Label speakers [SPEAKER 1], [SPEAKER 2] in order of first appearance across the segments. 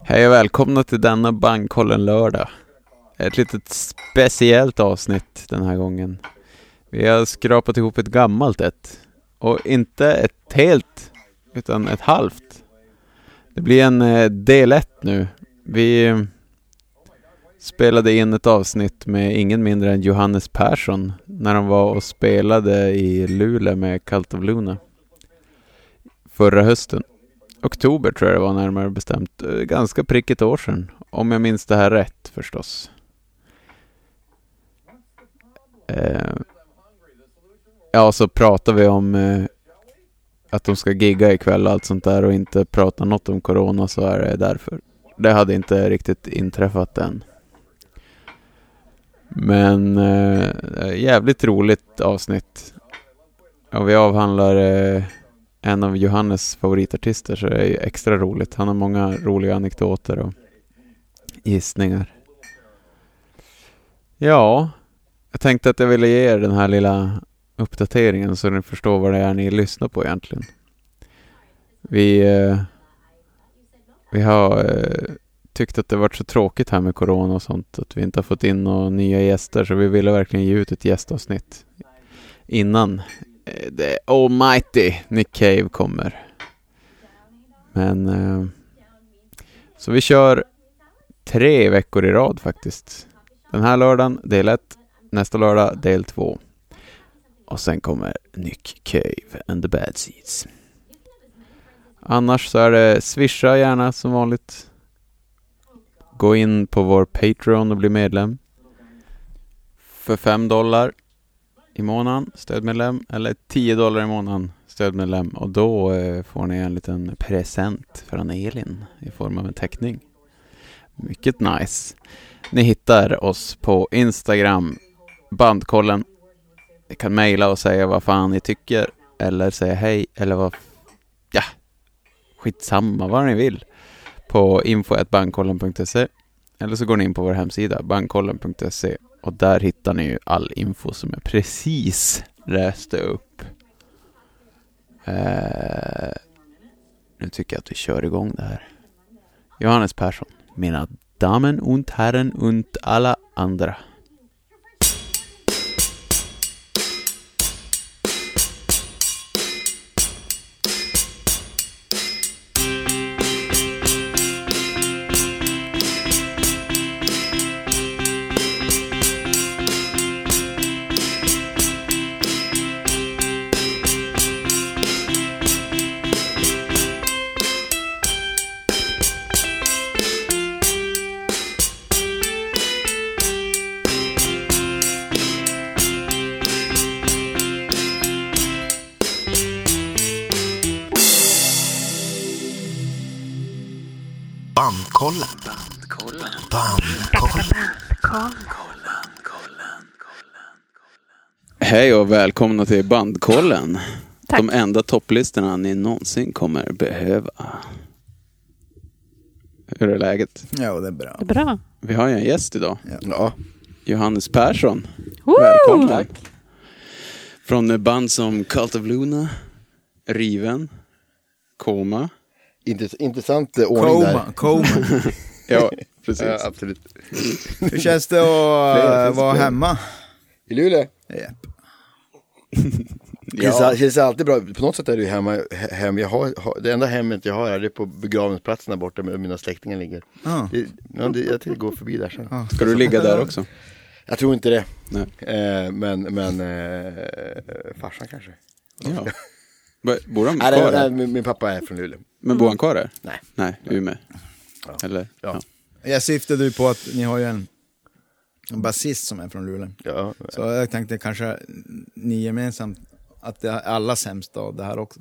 [SPEAKER 1] Hej och välkomna till denna Bankkollen lördag. Ett litet speciellt avsnitt den här gången. Vi har skrapat ihop ett gammalt ett. Och inte ett helt, utan ett halvt. Det blir en eh, del ett nu. Vi eh, spelade in ett avsnitt med ingen mindre än Johannes Persson när de var och spelade i Luleå med Cult of Luna. Förra hösten oktober tror jag det var närmare bestämt. Eh, Ganska prick ett år sedan. Om jag minns det här rätt förstås. Eh, ja, så pratar vi om eh, att de ska gigga ikväll och allt sånt där och inte prata något om corona så är det därför. Det hade inte riktigt inträffat än. Men eh, jävligt roligt avsnitt. Och vi avhandlar eh, en av Johannes favoritartister så det är ju extra roligt. Han har många roliga anekdoter och gissningar. Ja, jag tänkte att jag ville ge er den här lilla uppdateringen så ni förstår vad det är ni lyssnar på egentligen. Vi, eh, vi har eh, tyckt att det varit så tråkigt här med corona och sånt att vi inte har fått in några nya gäster så vi ville verkligen ge ut ett gästavsnitt innan Eh, The Almighty Nick Cave kommer. Men... Eh, så vi kör tre veckor i rad faktiskt. Den här lördagen del 1, nästa lördag del 2. Och sen kommer Nick Cave and the Bad Seeds. Annars så är det swisha gärna som vanligt. Gå in på vår Patreon och bli medlem. För 5 dollar i månaden, stödmedlem, eller 10 dollar i månaden, stödmedlem. Och då eh, får ni en liten present från Elin i form av en teckning. Mycket nice. Ni hittar oss på Instagram, bandkollen. Ni kan mejla och säga vad fan ni tycker, eller säga hej, eller vad... Ja, skitsamma vad ni vill. På info.bandkollen.se Eller så går ni in på vår hemsida, bandkollen.se och där hittar ni ju all info som jag precis läste upp. Eh, nu tycker jag att vi kör igång det här. Johannes Persson. Mina Damen und Herren und alla andra.
[SPEAKER 2] Bandkollen. Bandkollen. Bandkollen.
[SPEAKER 1] Hej och välkomna till Bandkollen.
[SPEAKER 3] Tack.
[SPEAKER 1] De enda topplistorna ni någonsin kommer behöva. Hur är läget?
[SPEAKER 4] Ja, det är bra.
[SPEAKER 3] Det är bra.
[SPEAKER 1] Vi har ju en gäst idag.
[SPEAKER 4] Ja.
[SPEAKER 1] Johannes Persson.
[SPEAKER 3] Woo!
[SPEAKER 1] Välkommen. Från band som Cult of Luna, Riven, Koma.
[SPEAKER 5] Intress- intressant eh, ordning
[SPEAKER 4] Coma,
[SPEAKER 5] där.
[SPEAKER 4] coma.
[SPEAKER 1] Ja, precis.
[SPEAKER 5] Ja, absolut.
[SPEAKER 4] Hur känns det att eh, vara hemma?
[SPEAKER 5] I Luleå?
[SPEAKER 4] Japp.
[SPEAKER 5] Känns, all- känns alltid bra. På något sätt är du hemma. he- hem. Jag har, har, det enda hemmet jag har är det på begravningsplatsen där borta där mina släktingar ligger.
[SPEAKER 4] Ja.
[SPEAKER 5] Det, ja, det, jag tänkte gå förbi där sen.
[SPEAKER 1] Ska du ligga där också?
[SPEAKER 5] Jag tror inte det.
[SPEAKER 1] Nej.
[SPEAKER 5] Eh, men men eh, farsan kanske.
[SPEAKER 1] Ja. B- Bor han
[SPEAKER 5] Nej, nej,
[SPEAKER 1] kvar
[SPEAKER 5] nej,
[SPEAKER 1] där?
[SPEAKER 5] min, min pappa är från Luleå.
[SPEAKER 1] Men bor han kvar där?
[SPEAKER 5] Nej.
[SPEAKER 1] Nej, Umeå. Eller?
[SPEAKER 5] Ja.
[SPEAKER 4] Jag syftade ju på att ni har ju en en basist som är från Luleå.
[SPEAKER 5] Ja.
[SPEAKER 4] Så jag tänkte kanske ni gemensamt, att det är allas hemstad av det här också.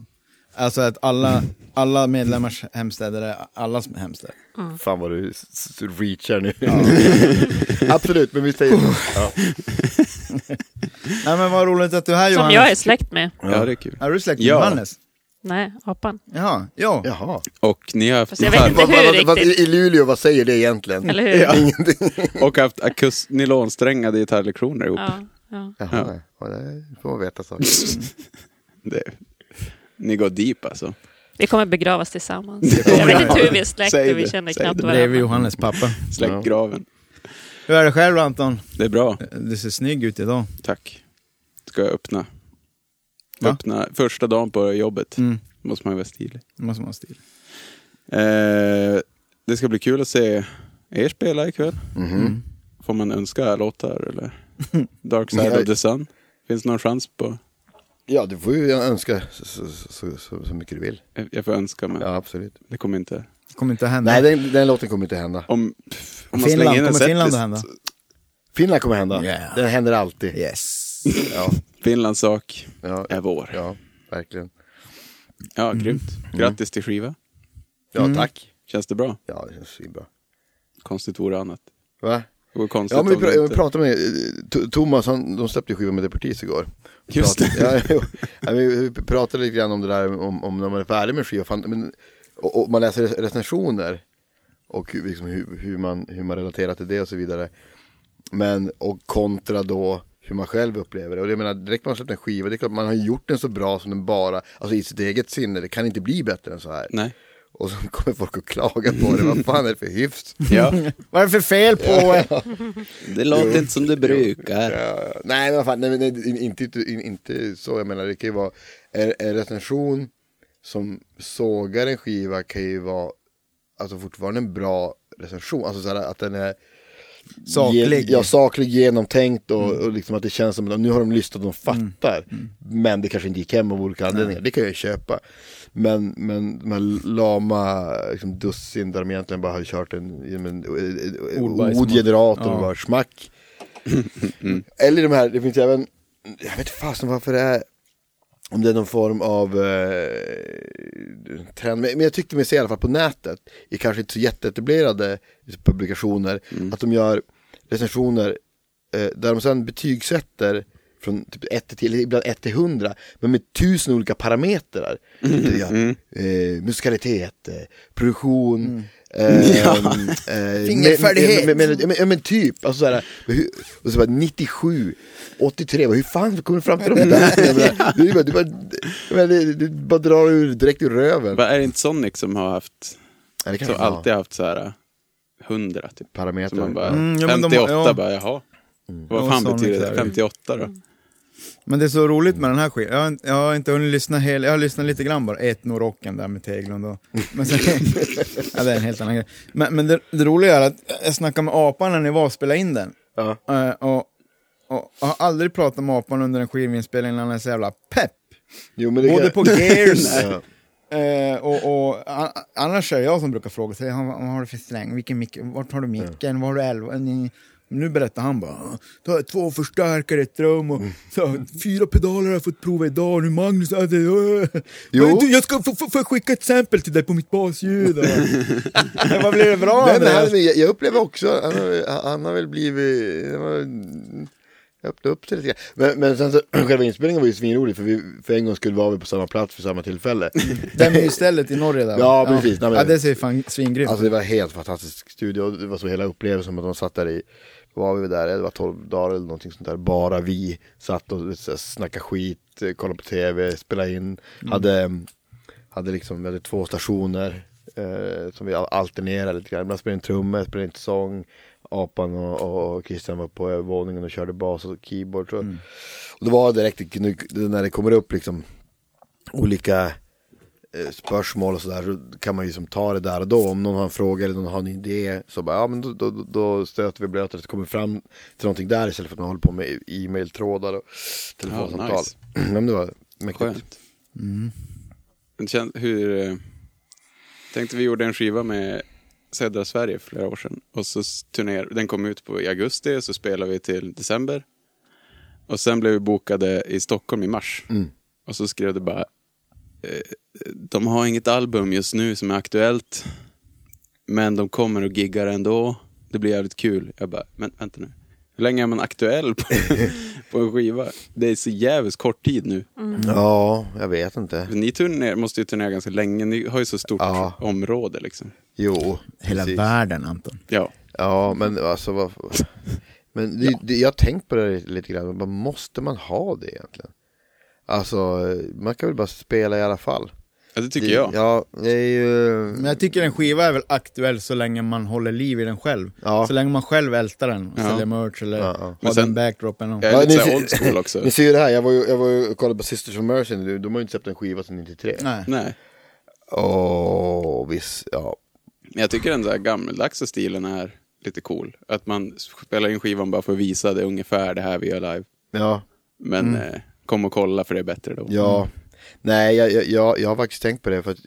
[SPEAKER 4] Alltså att alla, alla medlemmars hemstäder är allas hemstäder.
[SPEAKER 5] Fan vad du s- s- reachar nu. absolut, men vi säger så. Ja.
[SPEAKER 4] Nej men vad roligt att du är här
[SPEAKER 3] Som
[SPEAKER 4] Johannes.
[SPEAKER 3] jag är släkt med.
[SPEAKER 1] Ja, det är kul.
[SPEAKER 4] Är du släkt med
[SPEAKER 1] Ja.
[SPEAKER 4] Johannes?
[SPEAKER 3] Nej, apan.
[SPEAKER 4] Ja, ja.
[SPEAKER 5] Jaha.
[SPEAKER 1] Och ni har haft
[SPEAKER 3] Fast jag vet inte.
[SPEAKER 1] gitarr
[SPEAKER 5] Vad, vad, vad,
[SPEAKER 3] riktigt.
[SPEAKER 5] I Luleå, vad säger det egentligen?
[SPEAKER 3] Eller hur? Ja.
[SPEAKER 1] och haft akust- nylonsträngade gitarrlektioner ihop.
[SPEAKER 3] Ja, ja.
[SPEAKER 1] Ja.
[SPEAKER 5] Jaha, ja. det får man veta saker.
[SPEAKER 1] Det. Ni går deep alltså.
[SPEAKER 3] Vi kommer begravas tillsammans. Jag vet inte hur vi är släkt
[SPEAKER 6] Säg
[SPEAKER 3] och vi
[SPEAKER 6] det,
[SPEAKER 3] känner
[SPEAKER 6] säg
[SPEAKER 3] knappt
[SPEAKER 6] det.
[SPEAKER 4] Bredvid
[SPEAKER 3] varandra.
[SPEAKER 4] Johannes pappa.
[SPEAKER 5] Ja.
[SPEAKER 6] Släck graven.
[SPEAKER 4] Hur är det själv Anton?
[SPEAKER 1] Det är bra,
[SPEAKER 4] Du Eh, ser snygg ut idag.
[SPEAKER 1] tack. Ska jag öppna?
[SPEAKER 4] Va?
[SPEAKER 1] Öppna första dagen på jobbet.
[SPEAKER 4] Mm.
[SPEAKER 1] Måste man ju vara stilig.
[SPEAKER 4] Det måste man ha stil.
[SPEAKER 1] Eh, det ska bli kul att se er spela ikväll.
[SPEAKER 5] Mhm.
[SPEAKER 4] Mm.
[SPEAKER 1] Får man önska låtar eller? Dark Side of the Sun. Finns det någon chans på?
[SPEAKER 5] Ja, du får ju önska så, så, så, så, så mycket du vill.
[SPEAKER 1] Jag får önska men
[SPEAKER 5] Ja, absolut.
[SPEAKER 1] det kommer inte.
[SPEAKER 4] Det kommer inte att hända.
[SPEAKER 5] Nej, den, den låten kommer inte hända.
[SPEAKER 1] Om, om man
[SPEAKER 4] Finland,
[SPEAKER 1] slänger in en
[SPEAKER 4] kommer Finland att
[SPEAKER 1] settis-
[SPEAKER 4] hända?
[SPEAKER 5] Finland kommer hända.
[SPEAKER 4] Yeah.
[SPEAKER 5] Den händer alltid.
[SPEAKER 4] Yes.
[SPEAKER 5] Ja,
[SPEAKER 1] Finlands sak
[SPEAKER 5] ja,
[SPEAKER 1] är vår.
[SPEAKER 5] ja, verkligen.
[SPEAKER 1] Ja, grymt. Grattis till skiva.
[SPEAKER 5] Ja, tack.
[SPEAKER 1] Känns det bra?
[SPEAKER 5] Ja, det känns ju bra.
[SPEAKER 1] Konstigt vore annat.
[SPEAKER 5] Va?
[SPEAKER 1] Det vore konstigt
[SPEAKER 5] Ja, men vi,
[SPEAKER 1] om
[SPEAKER 5] pra-
[SPEAKER 1] det
[SPEAKER 5] vi
[SPEAKER 1] inte-
[SPEAKER 5] pratade med eh, T- Thomas, han, de släppte ju skivan med Deportees igår. Vi
[SPEAKER 1] Just
[SPEAKER 5] pratade, det. Ja, jo. ja, vi vi pratade lite grann om det där om, om när man är färdig med skivan. Fan, Men, och, och man läser rec- recensioner och hur- liksom hur, hur, man, hur man relaterar till det och så vidare. Men, och kontra då hur man själv upplever det. Och jag menar, direkt man släppt en skiva, det är klart man har gjort den så bra som den bara, alltså i sitt eget sinne, det kan inte bli bättre än så här.
[SPEAKER 1] Nej.
[SPEAKER 5] Och så kommer folk att klaga på det, vad fan är det för hyfs?
[SPEAKER 1] Ja,
[SPEAKER 4] Vad är det för fel på eh? en?
[SPEAKER 1] det låter inte som det brukar.
[SPEAKER 5] Ja, ja. nej, men vad fan, nej, men nej, inte, inte, inte så. Jag menar, det kan ju vara en, en recension som sågar en skiva kan ju vara alltså fortfarande en bra recension. Alltså så här, att den är
[SPEAKER 4] Saklig.
[SPEAKER 5] Gen, ja, saklig, genomtänkt och, och liksom att det känns som att nu har de lyssnat och de fattar.
[SPEAKER 4] Mm,
[SPEAKER 5] Men det kanske inte gick hem av olika anledningar. Det kan jag ju köpa. Men, men de här lama liksom, dussin där de egentligen bara har kört en, en, en, en
[SPEAKER 4] Ordbajs-
[SPEAKER 5] ordgenerat och
[SPEAKER 4] Ja. Mm.
[SPEAKER 5] bara smack. Eller de här, det finns även, jag vet inte fasen varför det är, om det är någon form av eh, trend. Men men jag tyckte mig se i alla fall på nätet, i kanske inte så jätteetablerade publikationer,
[SPEAKER 4] Mm.
[SPEAKER 5] att de gör recensioner eh, där de sedan betygsätter från typ 1 till 10, eller ibland 1 till 100, men med tusen olika parametrar.
[SPEAKER 4] Mm.
[SPEAKER 5] Det gör,
[SPEAKER 1] Mm.
[SPEAKER 5] eh, musikalitet, eh, produktion, eh, eh,
[SPEAKER 4] Mm. Fingerfärdighet.
[SPEAKER 5] men- men- men- men- Ja men typ, alltså såhär, hur- och så bara 97, 83, bara, hur fan kommer du fram till de där? Jag menar, Du, bara- du, bara, jag menar, du, du bara drar ur, direkt ur röven.
[SPEAKER 1] Vad Är det inte Sonic som har haft,
[SPEAKER 5] Ja, det kan
[SPEAKER 1] som
[SPEAKER 5] vara
[SPEAKER 1] alltid har haft så här eh, 100 typ? Som
[SPEAKER 5] parametrar.
[SPEAKER 1] man bara,
[SPEAKER 4] Mm, ja, men de-
[SPEAKER 1] 58
[SPEAKER 4] ja. Mm.
[SPEAKER 1] bara, jaha.
[SPEAKER 4] Ja,
[SPEAKER 1] Vad fan
[SPEAKER 4] Sonic
[SPEAKER 1] betyder
[SPEAKER 4] där.
[SPEAKER 1] det? 58 då?
[SPEAKER 4] Men det är så roligt med den här skivan. Jag, har- jag har inte hunnit lyssna hela, jag har lyssnat lite grann bara, etnorocken där med Teglund och... Men sen, ja, det är en helt annan grej. Men, men det, det roliga är att jag snackade med apan när ni var och spelade in den.
[SPEAKER 5] Ja.
[SPEAKER 4] Eh, och, och, jag har aldrig pratat med apan under en skivinspelning när han är så jävla pepp.
[SPEAKER 5] Jo, men det
[SPEAKER 4] Både
[SPEAKER 5] kan-
[SPEAKER 4] på Gears
[SPEAKER 5] ja.
[SPEAKER 4] Eh, och, och, an- annars är det jag som brukar fråga sig, "Han, vad har du för släng? Vilken mick? Vart har du
[SPEAKER 5] Mm.
[SPEAKER 4] micken? Var har du elva? Ni- Nu berättar han bara, "Ah, då har jag två förstärkare i ett rum
[SPEAKER 5] Mm.
[SPEAKER 4] och så, fyra pedaler har jag fått prova idag. Nu Magnus, äh, det, äh.
[SPEAKER 5] Jo.
[SPEAKER 4] Du, jag ska få, få, får jag skicka ett sample till dig på mitt basljud. Och- Men Vad blir det bra
[SPEAKER 5] Nej, men
[SPEAKER 4] Andreas?
[SPEAKER 5] han, jag, jag upplever också, han har, han har väl blivit, han har, jag öppnade upp sig lite grann. Men, men sen så, själva inspelningen var ju svinrolig för vi, för en gång skulle vara vi på samma plats för samma tillfälle.
[SPEAKER 4] Det är mysstället i Norge där. va?
[SPEAKER 5] Ja, precis. Nej, men-
[SPEAKER 4] ja, det ser fan svingrymt
[SPEAKER 5] Alltså det var helt fantastisk studio, Och det var så hela upplevelsen att de satt där i, vad var vi där, det var 12 dagar eller någonting sånt där, bara vi satt och vet, så här, snackade skit, eh, kollade på tv, spelade in, hade, hade liksom, vi hade två stationer eh, som vi alternerade lite grann, ibland spelade in trummor, spelade in sång, Apan och, och Christian var på övervåningen och körde bas och keyboard. Så. Och det var direkt gnugg- när det kommer upp liksom olika eh, spörsmål och sådär så kan man ju som ta det där och då. Om någon har en fråga eller någon har en idé så bara, ja men då, då, då- då stöter vi och blöter det kommer fram till någonting där istället för att man håller på med e-mailtrådar och telefonsamtal.
[SPEAKER 1] Ja, nice.
[SPEAKER 5] Ja, men det var mäktigt.
[SPEAKER 1] Skönt. Mm. Det känns, hur... eh, Tänkte vi gjorde en skiva med södra Sverige för flera år sedan. Och så s- turner, den kom ut på, i augusti, så spelade vi till december. Och sen blev vi bokade i Stockholm i mars. Och så skrev det bara, eh, de har inget album just nu som är aktuellt. Men de kommer och giggar ändå. Det blir jävligt kul. Jag bara, men vänta nu. Hur länge är man aktuell på, på en skiva? Det är så jävligt kort tid nu.
[SPEAKER 5] Ja, jag vet inte.
[SPEAKER 1] Ni turner, måste ju turnera ganska länge, ni har ju så stort
[SPEAKER 5] Ja.
[SPEAKER 1] område liksom.
[SPEAKER 5] Jo,
[SPEAKER 4] Hela
[SPEAKER 5] precis.
[SPEAKER 4] världen Anton.
[SPEAKER 1] Ja,
[SPEAKER 5] Ja, men alltså vad... Men det, det, jag har tänkt på det här lite grann, Vad måste man ha det egentligen? Alltså, man kan väl bara spela i alla fall.
[SPEAKER 1] Ja, det tycker
[SPEAKER 5] Det-
[SPEAKER 1] jag.
[SPEAKER 5] Ja, det är ju...
[SPEAKER 4] Men jag tycker en skiva är väl aktuell så länge man håller liv i den själv.
[SPEAKER 5] Ja.
[SPEAKER 4] Så länge man själv ältar den och
[SPEAKER 1] Ja.
[SPEAKER 4] säljer merch eller
[SPEAKER 5] Ja, ja.
[SPEAKER 4] har
[SPEAKER 1] Men sen-
[SPEAKER 4] den backdropen. Och...
[SPEAKER 1] Jag är lite
[SPEAKER 5] ni
[SPEAKER 1] så här
[SPEAKER 5] ser-
[SPEAKER 1] old school också.
[SPEAKER 5] Ni ser ju det här, jag var ju, jag var ju och kollade på Sisters of Mercy, nu. de har ju inte släppt en skiva sedan 93.
[SPEAKER 4] Nej.
[SPEAKER 1] Nej.
[SPEAKER 5] Åh, visst, ja.
[SPEAKER 1] Men jag tycker den där gammeldagsa stilen är lite cool. Att man spelar in skivan bara för att visa det är ungefär det här vi gör live.
[SPEAKER 5] Ja,
[SPEAKER 1] Men eh, kom och kolla för det är bättre då.
[SPEAKER 5] Mm. ja. Nej, jag, jag, jag, jag har faktiskt tänkt på det, för att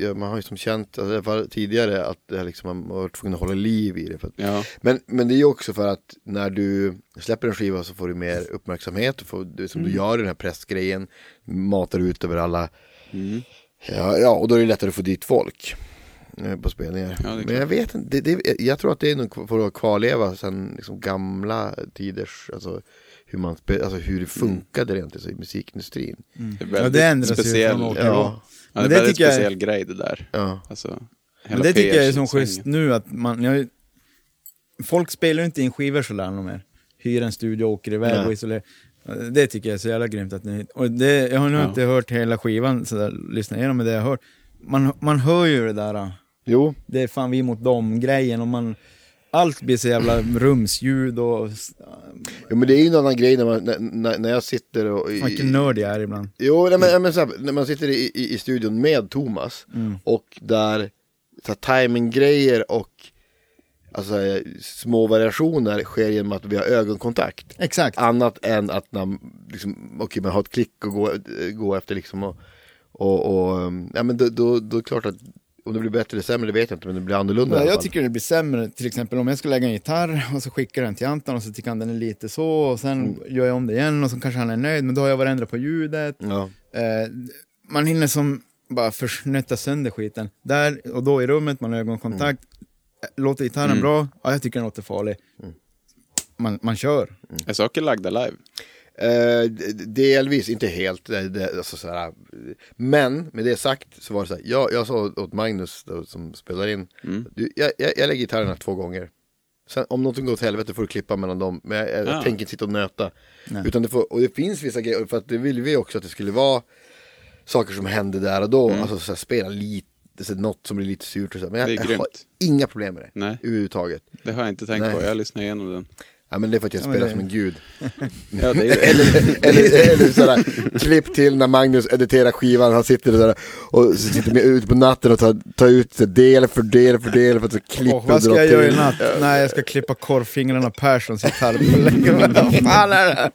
[SPEAKER 5] jag, man har ju som känt, alltså, i alla fall tidigare, att det här liksom, man har varit tvungen att hålla liv i det. För att,
[SPEAKER 1] Ja.
[SPEAKER 5] Men, men det är ju också för att när du släpper en skiva så får du mer uppmärksamhet, och får, du, som du gör i den här pressgrejen, matar ut över alla,
[SPEAKER 1] Mm.
[SPEAKER 5] ja, ja, och då är det lättare att få dit folk eh, på spelningar.
[SPEAKER 1] det är
[SPEAKER 5] men jag vet inte, det, det, jag tror att det är nog för att kvarleva sen liksom gamla tiders, alltså hur, man, spe- alltså hur det funkade rent alltså, i musikindustrin.
[SPEAKER 1] Det är
[SPEAKER 4] Ja,
[SPEAKER 1] väldigt
[SPEAKER 4] det ändras ju
[SPEAKER 1] speciell,
[SPEAKER 4] från år
[SPEAKER 1] ja.
[SPEAKER 4] till år.
[SPEAKER 1] det
[SPEAKER 5] Ja.
[SPEAKER 4] Men
[SPEAKER 1] är
[SPEAKER 4] det
[SPEAKER 1] väldigt
[SPEAKER 4] tycker jag är-
[SPEAKER 1] speciell grej det där.
[SPEAKER 5] Ja.
[SPEAKER 1] Alltså,
[SPEAKER 4] Men det tycker jag är som schysst nu att man, jag, folk spelar ju inte in skivor sådär någon mer. Hyr en studio, åker iväg
[SPEAKER 5] Nej.
[SPEAKER 4] och isolerar. Det tycker jag är så jävla grymt att ni, och det, jag har nu
[SPEAKER 1] Ja.
[SPEAKER 4] inte hört hela skivan sådär, lyssna igenom med det jag hört. Man, man hör ju det där, äh,
[SPEAKER 5] Jo,
[SPEAKER 4] det är fan vi mot dem grejen och man, allt blir så jävla rumsljud och, s-
[SPEAKER 5] ja, men det är ju en annan grej när, man, när- när, när jag sitter och... i-
[SPEAKER 4] fan, vilken nörd jag är ibland.
[SPEAKER 5] Jo, nej, men, nej, men så här, när man sitter i, i, i studion med Thomas
[SPEAKER 1] Mm.
[SPEAKER 5] och där så här, timing-grejer och alltså, eh, små variationer sker genom att vi har ögonkontakt.
[SPEAKER 4] Exakt.
[SPEAKER 5] Annat än att när, liksom, okay, man har ett klick att gå, eh, gå efter liksom och, och, och ehm, ja, men då, då, då är det klart att om det blir bättre eller sämre det vet jag inte men det blir annorlunda i
[SPEAKER 4] Ja,
[SPEAKER 5] alla
[SPEAKER 4] jag
[SPEAKER 5] fall.
[SPEAKER 4] tycker det blir sämre, till exempel om jag ska lägga en gitarr och så skickar jag den till Anton och så tycker han den är lite så och sen
[SPEAKER 5] Mm.
[SPEAKER 4] gör jag om det igen och så kanske han är nöjd men då har jag varenda på ljudet.
[SPEAKER 5] Ja.
[SPEAKER 4] Eh, man hinner som bara försnötta sönder skiten. Där och då i rummet, man har ögonkontakt.
[SPEAKER 5] Mm.
[SPEAKER 4] Eh, Låter gitarren bra? Ja, jag tycker den låter farlig. Man, man kör.
[SPEAKER 1] Är saker lagda live?
[SPEAKER 5] Eh, d- d- delvis, inte helt. Det, det, alltså så här, eh, men med det sagt så var det så här. Jag, jag sa åt Magnus då, som spelar in.
[SPEAKER 1] Mm.
[SPEAKER 5] Du, jag, jag, jag lägger gitarrerna två gånger. Sen, om någonting går åt helvete får du klippa mellan dem. Men jag, jag,
[SPEAKER 1] Ah.
[SPEAKER 5] tänker inte sitta och nöta. Utan det får, och det finns vissa grejer. För att det ville vi också att det skulle vara saker som hände där och då. Alltså så här, spela lite. Så här, något som blir lite surt och så här. Men jag,
[SPEAKER 1] Det är
[SPEAKER 5] jag
[SPEAKER 1] grymt.
[SPEAKER 5] har inga problem med det.
[SPEAKER 1] Nej.
[SPEAKER 5] Överhuvudtaget.
[SPEAKER 1] Det har jag inte tänkt
[SPEAKER 5] Nej.
[SPEAKER 1] på. Jag lyssnar igenom den.
[SPEAKER 5] Ja, men det är för att jag
[SPEAKER 4] men
[SPEAKER 5] spelar
[SPEAKER 4] det-
[SPEAKER 5] som en gud.
[SPEAKER 1] Ja, det är ju...
[SPEAKER 5] eller, eller, eller sådär, klipp till när Magnus editerar skivan, han sitter där och sitter med ute på natten och tar, tar ut så del för del för del för att så klippa
[SPEAKER 4] Och vad ska
[SPEAKER 5] dra
[SPEAKER 4] jag göra i
[SPEAKER 5] till.
[SPEAKER 4] natt? Nej, jag ska klippa korvfingrarna Perssons gitarr. Vad fan är det här?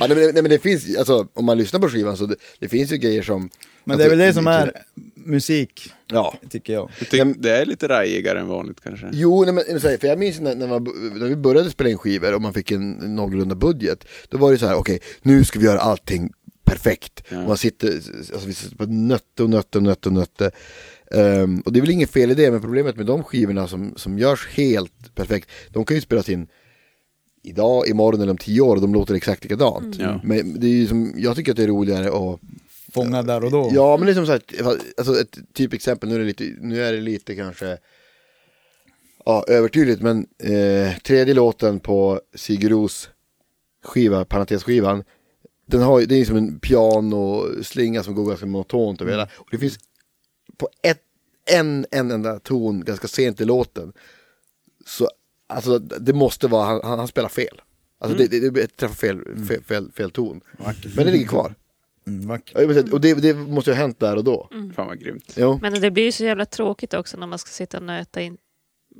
[SPEAKER 5] Ja, nej, men- nej, men det finns, alltså om man lyssnar på skivan så det, det finns ju grejer som... Alltså,
[SPEAKER 4] Men det är väl det som är musik,
[SPEAKER 5] Ja.
[SPEAKER 4] tycker jag.
[SPEAKER 1] Jag tycker det är lite rajigare än vanligt kanske.
[SPEAKER 5] Jo, nej, men, så här, för jag minns när, när, man, när vi började spela in skivor och man fick en någorlunda budget. Då var det så här, okej, nu ska vi göra allting perfekt.
[SPEAKER 1] Ja.
[SPEAKER 5] Och Man sitter, alltså vi sitter på nötte och nötte och nötte och nötte. Ehm, och det är väl inget fel i det, men problemet med de skivorna som, som görs helt perfekt, de kan ju spelas in idag, imorgon eller om tio år och de låter exakt likadant.
[SPEAKER 1] Mm. Ja.
[SPEAKER 5] Men det är ju som, jag tycker att det är roligare att
[SPEAKER 4] Fånga där och då.
[SPEAKER 5] Ja, men liksom så här, alltså ett typexempel, nu är det lite, nu är det lite kanske ja, övertydligt, men eh, tredje låten på Sigur Ros skiva, parentesskivan, den har, ju- det är som en pianoslinga som går ganska monotont över hela, och det finns på ett, en, en enda ton ganska sent i låten, så alltså det måste vara, han, han, han spelar fel. Alltså det, det, det träffar fel, fel, fel, fel ton. Men det ligger kvar.
[SPEAKER 4] Mm, vackert.
[SPEAKER 5] Ja, jag vill säga, Och det, det måste ju ha hänt där och då.
[SPEAKER 1] Fan vad grymt.
[SPEAKER 5] Jo.
[SPEAKER 3] Men det blir ju så jävla tråkigt också när man ska sitta och nöta in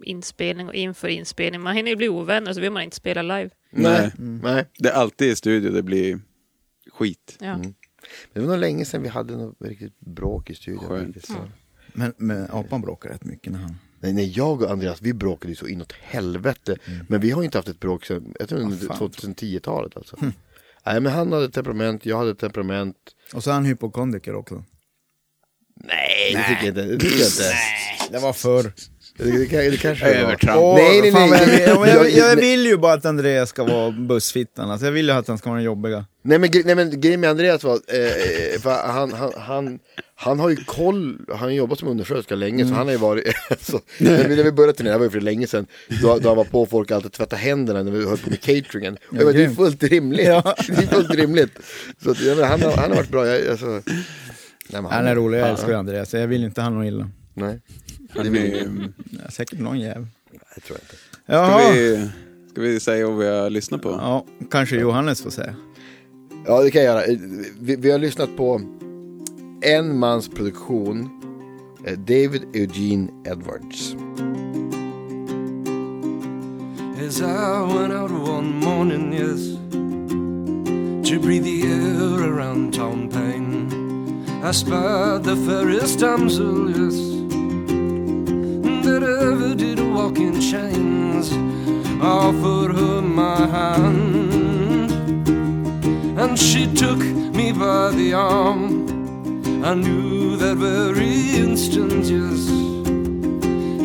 [SPEAKER 3] inspelning och inför inspelning. Man hinner ju bli ovänner och så vill man inte spela live.
[SPEAKER 1] Nej.
[SPEAKER 5] Mm. Nej.
[SPEAKER 1] Det är alltid i studio det blir skit.
[SPEAKER 3] Ja.
[SPEAKER 5] Det var nog länge sedan vi hade något riktigt bråk i studion.
[SPEAKER 1] Skönt.
[SPEAKER 5] faktiskt.
[SPEAKER 4] Men, men apan bråkar rätt mycket när han...
[SPEAKER 5] Nej, nej, jag och Andreas, vi bråkade ju så inåt helvete.
[SPEAKER 1] Mm.
[SPEAKER 5] Men vi har ju inte haft ett bråk sedan, jag tror under
[SPEAKER 4] fan.
[SPEAKER 5] 2010-talet alltså.
[SPEAKER 1] Hm.
[SPEAKER 5] Nej, men han hade ett temperament, jag hade ett temperament.
[SPEAKER 4] Och så är han hypokondriker också.
[SPEAKER 5] Nej, det tycker jag inte. Det, tycker jag inte.
[SPEAKER 4] Det var förr.
[SPEAKER 5] det, det, kan- det kanske det var.
[SPEAKER 1] Övertramp.
[SPEAKER 4] Åh,
[SPEAKER 5] Nej, nej,
[SPEAKER 4] fan vad
[SPEAKER 5] nej.
[SPEAKER 4] Jag, vill- jag, jag, jag
[SPEAKER 5] nej.
[SPEAKER 4] vill ju bara att Andreas ska vara bussfittan. Alltså, jag vill ju att han ska vara den jobbiga.
[SPEAKER 5] Nej men, gre- nej men grejen med Andreas var, eh, eh, för han, han, han, han har ju koll, han har jobbat som undersköterska länge
[SPEAKER 4] Mm.
[SPEAKER 5] så han har ju varit, så, när, vi, när vi började turnera, det var ju för länge sedan, då, då han var på folk alltid tvätta händerna när vi höll på med cateringen. Och jag bara, det är
[SPEAKER 4] grymt.
[SPEAKER 5] fullt rimligt,
[SPEAKER 4] Ja.
[SPEAKER 5] det är fullt rimligt. Så att, jag menar, han, har, han har varit bra, jag, alltså, Nej, men
[SPEAKER 4] Han är rolig, jag älskar ju Andreas. Jag vill inte han något illa.
[SPEAKER 5] Nej,
[SPEAKER 1] Han är-
[SPEAKER 4] Ja, Säkert någon jävel.
[SPEAKER 5] det tror jag inte.
[SPEAKER 1] Ska
[SPEAKER 4] Jaha.
[SPEAKER 1] vi, ska vi säga vad vi har lyssnat på?
[SPEAKER 4] Ah. Ja, kanske Johannes får säga.
[SPEAKER 5] Ja, det kan jag göra. Eh, Vi, vi har lyssnat på en mans produktion. eh, David Eugene Edwards.
[SPEAKER 7] As I went out one morning, yes, to breathe the air around town Paine, I spied the fairest damsel, yes, that ever did walk in chains. Offered her my hand, and she took me by the arm. I knew that very instant, yes.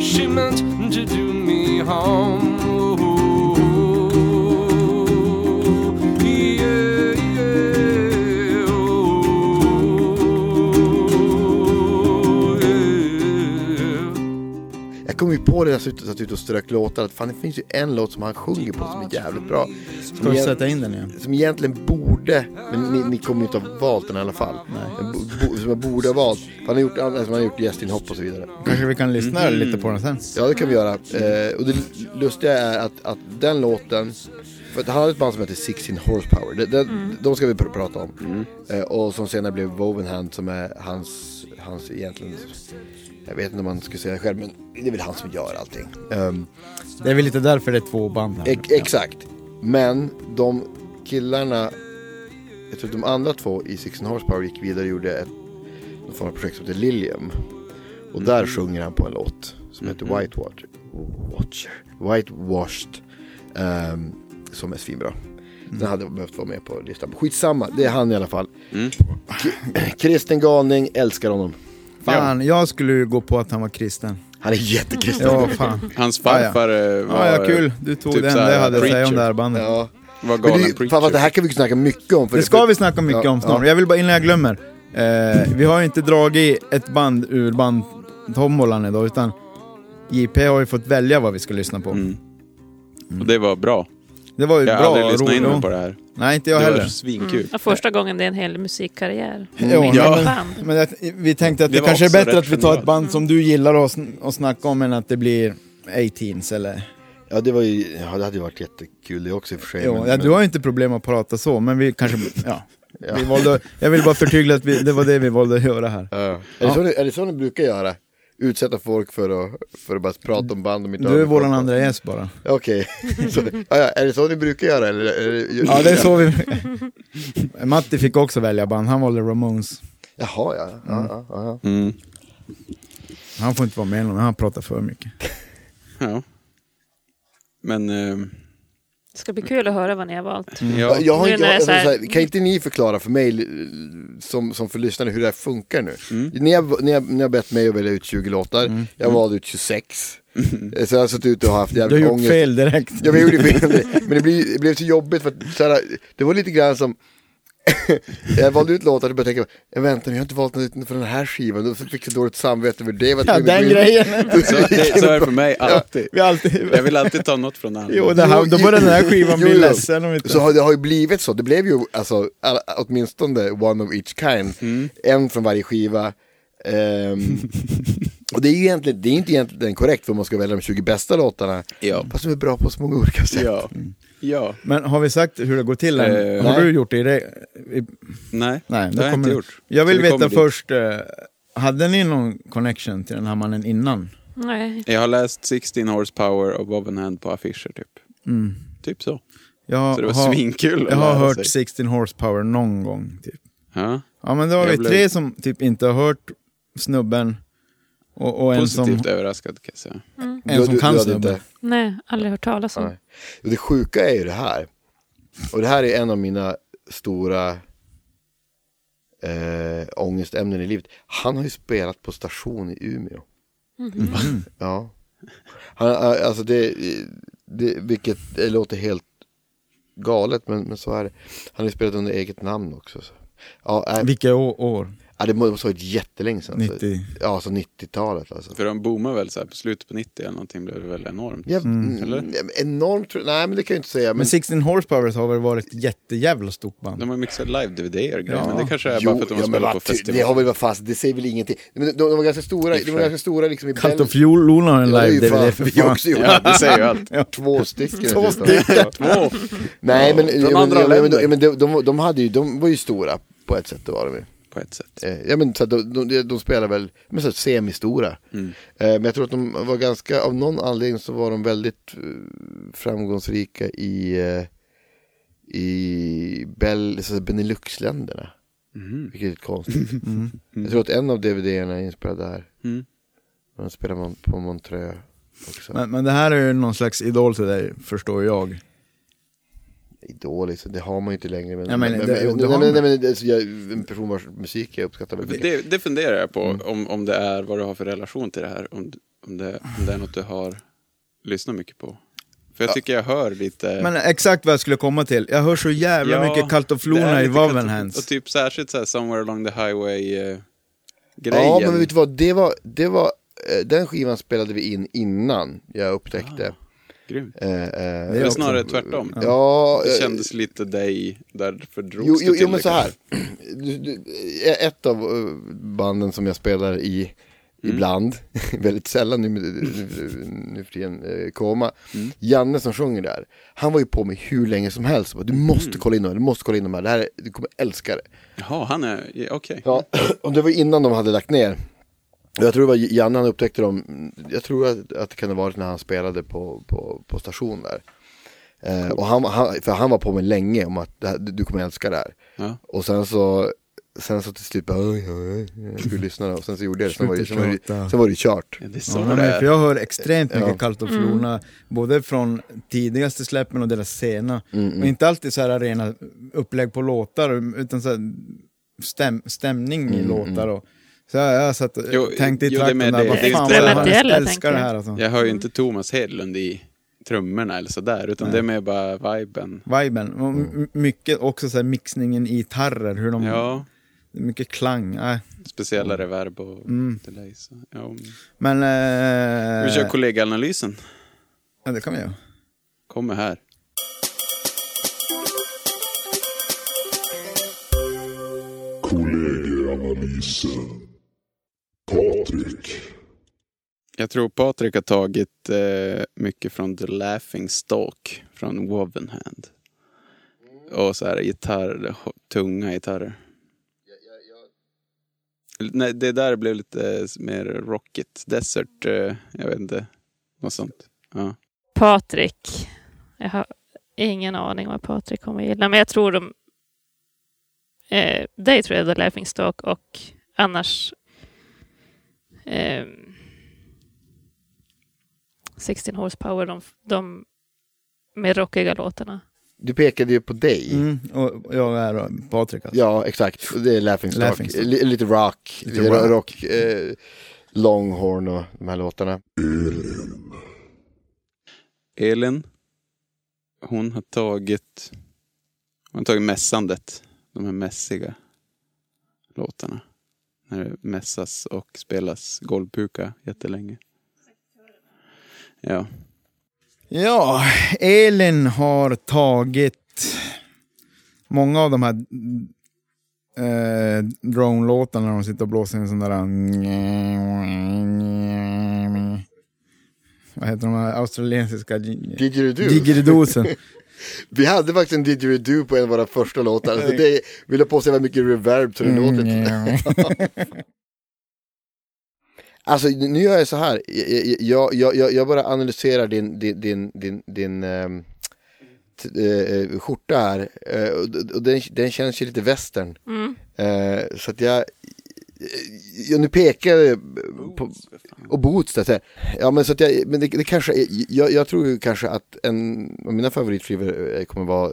[SPEAKER 7] She meant to do me harm. Oh, yeah, yeah, oh, yeah.
[SPEAKER 5] Jag kom ju på det när jag satt- satt ute och strök låtar att fan det finns ju en låt som han sjunger på som är jävligt bra.
[SPEAKER 4] Ska
[SPEAKER 5] Som,
[SPEAKER 4] vi
[SPEAKER 5] egent-
[SPEAKER 4] sätta in den igen?
[SPEAKER 5] som egentligen borde, men ni, ni kommer ju inte ha valt den i alla fall. Den bo- bo- Som jag borde ha valt. Han har gjort, annat, som han har gjort gästinhopp och så vidare.
[SPEAKER 4] Kanske vi kan lyssna lite på den sen.
[SPEAKER 5] Ja, det kan vi göra. Eh, och det lustiga är att, att den låten, för att han hade ett band som hette 16 Horsepower, de, de, de ska vi pr prata om.
[SPEAKER 1] Mm.
[SPEAKER 5] Eh, och som senare blev Wovenhand som är hans, hans egentligen, jag vet inte om man skulle säga det själv, men det är väl han som gör allting. Ehm,
[SPEAKER 4] Det är väl lite därför det är två band här.
[SPEAKER 5] ex- exakt. Men de killarna, jag tror att de andra två i 16 Horsepower gick vidare och gjorde ett, någon form av projekt som heter Lilium. Och
[SPEAKER 4] Mm.
[SPEAKER 5] där sjunger han på en låt som heter
[SPEAKER 4] Mm-hmm.
[SPEAKER 5] Whitewater. Watcher. Whitewashed. ehm, som är svinbra.
[SPEAKER 4] Mm.
[SPEAKER 5] Den hade jag behövt vara med på listan. Skitsamma, det är han i alla fall. K- Kristen galning, älskar honom.
[SPEAKER 4] Fan, jag skulle ju gå på att han var kristen.
[SPEAKER 5] Han är jättekristen.
[SPEAKER 4] Ja, fan.
[SPEAKER 1] Hans farfar eh, var,
[SPEAKER 4] Ja, ja, kul. Du tog
[SPEAKER 1] Typ
[SPEAKER 4] den.
[SPEAKER 1] så här,
[SPEAKER 4] Det hade jag att säga om
[SPEAKER 1] preacher.
[SPEAKER 4] det här bandet.
[SPEAKER 5] Ja.
[SPEAKER 1] var
[SPEAKER 5] Men
[SPEAKER 1] galen
[SPEAKER 5] det, är ju-
[SPEAKER 1] preacher.
[SPEAKER 5] fan, vad det här kan vi ju snacka mycket om. För
[SPEAKER 4] Det ska vi snacka mycket
[SPEAKER 5] Ja,
[SPEAKER 4] om snart.
[SPEAKER 5] ja.
[SPEAKER 4] Jag vill bara, innan jag glömmer. Eh, vi har ju inte dragit ett band ur bandtombolan idag, utan JP har ju fått välja vad vi ska lyssna på.
[SPEAKER 1] Mm. Och det var bra.
[SPEAKER 4] Det var ju
[SPEAKER 1] Jag har
[SPEAKER 4] bra
[SPEAKER 1] aldrig lyssnat in mig
[SPEAKER 4] roligt.
[SPEAKER 1] på det här.
[SPEAKER 4] Nej, inte jag
[SPEAKER 1] det
[SPEAKER 4] heller.
[SPEAKER 1] var svinkul.
[SPEAKER 3] Ja, första gången det är en hel musikkarriär.
[SPEAKER 4] Jo,
[SPEAKER 3] Med
[SPEAKER 1] ja.
[SPEAKER 3] ett band.
[SPEAKER 4] Men det, vi tänkte att det,
[SPEAKER 1] Det var
[SPEAKER 4] kanske är
[SPEAKER 1] också
[SPEAKER 4] bättre
[SPEAKER 1] rätt
[SPEAKER 4] att vi tar ett
[SPEAKER 1] genialt.
[SPEAKER 4] band som du gillar och, sn- och snackar om än att det blir 18s eller...
[SPEAKER 5] Ja det var ju, ja, det hade ju varit jättekul det också i och för sig.
[SPEAKER 4] Jo,
[SPEAKER 5] men-
[SPEAKER 4] ja,
[SPEAKER 5] men-
[SPEAKER 4] du har ju inte problem att prata så, men vi kanske... Ja.
[SPEAKER 5] Ja.
[SPEAKER 4] Vi valde, jag vill bara förtydliga att vi, det var det vi valde att göra här.
[SPEAKER 5] Ja. Är, det så, ni- är det så ni brukar göra? Utsätta folk för att, för att bara prata om band de inte
[SPEAKER 4] Du är
[SPEAKER 5] har-
[SPEAKER 4] våran andra gäst bara.
[SPEAKER 5] Okej. Så- ja, ja, är det så ni brukar göra eller? Är det,
[SPEAKER 4] Ja, det är så vi... Matti fick också välja band, han valde Ramones.
[SPEAKER 5] Jaha, ja. ja, ja, ja.
[SPEAKER 1] Mm.
[SPEAKER 4] Han får inte vara med någon, han pratar för mycket.
[SPEAKER 1] Ja. Men... ehm,
[SPEAKER 3] Det ska bli kul att höra vad ni har valt.
[SPEAKER 5] Ja,
[SPEAKER 1] ja.
[SPEAKER 5] jag har,
[SPEAKER 3] Nu
[SPEAKER 5] jag,
[SPEAKER 3] när det är
[SPEAKER 5] jag,
[SPEAKER 3] så här-
[SPEAKER 5] så här, kan inte ni förklara för mig, l- som, som för lyssnarna, hur det här funkar nu?
[SPEAKER 4] Mm.
[SPEAKER 5] Ni, har, ni, har, ni har bett mig att välja ut 20 låtar, jag valde ut 26. Så jag har suttit ute och haft
[SPEAKER 4] Mm. Du har
[SPEAKER 5] jävligt
[SPEAKER 4] gjort
[SPEAKER 5] ångest.
[SPEAKER 4] fel direkt.
[SPEAKER 5] Ja, men jag gjorde fel. Men det blev, det blev så jobbigt för att så här, det var lite grann som jag valde ut låtar och började tänka, jag vänta nu, jag har inte valt något för den här skivan, då fick jag dåligt samvete över det.
[SPEAKER 4] Ja, den grejen.
[SPEAKER 1] Så, det, så är det för mig alltid.
[SPEAKER 4] Vi har alltid...
[SPEAKER 1] Jag vill alltid ta något från andra.
[SPEAKER 4] Jo, det här, då börjar den här skivan
[SPEAKER 5] Jo,
[SPEAKER 4] bli
[SPEAKER 5] jo.
[SPEAKER 4] ledsen om inte...
[SPEAKER 5] Så har, det har ju blivit så, det blev ju alltså, alla, åtminstone one of each kind,
[SPEAKER 1] Mm.
[SPEAKER 5] en från varje skiva. Ehm, och det är ju egentligen, det är inte egentligen korrekt för man ska välja de 20 bästa låtarna,
[SPEAKER 1] Ja.
[SPEAKER 5] fast de är bra på så många olika sätt.
[SPEAKER 1] Ja. Ja.
[SPEAKER 4] Men har vi sagt hur det går till än?
[SPEAKER 1] Eh,
[SPEAKER 4] har
[SPEAKER 5] nej.
[SPEAKER 4] du gjort det? i det? i-
[SPEAKER 1] Nej,
[SPEAKER 4] Nej,
[SPEAKER 1] det har jag
[SPEAKER 4] kommer
[SPEAKER 1] inte
[SPEAKER 4] du-
[SPEAKER 1] gjort.
[SPEAKER 4] Jag
[SPEAKER 1] Så
[SPEAKER 4] vill
[SPEAKER 1] vi kommer
[SPEAKER 4] veta
[SPEAKER 1] dit.
[SPEAKER 4] först, eh, hade ni någon connection till den här mannen innan?
[SPEAKER 3] Nej.
[SPEAKER 1] Jag har läst 16 Horsepower och Bob Hand på affischer typ. Typ så.
[SPEAKER 4] Jag
[SPEAKER 1] Så det var
[SPEAKER 4] har,
[SPEAKER 1] svinkul att
[SPEAKER 4] Mm. Jag har
[SPEAKER 1] lära
[SPEAKER 4] hört
[SPEAKER 1] sig.
[SPEAKER 4] 16 horsepower någon gång. Typ.
[SPEAKER 1] Ja.
[SPEAKER 4] Ja, men det var
[SPEAKER 1] Jag
[SPEAKER 4] vi
[SPEAKER 1] blev-
[SPEAKER 4] tre som typ inte har hört snubben och, och en som,
[SPEAKER 1] Positivt överraskad kan jag säga.
[SPEAKER 4] en som kan
[SPEAKER 5] hade
[SPEAKER 4] snubben.
[SPEAKER 5] inte-
[SPEAKER 3] Nej, aldrig hört talas om.
[SPEAKER 5] Nej. Och det sjuka är ju det här. Och det här är en av mina stora eh, ångestämnen i livet. Han har ju spelat på station i Umeå. Ja. Han, eh, alltså det, det, vilket det låter helt galet, men, men så är det. Han har ju spelat under eget namn också. Så. Ja, nej,
[SPEAKER 4] Vilka å- år?
[SPEAKER 5] Ja, det måste ha varit jättelänge sedan.
[SPEAKER 4] 90.
[SPEAKER 5] Ja, alltså 90-talet alltså.
[SPEAKER 1] För de boomar väl så här på slutet på 90 eller någonting blev det väl enormt.
[SPEAKER 5] Ja,
[SPEAKER 1] Eller?
[SPEAKER 5] mm, enormt, nej men det kan jag inte säga. Men,
[SPEAKER 4] Men 16 Horsepower har väl varit ett jättejävla stort band.
[SPEAKER 1] De har mixat live-DVD-er grejer,
[SPEAKER 4] Ja.
[SPEAKER 1] men det kanske är
[SPEAKER 5] Jo,
[SPEAKER 1] eh, bara för att de har
[SPEAKER 5] ja, men
[SPEAKER 1] spelat på
[SPEAKER 5] vad ty- Det har
[SPEAKER 1] festival.
[SPEAKER 5] väl varit fast, det säger väl ingenting. Men de, de var ganska stora,
[SPEAKER 1] I och
[SPEAKER 5] de
[SPEAKER 1] för
[SPEAKER 5] var
[SPEAKER 1] sig.
[SPEAKER 5] ganska stora liksom i
[SPEAKER 4] Kallt och
[SPEAKER 5] Belgien.
[SPEAKER 4] fjol lånar en
[SPEAKER 5] Ja, det är ju
[SPEAKER 4] live-DVD
[SPEAKER 5] fan-
[SPEAKER 4] för
[SPEAKER 5] vi har
[SPEAKER 4] fan.
[SPEAKER 5] också gjort.
[SPEAKER 1] Ja, det säger ju allt.
[SPEAKER 5] Två stycken.
[SPEAKER 4] Två
[SPEAKER 5] dessutom. Nej men,
[SPEAKER 1] Från
[SPEAKER 5] ja, men,
[SPEAKER 1] andra
[SPEAKER 5] ja, men,
[SPEAKER 1] länder.
[SPEAKER 5] ja, men de, de, de, hade ju, de var ju stora på ett sätt, det var de ju.
[SPEAKER 1] På ett sätt.
[SPEAKER 5] Eh, Ja men så att de, de, de spelar väl men så här, semistora.
[SPEAKER 1] Mm.
[SPEAKER 5] Eh, Men jag tror att de var ganska, av någon anledning så var de väldigt eh, framgångsrika i, eh, i Bel, så här, Benelux-länderna. Vilket är lite konstigt.
[SPEAKER 4] Mm.
[SPEAKER 5] Jag tror att en av DVD-erna är inspelad där.
[SPEAKER 1] Mm.
[SPEAKER 5] Den spelar man på Montreux också.
[SPEAKER 4] Men, men det här är ju någon slags idol till dig, förstår jag.
[SPEAKER 5] Idol, liksom. det har man ju inte längre. Men,
[SPEAKER 4] Ja, men
[SPEAKER 5] men,
[SPEAKER 4] det-
[SPEAKER 5] men,
[SPEAKER 4] det
[SPEAKER 5] men,
[SPEAKER 4] har
[SPEAKER 5] nej,
[SPEAKER 4] man.
[SPEAKER 5] men, nej, men det- alltså, jag, en person vars musik jag uppskattar väldigt mycket.
[SPEAKER 1] Det, det funderar jag på,
[SPEAKER 5] Mm.
[SPEAKER 1] om, om det är vad du har för relation till det här. Om, om, det, om det är något du har lyssnat mycket på. För jag tycker jag hör lite...
[SPEAKER 4] Men exakt vad jag skulle komma till. Jag hör så jävla
[SPEAKER 1] Ja,
[SPEAKER 4] mycket Kallt och
[SPEAKER 1] det är
[SPEAKER 4] Florna i
[SPEAKER 1] lite kallt-
[SPEAKER 4] Wavenhands.
[SPEAKER 1] Och typ särskilt så här Somewhere along the eh, highway-grejen.
[SPEAKER 5] Ja, men vet du vad, det var, det var, eh, den skivan spelade vi in innan jag upptäckte.
[SPEAKER 1] Grymt.
[SPEAKER 5] Eh, eh,
[SPEAKER 4] Det är
[SPEAKER 1] Eller
[SPEAKER 4] också-
[SPEAKER 1] snarare tvärtom.
[SPEAKER 5] ja,
[SPEAKER 1] Ah. Det
[SPEAKER 5] eh,
[SPEAKER 1] kändes lite dig, därför drogs
[SPEAKER 5] Jo,
[SPEAKER 1] det
[SPEAKER 5] jo,
[SPEAKER 1] till
[SPEAKER 5] jo men
[SPEAKER 1] det
[SPEAKER 5] så här.
[SPEAKER 1] kanske.
[SPEAKER 5] Du, du, ett av eh, banden som jag spelar i ibland, väldigt sällan nu, nu, nu för tiden, eh, Koma. Janne som sjunger där, han var ju på mig hur länge som helst. Bara, Du måste kolla in dem, du måste kolla in dem här, det här är- du kommer älska det.
[SPEAKER 1] Jaha, han är, ja, okej.
[SPEAKER 5] Ja, och det var innan de hade lagt ner. Och Jag tror det var Janne han upptäckte dem, jag tror att, att det kan ha varit när han spelade på, på, på station där. Eh, och han, han, för han var på mig länge om att det här, du kommer älska det här.
[SPEAKER 1] Ja.
[SPEAKER 5] Och sen så, sen så till slut bara, oj, oj, oj, jag skulle lyssna då. och typ- sen så gjorde jag det, sen var det, sen var det, sen var det kört.
[SPEAKER 1] Ja, det är så
[SPEAKER 4] Ja,
[SPEAKER 1] det
[SPEAKER 4] men, för
[SPEAKER 1] är.
[SPEAKER 4] jag hör extremt mycket
[SPEAKER 5] Ja.
[SPEAKER 4] Kallt och Florna, både från tidigaste släppen och deras sena. Och inte alltid så här rena upplägg på låtar, utan så här stäm, stämning i låtar. Och, så jag, jag satt och
[SPEAKER 1] Jo,
[SPEAKER 4] tänkte i
[SPEAKER 1] jo, det är
[SPEAKER 4] trakten
[SPEAKER 1] med
[SPEAKER 4] där,
[SPEAKER 1] det.
[SPEAKER 4] vad
[SPEAKER 1] Det är
[SPEAKER 4] fan
[SPEAKER 1] inte-
[SPEAKER 4] vad jag
[SPEAKER 3] Experimentella,
[SPEAKER 4] älskar det
[SPEAKER 3] tänker
[SPEAKER 4] här alltså.
[SPEAKER 1] Jag hör ju inte Thomas Hedlund i trummorna eller sådär, utan det är mer bara viben.
[SPEAKER 4] Viben, och m- mycket också så här mixningen i gitarrer, hur
[SPEAKER 5] Mm.
[SPEAKER 4] de,
[SPEAKER 1] Mm. Ja,
[SPEAKER 4] mycket klang. Äh. mm.
[SPEAKER 1] speciella reverb och
[SPEAKER 5] Mm.
[SPEAKER 1] delay. Så. Ja, men-
[SPEAKER 4] Men...
[SPEAKER 1] vi
[SPEAKER 4] Eh,
[SPEAKER 1] kör kollegaanalysen.
[SPEAKER 4] ja, det kan vi göra.
[SPEAKER 1] Kommer här.
[SPEAKER 2] Kollegieanalysen. Patrik.
[SPEAKER 1] Jag tror Patrik har tagit eh, mycket från The Laughing Stalk från Wovenhand. Och så här gitarr, tunga gitarrer. Nej, det där blev lite eh, mer rockigt. Desert, eh, jag vet inte. Något sånt. Ja.
[SPEAKER 3] Patrik. Jag har ingen aning vad Patrik kommer att gilla, men jag tror de... Eh, dig tror jag The Laughing Stock och annars... Eh, 16 Horsepower, de, de med rockiga låtarna.
[SPEAKER 5] Du pekade ju på dig.
[SPEAKER 4] Mm, och jag är då Patrik alltså.
[SPEAKER 5] Ja, exakt. Och Det är Laughing Stock.
[SPEAKER 4] Laughing Stock.
[SPEAKER 5] Li- lite rock,
[SPEAKER 4] Lite
[SPEAKER 5] lite rock,
[SPEAKER 4] rock.
[SPEAKER 5] eh, Longhorn och de här låtarna.
[SPEAKER 1] Elin. Hon har tagit... Hon har tagit mässandet. De här mässiga låtarna. När det mässas och spelas golvpuka jättelänge. Ja.
[SPEAKER 4] Ja, Elin har tagit många av de här eh, drone-låtarna när de sitter och blåser i en sån där... Vad heter de här australiensiska...
[SPEAKER 5] Didgeridoo.
[SPEAKER 4] Digeridosen.
[SPEAKER 5] Vi hade faktiskt en didgeridoo på en av våra första låtar. Så det vill jag påstå var mycket reverb så det
[SPEAKER 4] Mm,
[SPEAKER 5] låter lite. Alltså nu gör jag så här. Jag- Jag, jag, jag, jag bara analyserar din, din, din, din, din ehm, t- eh, skjorta här. Eh, och d- och den, den känns ju lite västern. Eh, så att jag, jag nu pekar jag på, och boots där. så här. Ja men så att jag, men det, det kanske är, jag, jag tror ju kanske att en av mina favoritskivor eh, kommer vara,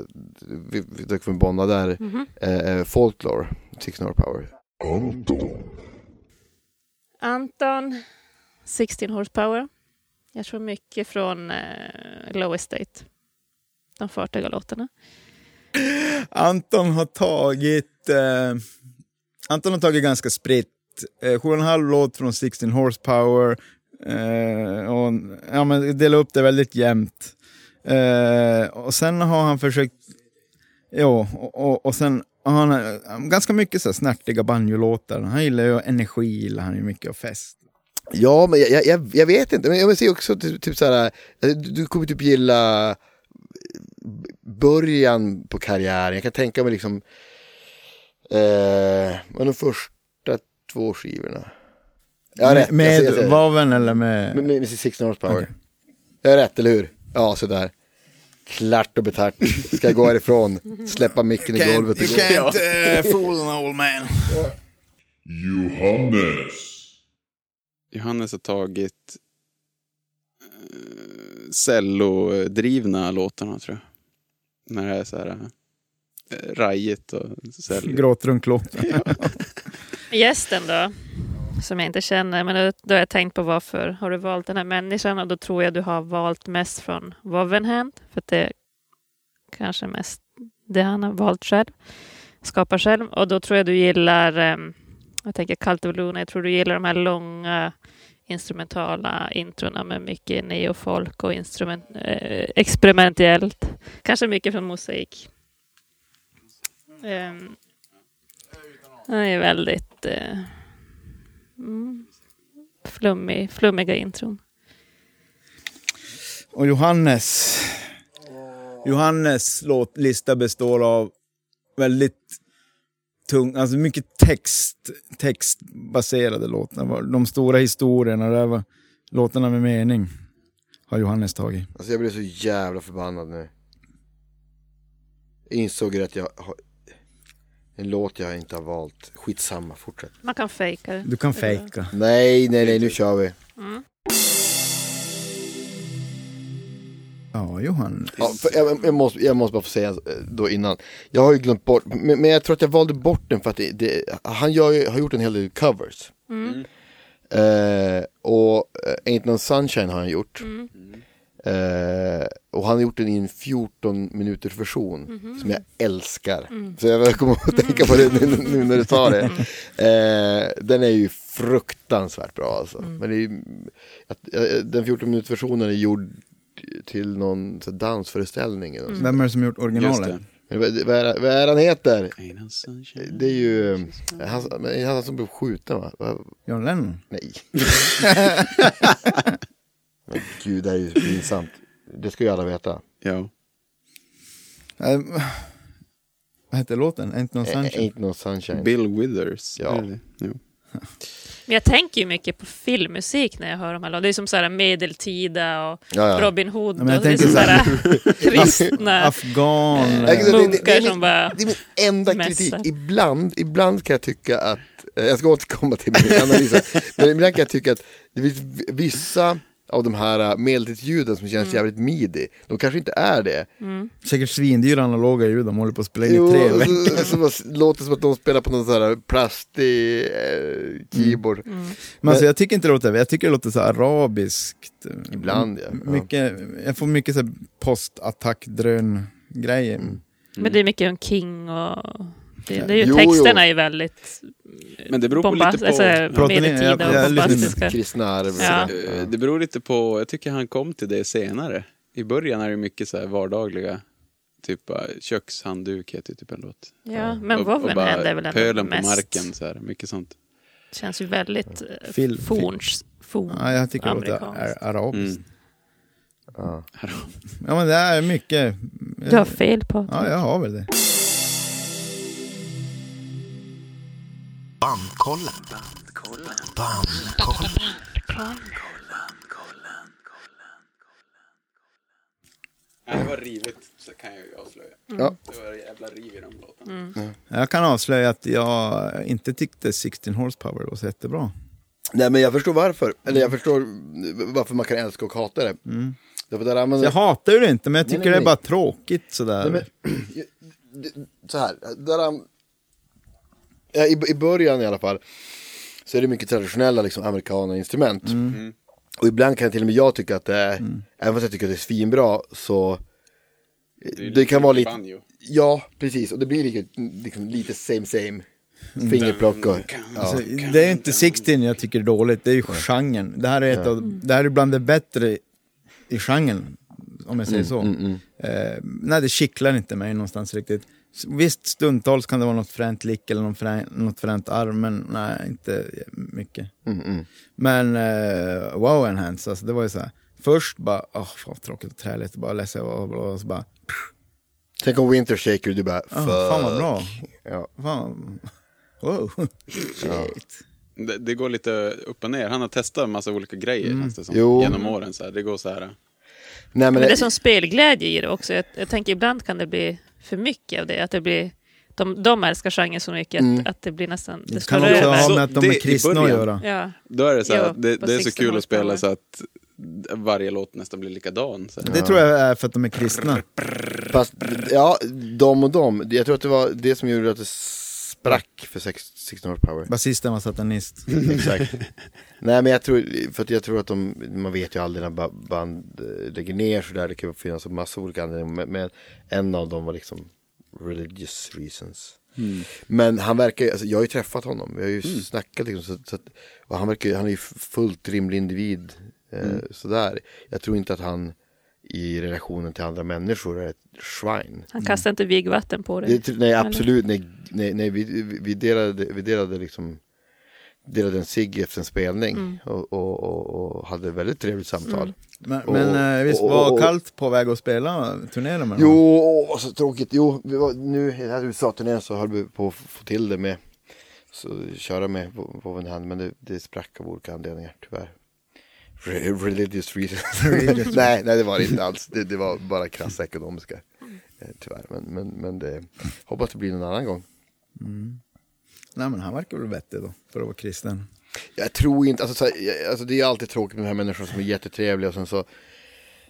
[SPEAKER 5] vi, vi kommer bonda där, eh, eh, Folklore, Six Hour Power.
[SPEAKER 2] Anton.
[SPEAKER 3] Anton, 16 Horsepower. Jag tror mycket från eh, Low Estate. De fartiga låtarna.
[SPEAKER 4] Anton har tagit eh, Anton har tagit ganska spritt. Eh, sju och en halv låt från 16 Horsepower. Eh, och, ja, men dela upp det väldigt jämnt. Eh, och sen har han försökt... Jo, och, och, och sen har han eh, ganska mycket så här snärtiga banjolåtar. Han gillar ju energi, gillar han ju mycket, och fest.
[SPEAKER 5] Ja, men jag, jag- jag, jag vet inte. Men jag ser också typ, typ så här, du, du kommer typ gilla början på karriären. Jag kan tänka mig liksom, eh, vad de första två skivorna. Jag har rätt.
[SPEAKER 4] med med
[SPEAKER 5] jag, ser- jag, ser-
[SPEAKER 4] vaven eller med...
[SPEAKER 5] med, med, med Six North Power. Jag har rätt, eller hur? Ja, sådär. Klart och betart. Ska jag gå härifrån, släppa micken i golvet och gå.
[SPEAKER 4] uh, fool an old man.
[SPEAKER 2] Johannes.
[SPEAKER 1] Johannes har tagit eh, cellodrivna låtarna tror jag. När det är så här eh, rajigt och cello.
[SPEAKER 4] Gråtrunklåten.
[SPEAKER 3] Gästen då, som jag inte känner, men då, då har jag tänkt på varför har du valt den här människan och då tror jag du har valt mest från Wovenhand, för att det är kanske mest det han har valt själv, skapar själv. Och då tror jag du gillar, ehm, jag tänker Cult of Luna, jag tror du gillar de här långa instrumentala introna med mycket neofolk och instrument, eh, experimentellt. Kanske mycket från mosaik. Ehm, han är väldigt eh, mm, flummig, flummiga intron.
[SPEAKER 4] Och Johannes. Johannes låtlista består av väldigt tung, alltså mycket text, textbaserade låtar. De stora historierna, det här var låtarna med mening, har Johannes tagit.
[SPEAKER 5] Alltså jag blev så jävla förbannad nu. Jag insåg ju att jag har en låt jag inte har valt. Skitsamma, fortsätt.
[SPEAKER 3] Man kan fejka det.
[SPEAKER 4] Du kan fejka.
[SPEAKER 5] Nej, nej, nej, nu kör vi.
[SPEAKER 4] Ja, Johannes.
[SPEAKER 5] Ja, för jag, jag, måste, jag måste bara få säga eh, då innan. Jag har ju glömt bort, men, men jag tror att jag valde bort den för att det, det, han gör, ju- har gjort en hel del covers.
[SPEAKER 3] Mm.
[SPEAKER 1] Mm.
[SPEAKER 5] Eh, och eh, Ain't No Sunshine har han gjort. Eh, och han har gjort den i en 14 minuters version som jag älskar. Så jag kommer att tänka på det nu, nu när du sa det. Eh, den är ju fruktansvärt bra alltså. Men det är ju, att, eh, den 14 minuters versionen är gjord till någon så här, dansföreställning. Eller något.
[SPEAKER 4] Vem är det som gjort
[SPEAKER 1] Just
[SPEAKER 4] originalet?
[SPEAKER 1] det.
[SPEAKER 5] Men vad- Vad är, vad är han heter?
[SPEAKER 1] Ain't no sunshine.
[SPEAKER 5] Det är ju eh, han, men det är han som blev skjuten va? Va?
[SPEAKER 4] John Lennon?
[SPEAKER 5] Nej. Men Gud, det här är ju pinsamt. Det ska ju alla veta.
[SPEAKER 1] Ja.
[SPEAKER 4] Eh, vad hette låten? Ain't no
[SPEAKER 5] Ä-
[SPEAKER 4] sunshine?
[SPEAKER 5] Ain't no Eh, sunshine.
[SPEAKER 1] Bill Withers.
[SPEAKER 5] Ja.
[SPEAKER 1] är det det? Jo.
[SPEAKER 3] Men jag tänker ju mycket på filmmusik när jag hör de här låtarna. Det är som så här medeltida och
[SPEAKER 5] Ja, ja.
[SPEAKER 3] Robin Hood.
[SPEAKER 4] Ja, men jag
[SPEAKER 3] och det är
[SPEAKER 4] tänker
[SPEAKER 3] som så
[SPEAKER 4] så
[SPEAKER 3] här
[SPEAKER 4] Eh,
[SPEAKER 3] kristna.
[SPEAKER 4] Afghan?
[SPEAKER 5] Eh, Jag kan säga, det, det, det,
[SPEAKER 3] Munkar
[SPEAKER 5] är
[SPEAKER 3] som
[SPEAKER 5] min,
[SPEAKER 3] bara
[SPEAKER 5] det är min enda
[SPEAKER 3] mässar.
[SPEAKER 5] kritik. Ibland, ibland kan jag tycka att, eh, jag ska återkomma till min analys här. men ibland kan jag tycka att det finns v- vissa av de här eh, medeltidsljuden som känns jävligt midi. De kanske inte är det.
[SPEAKER 3] mm,
[SPEAKER 4] Säkert svindyra analoga ljud de håller på att spela in
[SPEAKER 5] Jo,
[SPEAKER 4] i tre
[SPEAKER 5] och
[SPEAKER 4] veckor.
[SPEAKER 5] så, så bara s- låter som att de spelar på någon sån här plastig eh, keyboard.
[SPEAKER 3] mm.
[SPEAKER 1] Mm.
[SPEAKER 4] Men alltså, jag tycker inte det låter, jag tycker det låter så här arabiskt.
[SPEAKER 5] Ibland ja. ja.
[SPEAKER 4] Mm. Mycket, jag får mycket så här postattack-drön-grejer.
[SPEAKER 5] Mm.
[SPEAKER 3] Men det är mycket om King och... Det, det är ju,
[SPEAKER 5] Jo,
[SPEAKER 3] texterna
[SPEAKER 5] jo.
[SPEAKER 3] är ju väldigt
[SPEAKER 1] Men det beror på
[SPEAKER 3] bombast-
[SPEAKER 1] lite på...
[SPEAKER 3] alltså,
[SPEAKER 4] Pratar ni- jag-
[SPEAKER 3] medeltida
[SPEAKER 4] jag
[SPEAKER 3] och
[SPEAKER 4] lyssnar-
[SPEAKER 3] bombastiska.
[SPEAKER 5] Kristna arv.
[SPEAKER 3] Ja.
[SPEAKER 1] Eh, Det beror lite på, jag tycker han kom till det senare. I början är det mycket så här vardagliga, typ eh, kökshandduk heter ju typ en låt.
[SPEAKER 3] Ja, men
[SPEAKER 1] Och- och
[SPEAKER 3] Woven
[SPEAKER 1] bara
[SPEAKER 3] Hand är väl ändå
[SPEAKER 1] Pölen på
[SPEAKER 3] mest...
[SPEAKER 1] marken, så här, mycket sånt.
[SPEAKER 3] Känns ju väldigt eh,
[SPEAKER 4] Fil-
[SPEAKER 3] forns... Forn.
[SPEAKER 4] Ja, jag tycker det låter
[SPEAKER 3] Amerikanskt.
[SPEAKER 4] ar- arabiskt.
[SPEAKER 1] Mm.
[SPEAKER 5] Ja. Mm.
[SPEAKER 4] Ja, men det är mycket.
[SPEAKER 3] Du har fel på
[SPEAKER 4] Eh, Ja, jag har väl det.
[SPEAKER 1] Det var rivet, så kan jag ju avslöja.
[SPEAKER 5] Ja.
[SPEAKER 1] Det var jävla riv i de låtarna.
[SPEAKER 3] Mm.
[SPEAKER 4] Jag kan avslöja att jag inte tyckte 16 horsepower var så jättebra.
[SPEAKER 5] Nej men jag förstår varför. Eller
[SPEAKER 4] Mm.
[SPEAKER 5] jag förstår varför man kan älska och hata det. Därför där använder...
[SPEAKER 4] Jag hatar ju det inte, men jag tycker
[SPEAKER 5] nej,
[SPEAKER 4] det är
[SPEAKER 5] nej.
[SPEAKER 4] bara tråkigt sådär.
[SPEAKER 5] Nej, men, så här, där han, ja, i, i början i alla fall så är det mycket traditionella liksom, amerikana instrument.
[SPEAKER 4] Mm.
[SPEAKER 5] Och ibland kan till och med jag tycka att det är, även fast jag tycker att det är svinbra så det,
[SPEAKER 1] lite
[SPEAKER 5] kan vara
[SPEAKER 1] mycket
[SPEAKER 5] lite,
[SPEAKER 1] banjo.
[SPEAKER 5] ja precis och det blir lite, liksom, lite same same.
[SPEAKER 4] Mm.
[SPEAKER 5] Fingerplockar.
[SPEAKER 4] Alltså, det är inte 16 jag tycker är dåligt, det är ju genren. Det här är, ett av, det här är bland det bättre i genren, om jag säger så. Eh, nej, det kittlar inte mig någonstans riktigt. S- Visst, stundtals kan det vara något fränt lick eller någon frän, något fränt arm, men nej, inte mycket. mm. Men eh, wow enhance, alltså, det var ju så här. Först bara, åh, fan vad tråkigt och träligt, bara ledsen och bla, bla, och så bara,
[SPEAKER 5] Tänk om Winter Shaker, du bara
[SPEAKER 4] "Ah,
[SPEAKER 5] fuck.
[SPEAKER 4] fan vad bra.
[SPEAKER 5] Ja.
[SPEAKER 4] Fan, wow, shit.
[SPEAKER 1] Det, det går lite upp och ner. Han har testat en massa olika grejer känns det som,
[SPEAKER 5] Mm. Jo.
[SPEAKER 1] genom åren. Så här. Det går så här.
[SPEAKER 5] Nej men,
[SPEAKER 3] Men det är som spelglädje i det också. Jag, jag tänker ibland kan det bli för mycket av det. Att det blir, de, de älskar genren så mycket att,
[SPEAKER 5] Mm.
[SPEAKER 3] att det blir nästan... Det
[SPEAKER 4] Det
[SPEAKER 3] slår
[SPEAKER 4] kan också
[SPEAKER 3] över.
[SPEAKER 1] Så
[SPEAKER 4] ha med att de
[SPEAKER 1] det
[SPEAKER 4] är
[SPEAKER 1] i
[SPEAKER 4] kristna att
[SPEAKER 1] början.
[SPEAKER 4] göra.
[SPEAKER 3] Ja.
[SPEAKER 1] Då är det så här,
[SPEAKER 3] Jo,
[SPEAKER 1] att det,
[SPEAKER 3] på
[SPEAKER 1] det är så
[SPEAKER 3] 16
[SPEAKER 1] kul att spela
[SPEAKER 3] hållspelare.
[SPEAKER 1] så att varje låt nästan blir likadan. Så här.
[SPEAKER 4] Det tror jag är för att de är kristna.
[SPEAKER 5] fast, ja, de och de. Jag tror att det var det som gjorde att det sprack för sex- 16 års power.
[SPEAKER 4] Basisten var satanist.
[SPEAKER 5] Exakt. Nej men jag tror, för att jag tror att de, man vet ju aldrig när ba- band eh, lägger ner sådär, det kan ju finnas massa olika anledningar, men, men en av dem var liksom religious reasons.
[SPEAKER 4] Mm.
[SPEAKER 5] Men han verkar ju- alltså jag har ju träffat honom, vi har ju snackat liksom, så, så att, och han verkar ju- han är ju fullt rimlig individ. Eh, Sådär, jag tror inte att han i relationen till andra människor är ett swine.
[SPEAKER 3] Han kastar inte vigvatten på
[SPEAKER 5] Det, är
[SPEAKER 3] det.
[SPEAKER 5] typ- nej absolut, nej, nej, nej vi, vi- vi, delade, vi delade liksom delade en cigg efter en spelning och, och, och, och hade ett väldigt trevligt samtal.
[SPEAKER 4] Men,
[SPEAKER 5] Och-
[SPEAKER 4] men eh, visst
[SPEAKER 5] och-
[SPEAKER 4] var
[SPEAKER 5] och-
[SPEAKER 4] kallt på väg att spela turnera med honom?
[SPEAKER 5] Jo, åh, så tråkigt. Jo, vi var, nu i den här USA-turnén så höll vi på att få till det med så, köra med på, på en hand, men det, det sprack av olika anledningar tyvärr. Re- Religious reasons. nej, nej, det var det inte alls. Det, det var bara krassa ekonomiska. eh, Tyvärr, men, men, men det, hoppas det blir någon annan gång.
[SPEAKER 4] Nej men han verkar väl vettig då, för att vara kristen.
[SPEAKER 5] Jag tror inte, alltså, så här, jag- alltså det är alltid tråkigt med de här människorna som är jättetrevliga och sen så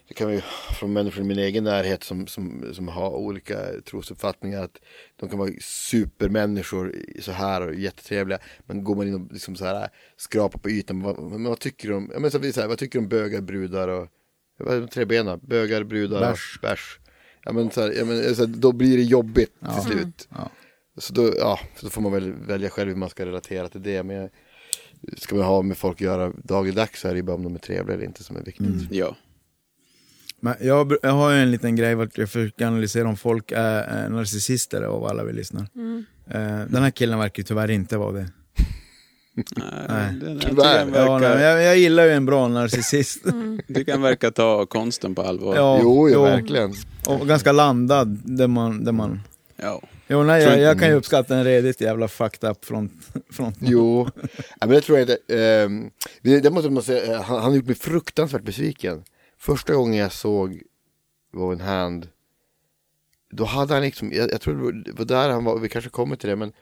[SPEAKER 5] det kan vi från människor i min egen närhet som, som, som har olika trosuppfattningar att de kan vara supermänniskor så här och jättetrevliga men går man in och liksom så här skrapar på ytan, vad, men vad tycker de, ja, men så blir det så här, vad tycker de bögar, brudar och vad är de tre benen, bögar, brudar och
[SPEAKER 4] Bärs.
[SPEAKER 5] bärs. Ja men, så här, ja, men så här, då blir det jobbigt till slut.
[SPEAKER 4] Ja.
[SPEAKER 5] Så då, ja, så då får man väl välja själv hur man ska relatera till det. Men jag, ska man ha med folk att göra dagligdags så är det ju bara om de är trevliga eller inte som är viktigt.
[SPEAKER 1] Ja.
[SPEAKER 4] Men jag, br- jag har ju en liten grej vart jag försöker analysera om folk är eh, narcissister av alla vi lyssnar. Eh, Den här killen verkar ju tyvärr inte vara det.
[SPEAKER 1] Nej, Eh, det- jag tycker han
[SPEAKER 5] Tyvärr.
[SPEAKER 4] Ja, nej, men
[SPEAKER 1] verkar-
[SPEAKER 4] jag, jag gillar ju en bra narcissist.
[SPEAKER 1] jag tycker han verkar ta konsten på allvar.
[SPEAKER 4] Ja,
[SPEAKER 5] jo, ja, verkligen.
[SPEAKER 4] Och ganska landad, där man... Där man...
[SPEAKER 1] Ja.
[SPEAKER 4] Jo, nej,
[SPEAKER 5] Tror
[SPEAKER 4] jag,
[SPEAKER 5] inte-
[SPEAKER 4] jag kan ju uppskatta en redigt jävla fucked up front. front.
[SPEAKER 5] Jo, ja, men det tror jag inte. Ehm, det det måste man säga, eh, han, han har gjort mig fruktansvärt besviken. Första gången jag såg Woven Hand, då hade han liksom, jag, jag tror det var- det var där han var, vi kanske kommer till det, men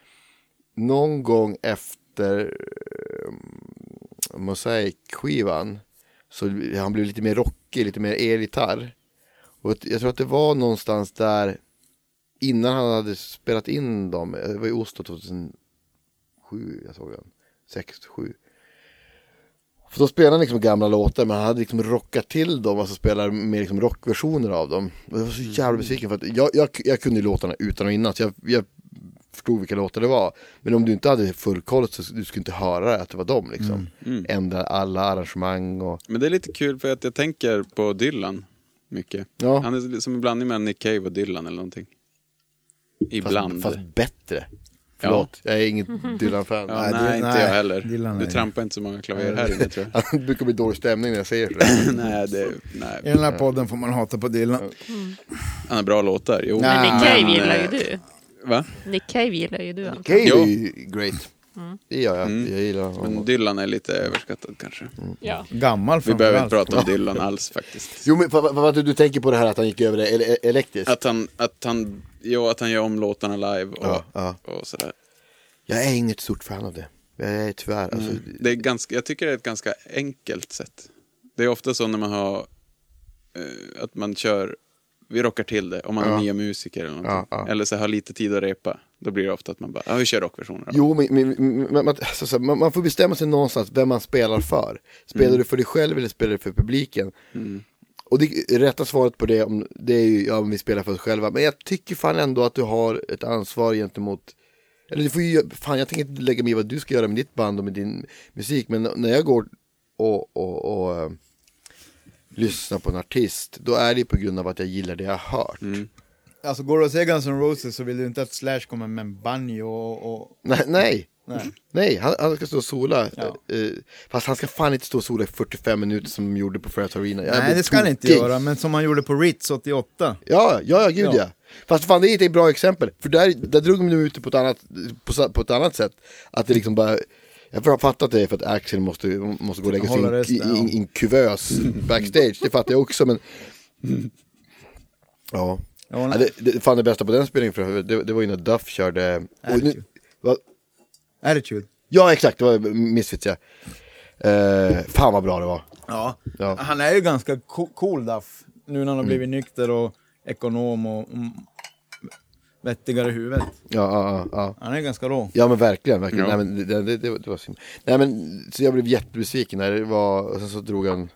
[SPEAKER 5] någon gång efter eh, Mosaic-skivan så han blev lite mer rockig, lite mer elgitarr. Och jag tror att det var någonstans där innan han hade spelat in dem, det var i Oslo 2000, sju, jag såg den. Sex, sju. För då spelade han liksom gamla låtar men han hade liksom rockat till dem, alltså spelar med liksom rockversioner av dem. Och jag var så
[SPEAKER 1] Mm.
[SPEAKER 5] jävla besviken för att jag, jag, jag kunde ju låtarna utan och innan, så jag, jag förstod vilka låtar det var. Men om du inte hade full koll så du skulle inte höra att det var dem liksom.
[SPEAKER 1] Mm.
[SPEAKER 5] Ändra alla arrangemang och...
[SPEAKER 1] Men det är lite kul för att jag tänker på Dylan mycket.
[SPEAKER 5] Ja.
[SPEAKER 1] Han är som en blandning mellan Nick Cave och Dylan eller någonting. Ibland.
[SPEAKER 5] Fast, fast bättre. Förlåt, jag är inget Dylan-fan.
[SPEAKER 1] ja,
[SPEAKER 5] Nej,
[SPEAKER 1] nej,
[SPEAKER 4] det-
[SPEAKER 1] inte
[SPEAKER 4] nej,
[SPEAKER 1] jag heller.
[SPEAKER 4] Dylan
[SPEAKER 1] du
[SPEAKER 4] är-
[SPEAKER 1] trampar inte så många klaver här inne tror jag.
[SPEAKER 5] det brukar bli dålig stämning när jag säger sådär.
[SPEAKER 1] nej, det,
[SPEAKER 4] I
[SPEAKER 1] nej,
[SPEAKER 4] den här podden får man hata på Dylan.
[SPEAKER 1] han har bra låtar. Jo,
[SPEAKER 3] Men Nick Cave
[SPEAKER 1] Men,
[SPEAKER 3] gillar ju
[SPEAKER 1] eh,
[SPEAKER 3] du.
[SPEAKER 1] Va?
[SPEAKER 3] Nick Cave gillar ju du. Anton.
[SPEAKER 5] Okej,
[SPEAKER 1] Jo.
[SPEAKER 5] great. Det gör jag, jag gillar
[SPEAKER 1] Mm. Men
[SPEAKER 5] honom.
[SPEAKER 1] Dylan är lite överskattad kanske.
[SPEAKER 3] Ja.
[SPEAKER 4] Gammal
[SPEAKER 1] Vi behöver inte
[SPEAKER 4] framförallt.
[SPEAKER 1] prata om Dylan alls faktiskt.
[SPEAKER 5] Jo men vad, vad, vad, du- du tänker på det här att han gick över det ele- e- elektriskt?
[SPEAKER 1] Att han, att han, jo, att han gör om låtarna live och,
[SPEAKER 5] Ja, ja.
[SPEAKER 1] och sådär.
[SPEAKER 5] Jag är inget stort fan av det. Jag är tyvärr, alltså,
[SPEAKER 1] Det är ganska, jag tycker det är ett ganska enkelt sätt. Det är ofta så när man har, eh, att man kör, vi rockar till det, om man har nya musiker eller någonting.
[SPEAKER 5] Ja, ja.
[SPEAKER 1] Eller så har lite tid att repa. Då blir det ofta att man bara, ja vi kör rockversioner. av
[SPEAKER 5] Jo, men, men, men, men, alltså, så här, man, man får bestämma sig någonstans vem man spelar för. Spelar du för dig själv eller spelar du för publiken? Och det rätta svaret på det, om, det är ju ja, om vi spelar för oss själva. Men jag tycker fan ändå att du har ett ansvar gentemot Eller du får ju, fan jag tänker inte lägga mig i vad du ska göra med ditt band och med din musik. Men när jag går och, och, och eh, lyssnar på en artist, då är det på grund av att jag gillar det jag har hört.
[SPEAKER 4] Alltså går du och ser Guns N' Roses så vill du inte att Slash kommer med en banjo och... och
[SPEAKER 5] Nej, nej.
[SPEAKER 4] nej.
[SPEAKER 5] Nej, han, han ska stå och sola.
[SPEAKER 4] Ja.
[SPEAKER 5] Eh, fast han ska fan inte stå och sola i 45 minuter som de gjorde på Ferret Arena. Jag
[SPEAKER 4] nej,
[SPEAKER 5] blir
[SPEAKER 4] det ska han inte
[SPEAKER 5] tokig.
[SPEAKER 4] göra, men som han gjorde på Ritz 88.
[SPEAKER 5] Ja, ja, ja, gud ja.
[SPEAKER 4] Ja.
[SPEAKER 5] Fast fan det är inte ett bra exempel. För där, där drog de nu ut det på ett annat, på, sa- på ett annat sätt. Att det liksom bara, jag har fattat det är för att Axel måste, måste gå och lägga sig i
[SPEAKER 4] Hålla
[SPEAKER 5] en-
[SPEAKER 4] resten,
[SPEAKER 5] i- i- i en kuvös backstage. Det fattar jag också men.
[SPEAKER 4] Mm.
[SPEAKER 5] Ja.
[SPEAKER 4] Ja,
[SPEAKER 5] ja
[SPEAKER 4] nej.
[SPEAKER 5] det, det, fan det bästa på den spelningen för övrigt, det, det var ju när Duff körde. Och nu,
[SPEAKER 4] Attitude.
[SPEAKER 5] va,
[SPEAKER 4] Attitude.
[SPEAKER 5] ja exakt, det var Misfits ja. Eh, fan vad bra det var.
[SPEAKER 4] Ja.
[SPEAKER 5] Ja. Mm.
[SPEAKER 4] han är ju ganska co- cool Duff. Nu när han har blivit nykter och ekonom och mm, vettigare i huvudet.
[SPEAKER 5] Ja, ja, ja. ja.
[SPEAKER 4] Han är ganska rå.
[SPEAKER 5] Ja men verkligen, verkligen.
[SPEAKER 1] Ja.
[SPEAKER 5] Nej, men det, det, det, var- det var synd. Nej men så jag blev jättebesviken när det var, och sen så drog han,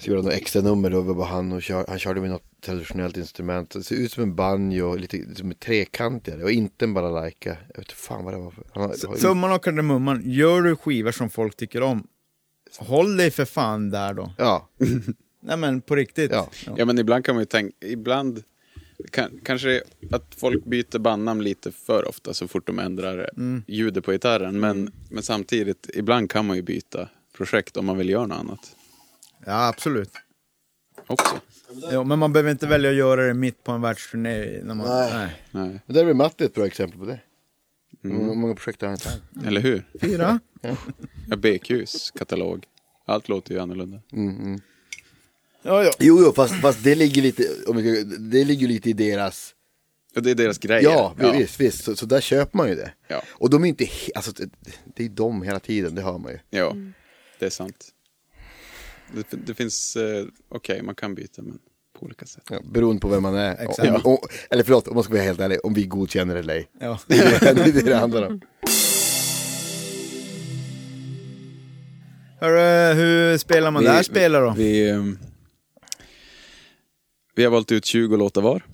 [SPEAKER 5] så gjorde han något extra nummer då, det var bara han och kör, han körde med något traditionellt instrument. Det ser ut som en banjo, lite som en trekantigare och inte en balalaika. Jag vet inte fan vad det var för. Han, har- har-
[SPEAKER 4] Summan och kardemumman, gör du skivor som folk tycker om, håll dig för fan där då.
[SPEAKER 5] Ja,
[SPEAKER 4] Nej men på riktigt.
[SPEAKER 5] Ja.
[SPEAKER 1] Ja, men ibland kan man ju tänka... Ibland kan, kanske att folk byter bandnamn lite för ofta så fort de ändrar
[SPEAKER 5] Mm.
[SPEAKER 1] ljudet på gitarren. Men, men samtidigt, ibland kan man ju byta projekt om man vill göra något annat
[SPEAKER 4] Ja, absolut.
[SPEAKER 1] också.
[SPEAKER 4] Ja, men man behöver inte välja att göra det mitt på en världsturné. När man,
[SPEAKER 5] Nej.
[SPEAKER 4] nej.
[SPEAKER 1] Nej.
[SPEAKER 5] men där är väl Matti ett bra exempel på det. Hur många projekt har han tagit?
[SPEAKER 1] Eller hur?
[SPEAKER 4] Fyra?
[SPEAKER 1] Ja, BQs katalog. Allt låter ju annorlunda.
[SPEAKER 4] Ja, ja.
[SPEAKER 5] Jo, jo, fast, fast det ligger lite, om vi ska- det ligger lite i deras
[SPEAKER 1] Och det är deras grejer.
[SPEAKER 5] Ja, visst, visst. Så, så där köper man ju det.
[SPEAKER 1] Ja.
[SPEAKER 5] Och de är inte, he- alltså det, det är de hela tiden, det hör man ju.
[SPEAKER 1] Ja,
[SPEAKER 5] Mm.
[SPEAKER 1] det är sant. Det, det finns... Eh, Okej, man kan byta, men på olika sätt.
[SPEAKER 5] Ja, beroende på vem man är.
[SPEAKER 4] Exakt.
[SPEAKER 5] Om, om, eller förlåt, om man ska vara helt ärlig, om vi godkänner eller ej.
[SPEAKER 4] ja.
[SPEAKER 5] Det är det det, det handlar om.
[SPEAKER 4] Hörru, hur spelar man det här spelet då?
[SPEAKER 1] Vi, ehm, vi har valt ut 20 låtar var.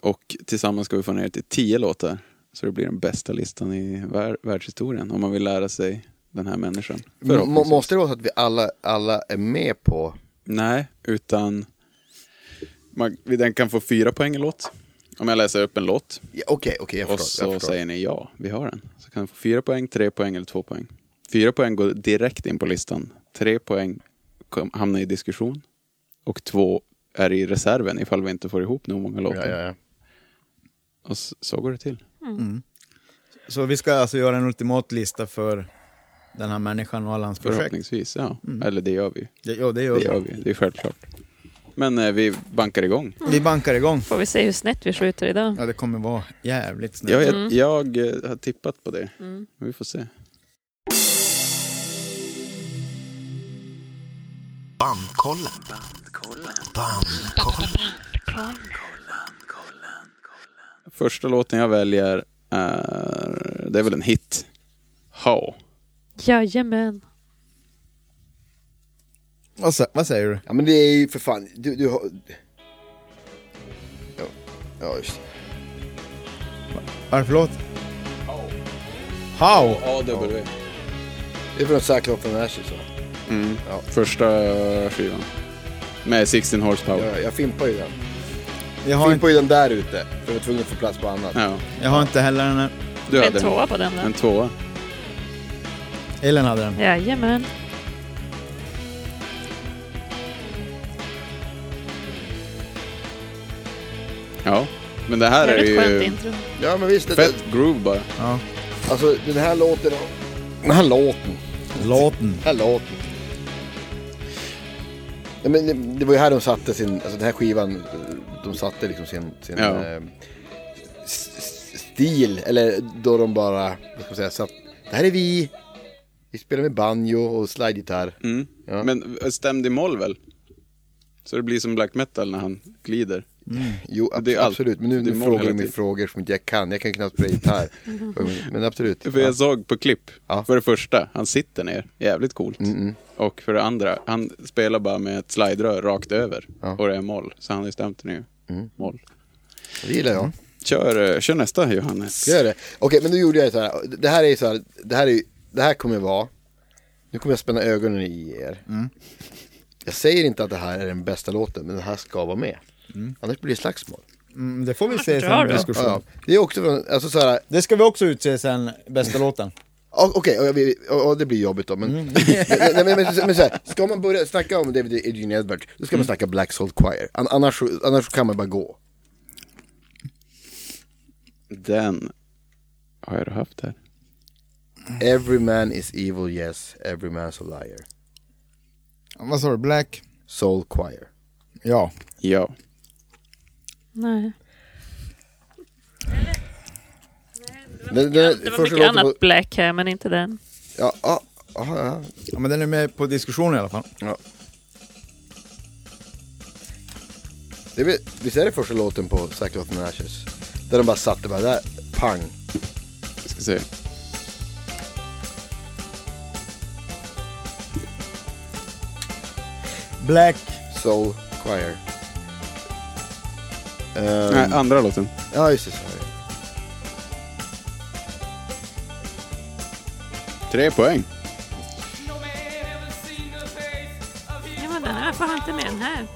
[SPEAKER 1] Och tillsammans ska vi få ner till 10 låtar. Så det blir den bästa listan i vär- världshistorien om man vill lära sig den här människan.
[SPEAKER 5] Må,
[SPEAKER 1] Förhoppningsvis.
[SPEAKER 5] måste det vara så att vi alla, alla är med på...
[SPEAKER 1] Nej, utan man, vi- den kan få fyra poäng i låt. Om jag läser upp en låt
[SPEAKER 5] Ja, Okej, okej, jag
[SPEAKER 1] och
[SPEAKER 5] förstår.
[SPEAKER 1] så
[SPEAKER 5] Jag förstår.
[SPEAKER 1] säger ni ja, vi har den. Så kan du få fyra poäng, tre poäng eller två poäng. Fyra poäng går direkt in på listan. Tre poäng kom- hamnar i diskussion. Och två är i reserven ifall vi inte får ihop nog många låtar.
[SPEAKER 5] Ja, ja, ja.
[SPEAKER 1] Och s- så går det till.
[SPEAKER 4] Mm. Så vi ska alltså göra en ultimat lista för den här människan och alla hans projekt?
[SPEAKER 1] Förhoppningsvis, ja.
[SPEAKER 5] Mm.
[SPEAKER 1] Eller det gör vi.
[SPEAKER 4] Det, ja, det
[SPEAKER 1] Det
[SPEAKER 4] gör
[SPEAKER 1] gör
[SPEAKER 4] vi.
[SPEAKER 1] vi, det är självklart. Men eh, vi bankar igång.
[SPEAKER 4] Vi bankar igång.
[SPEAKER 3] Får vi se hur snett vi skjuter idag.
[SPEAKER 4] Ja, det kommer vara jävligt snällt.
[SPEAKER 1] Jag, jag,
[SPEAKER 3] Mm.
[SPEAKER 1] jag eh, har tippat på det. Vi får se. Första låten jag väljer är... Det är väl en hit. How.
[SPEAKER 3] Jajamän.
[SPEAKER 4] Vad, sä- vad säger du?
[SPEAKER 5] ja, men det är ju för fan, du, du har... Ja, ja just
[SPEAKER 4] Vad är det för låt? How?
[SPEAKER 1] AW.
[SPEAKER 5] det. är från Sackloffen Ashes. va?
[SPEAKER 1] Mm.
[SPEAKER 5] Ja.
[SPEAKER 1] Första skivan. Med 16 horsepower.
[SPEAKER 5] Jag, jag fimpar ju den.
[SPEAKER 4] Jag
[SPEAKER 5] Jag
[SPEAKER 4] har,
[SPEAKER 5] fimpar
[SPEAKER 4] inte,
[SPEAKER 5] ju den där ute, för jag var tvungen att få plats på annat.
[SPEAKER 1] Ja.
[SPEAKER 4] jag har inte heller den här.
[SPEAKER 1] Du
[SPEAKER 3] En
[SPEAKER 1] hade en,
[SPEAKER 3] tvåa på den
[SPEAKER 1] en
[SPEAKER 3] där.
[SPEAKER 1] tvåa.
[SPEAKER 4] Elin hade den.
[SPEAKER 3] Jajamän.
[SPEAKER 1] Ja. Men det här är
[SPEAKER 3] Jävligt skönt
[SPEAKER 1] ju...
[SPEAKER 3] intro.
[SPEAKER 5] Ja, men visst. Det,
[SPEAKER 1] Fett groove bara.
[SPEAKER 4] Ja.
[SPEAKER 5] alltså den här låten... Den här låten.
[SPEAKER 4] Låten.
[SPEAKER 5] Den här låten. Ja, men det, det var ju här de satte sin, alltså den här skivan, de satte liksom sin, sin
[SPEAKER 1] Ja.
[SPEAKER 5] eh, s- s- stil, eller då de bara, vad ska man säga, satt, det här är vi, vi spelar med banjo och slidegitarr.
[SPEAKER 1] Mm.
[SPEAKER 5] Ja.
[SPEAKER 1] Men stämd i moll väl? Så det blir som black metal när han glider.
[SPEAKER 5] Jo, ab-
[SPEAKER 1] Det är allt-
[SPEAKER 5] absolut, men nu,
[SPEAKER 1] det är
[SPEAKER 5] nu
[SPEAKER 1] mål
[SPEAKER 5] frågar du
[SPEAKER 1] hela
[SPEAKER 5] mig
[SPEAKER 1] tiden.
[SPEAKER 5] frågor som inte jag kan, jag kan ju knappt spela gitarr. men absolut.
[SPEAKER 1] För jag såg på klipp,
[SPEAKER 5] Ja.
[SPEAKER 1] för det första, han sitter ner, jävligt coolt. Och för det andra, han spelar bara med ett sliderör rakt över
[SPEAKER 5] Ja. Mm.
[SPEAKER 1] och det är moll. Så han har ju stämt ner moll.
[SPEAKER 5] Det gillar jag.
[SPEAKER 1] Kör, eh, kör nästa Johannes.
[SPEAKER 5] Ska jag göra det? Okej, men nu gjorde jag så här. Det här är ju så här. Det här, är, ju- det här kommer vara. Nu kommer jag spänna ögonen i er. Jag säger inte att det här är den bästa låten, men den här ska vara med. Annars blir det slagsmål.
[SPEAKER 4] Mm, det får vi se
[SPEAKER 3] Varför
[SPEAKER 4] sen.
[SPEAKER 3] drar du?
[SPEAKER 5] Ja,
[SPEAKER 4] diskussion.
[SPEAKER 5] ja. Det är också från, alltså så här.
[SPEAKER 4] Det ska vi också utse sen, bästa låten.
[SPEAKER 5] ja, Okej, och jag vill- och- och det blir jobbigt då. Men, nej, men, men, men så här, ska man börja snacka om David Edgin Edwards, då ska man snacka Black Soul Choir. An- Annars, så- annars så kan man bara gå.
[SPEAKER 1] Den har jag då haft här.
[SPEAKER 5] Every man is evil, yes. Every man's a liar.
[SPEAKER 4] Vad sa du? Black?
[SPEAKER 5] Soul Choir.
[SPEAKER 4] Ja.
[SPEAKER 1] Ja.
[SPEAKER 3] Nej.
[SPEAKER 5] Den, den,
[SPEAKER 3] Det var
[SPEAKER 5] första
[SPEAKER 3] mycket
[SPEAKER 5] låten
[SPEAKER 3] annat
[SPEAKER 5] var-
[SPEAKER 3] black här, men inte den.
[SPEAKER 5] Ja, ja, ja, ja.
[SPEAKER 4] ja, men den är med på diskussion i alla fall.
[SPEAKER 5] Ja. Det är, väl- visst är det första låten på Sackcloth and Ashes? Där de bara satte bara där, pang.
[SPEAKER 1] Vi ska se.
[SPEAKER 4] Black.
[SPEAKER 5] Soul Choir. Ehm,
[SPEAKER 1] Nej, andra låten.
[SPEAKER 5] ja just det, så är det.
[SPEAKER 1] Tre poäng.
[SPEAKER 3] Ja, men den här var fan inte med den här.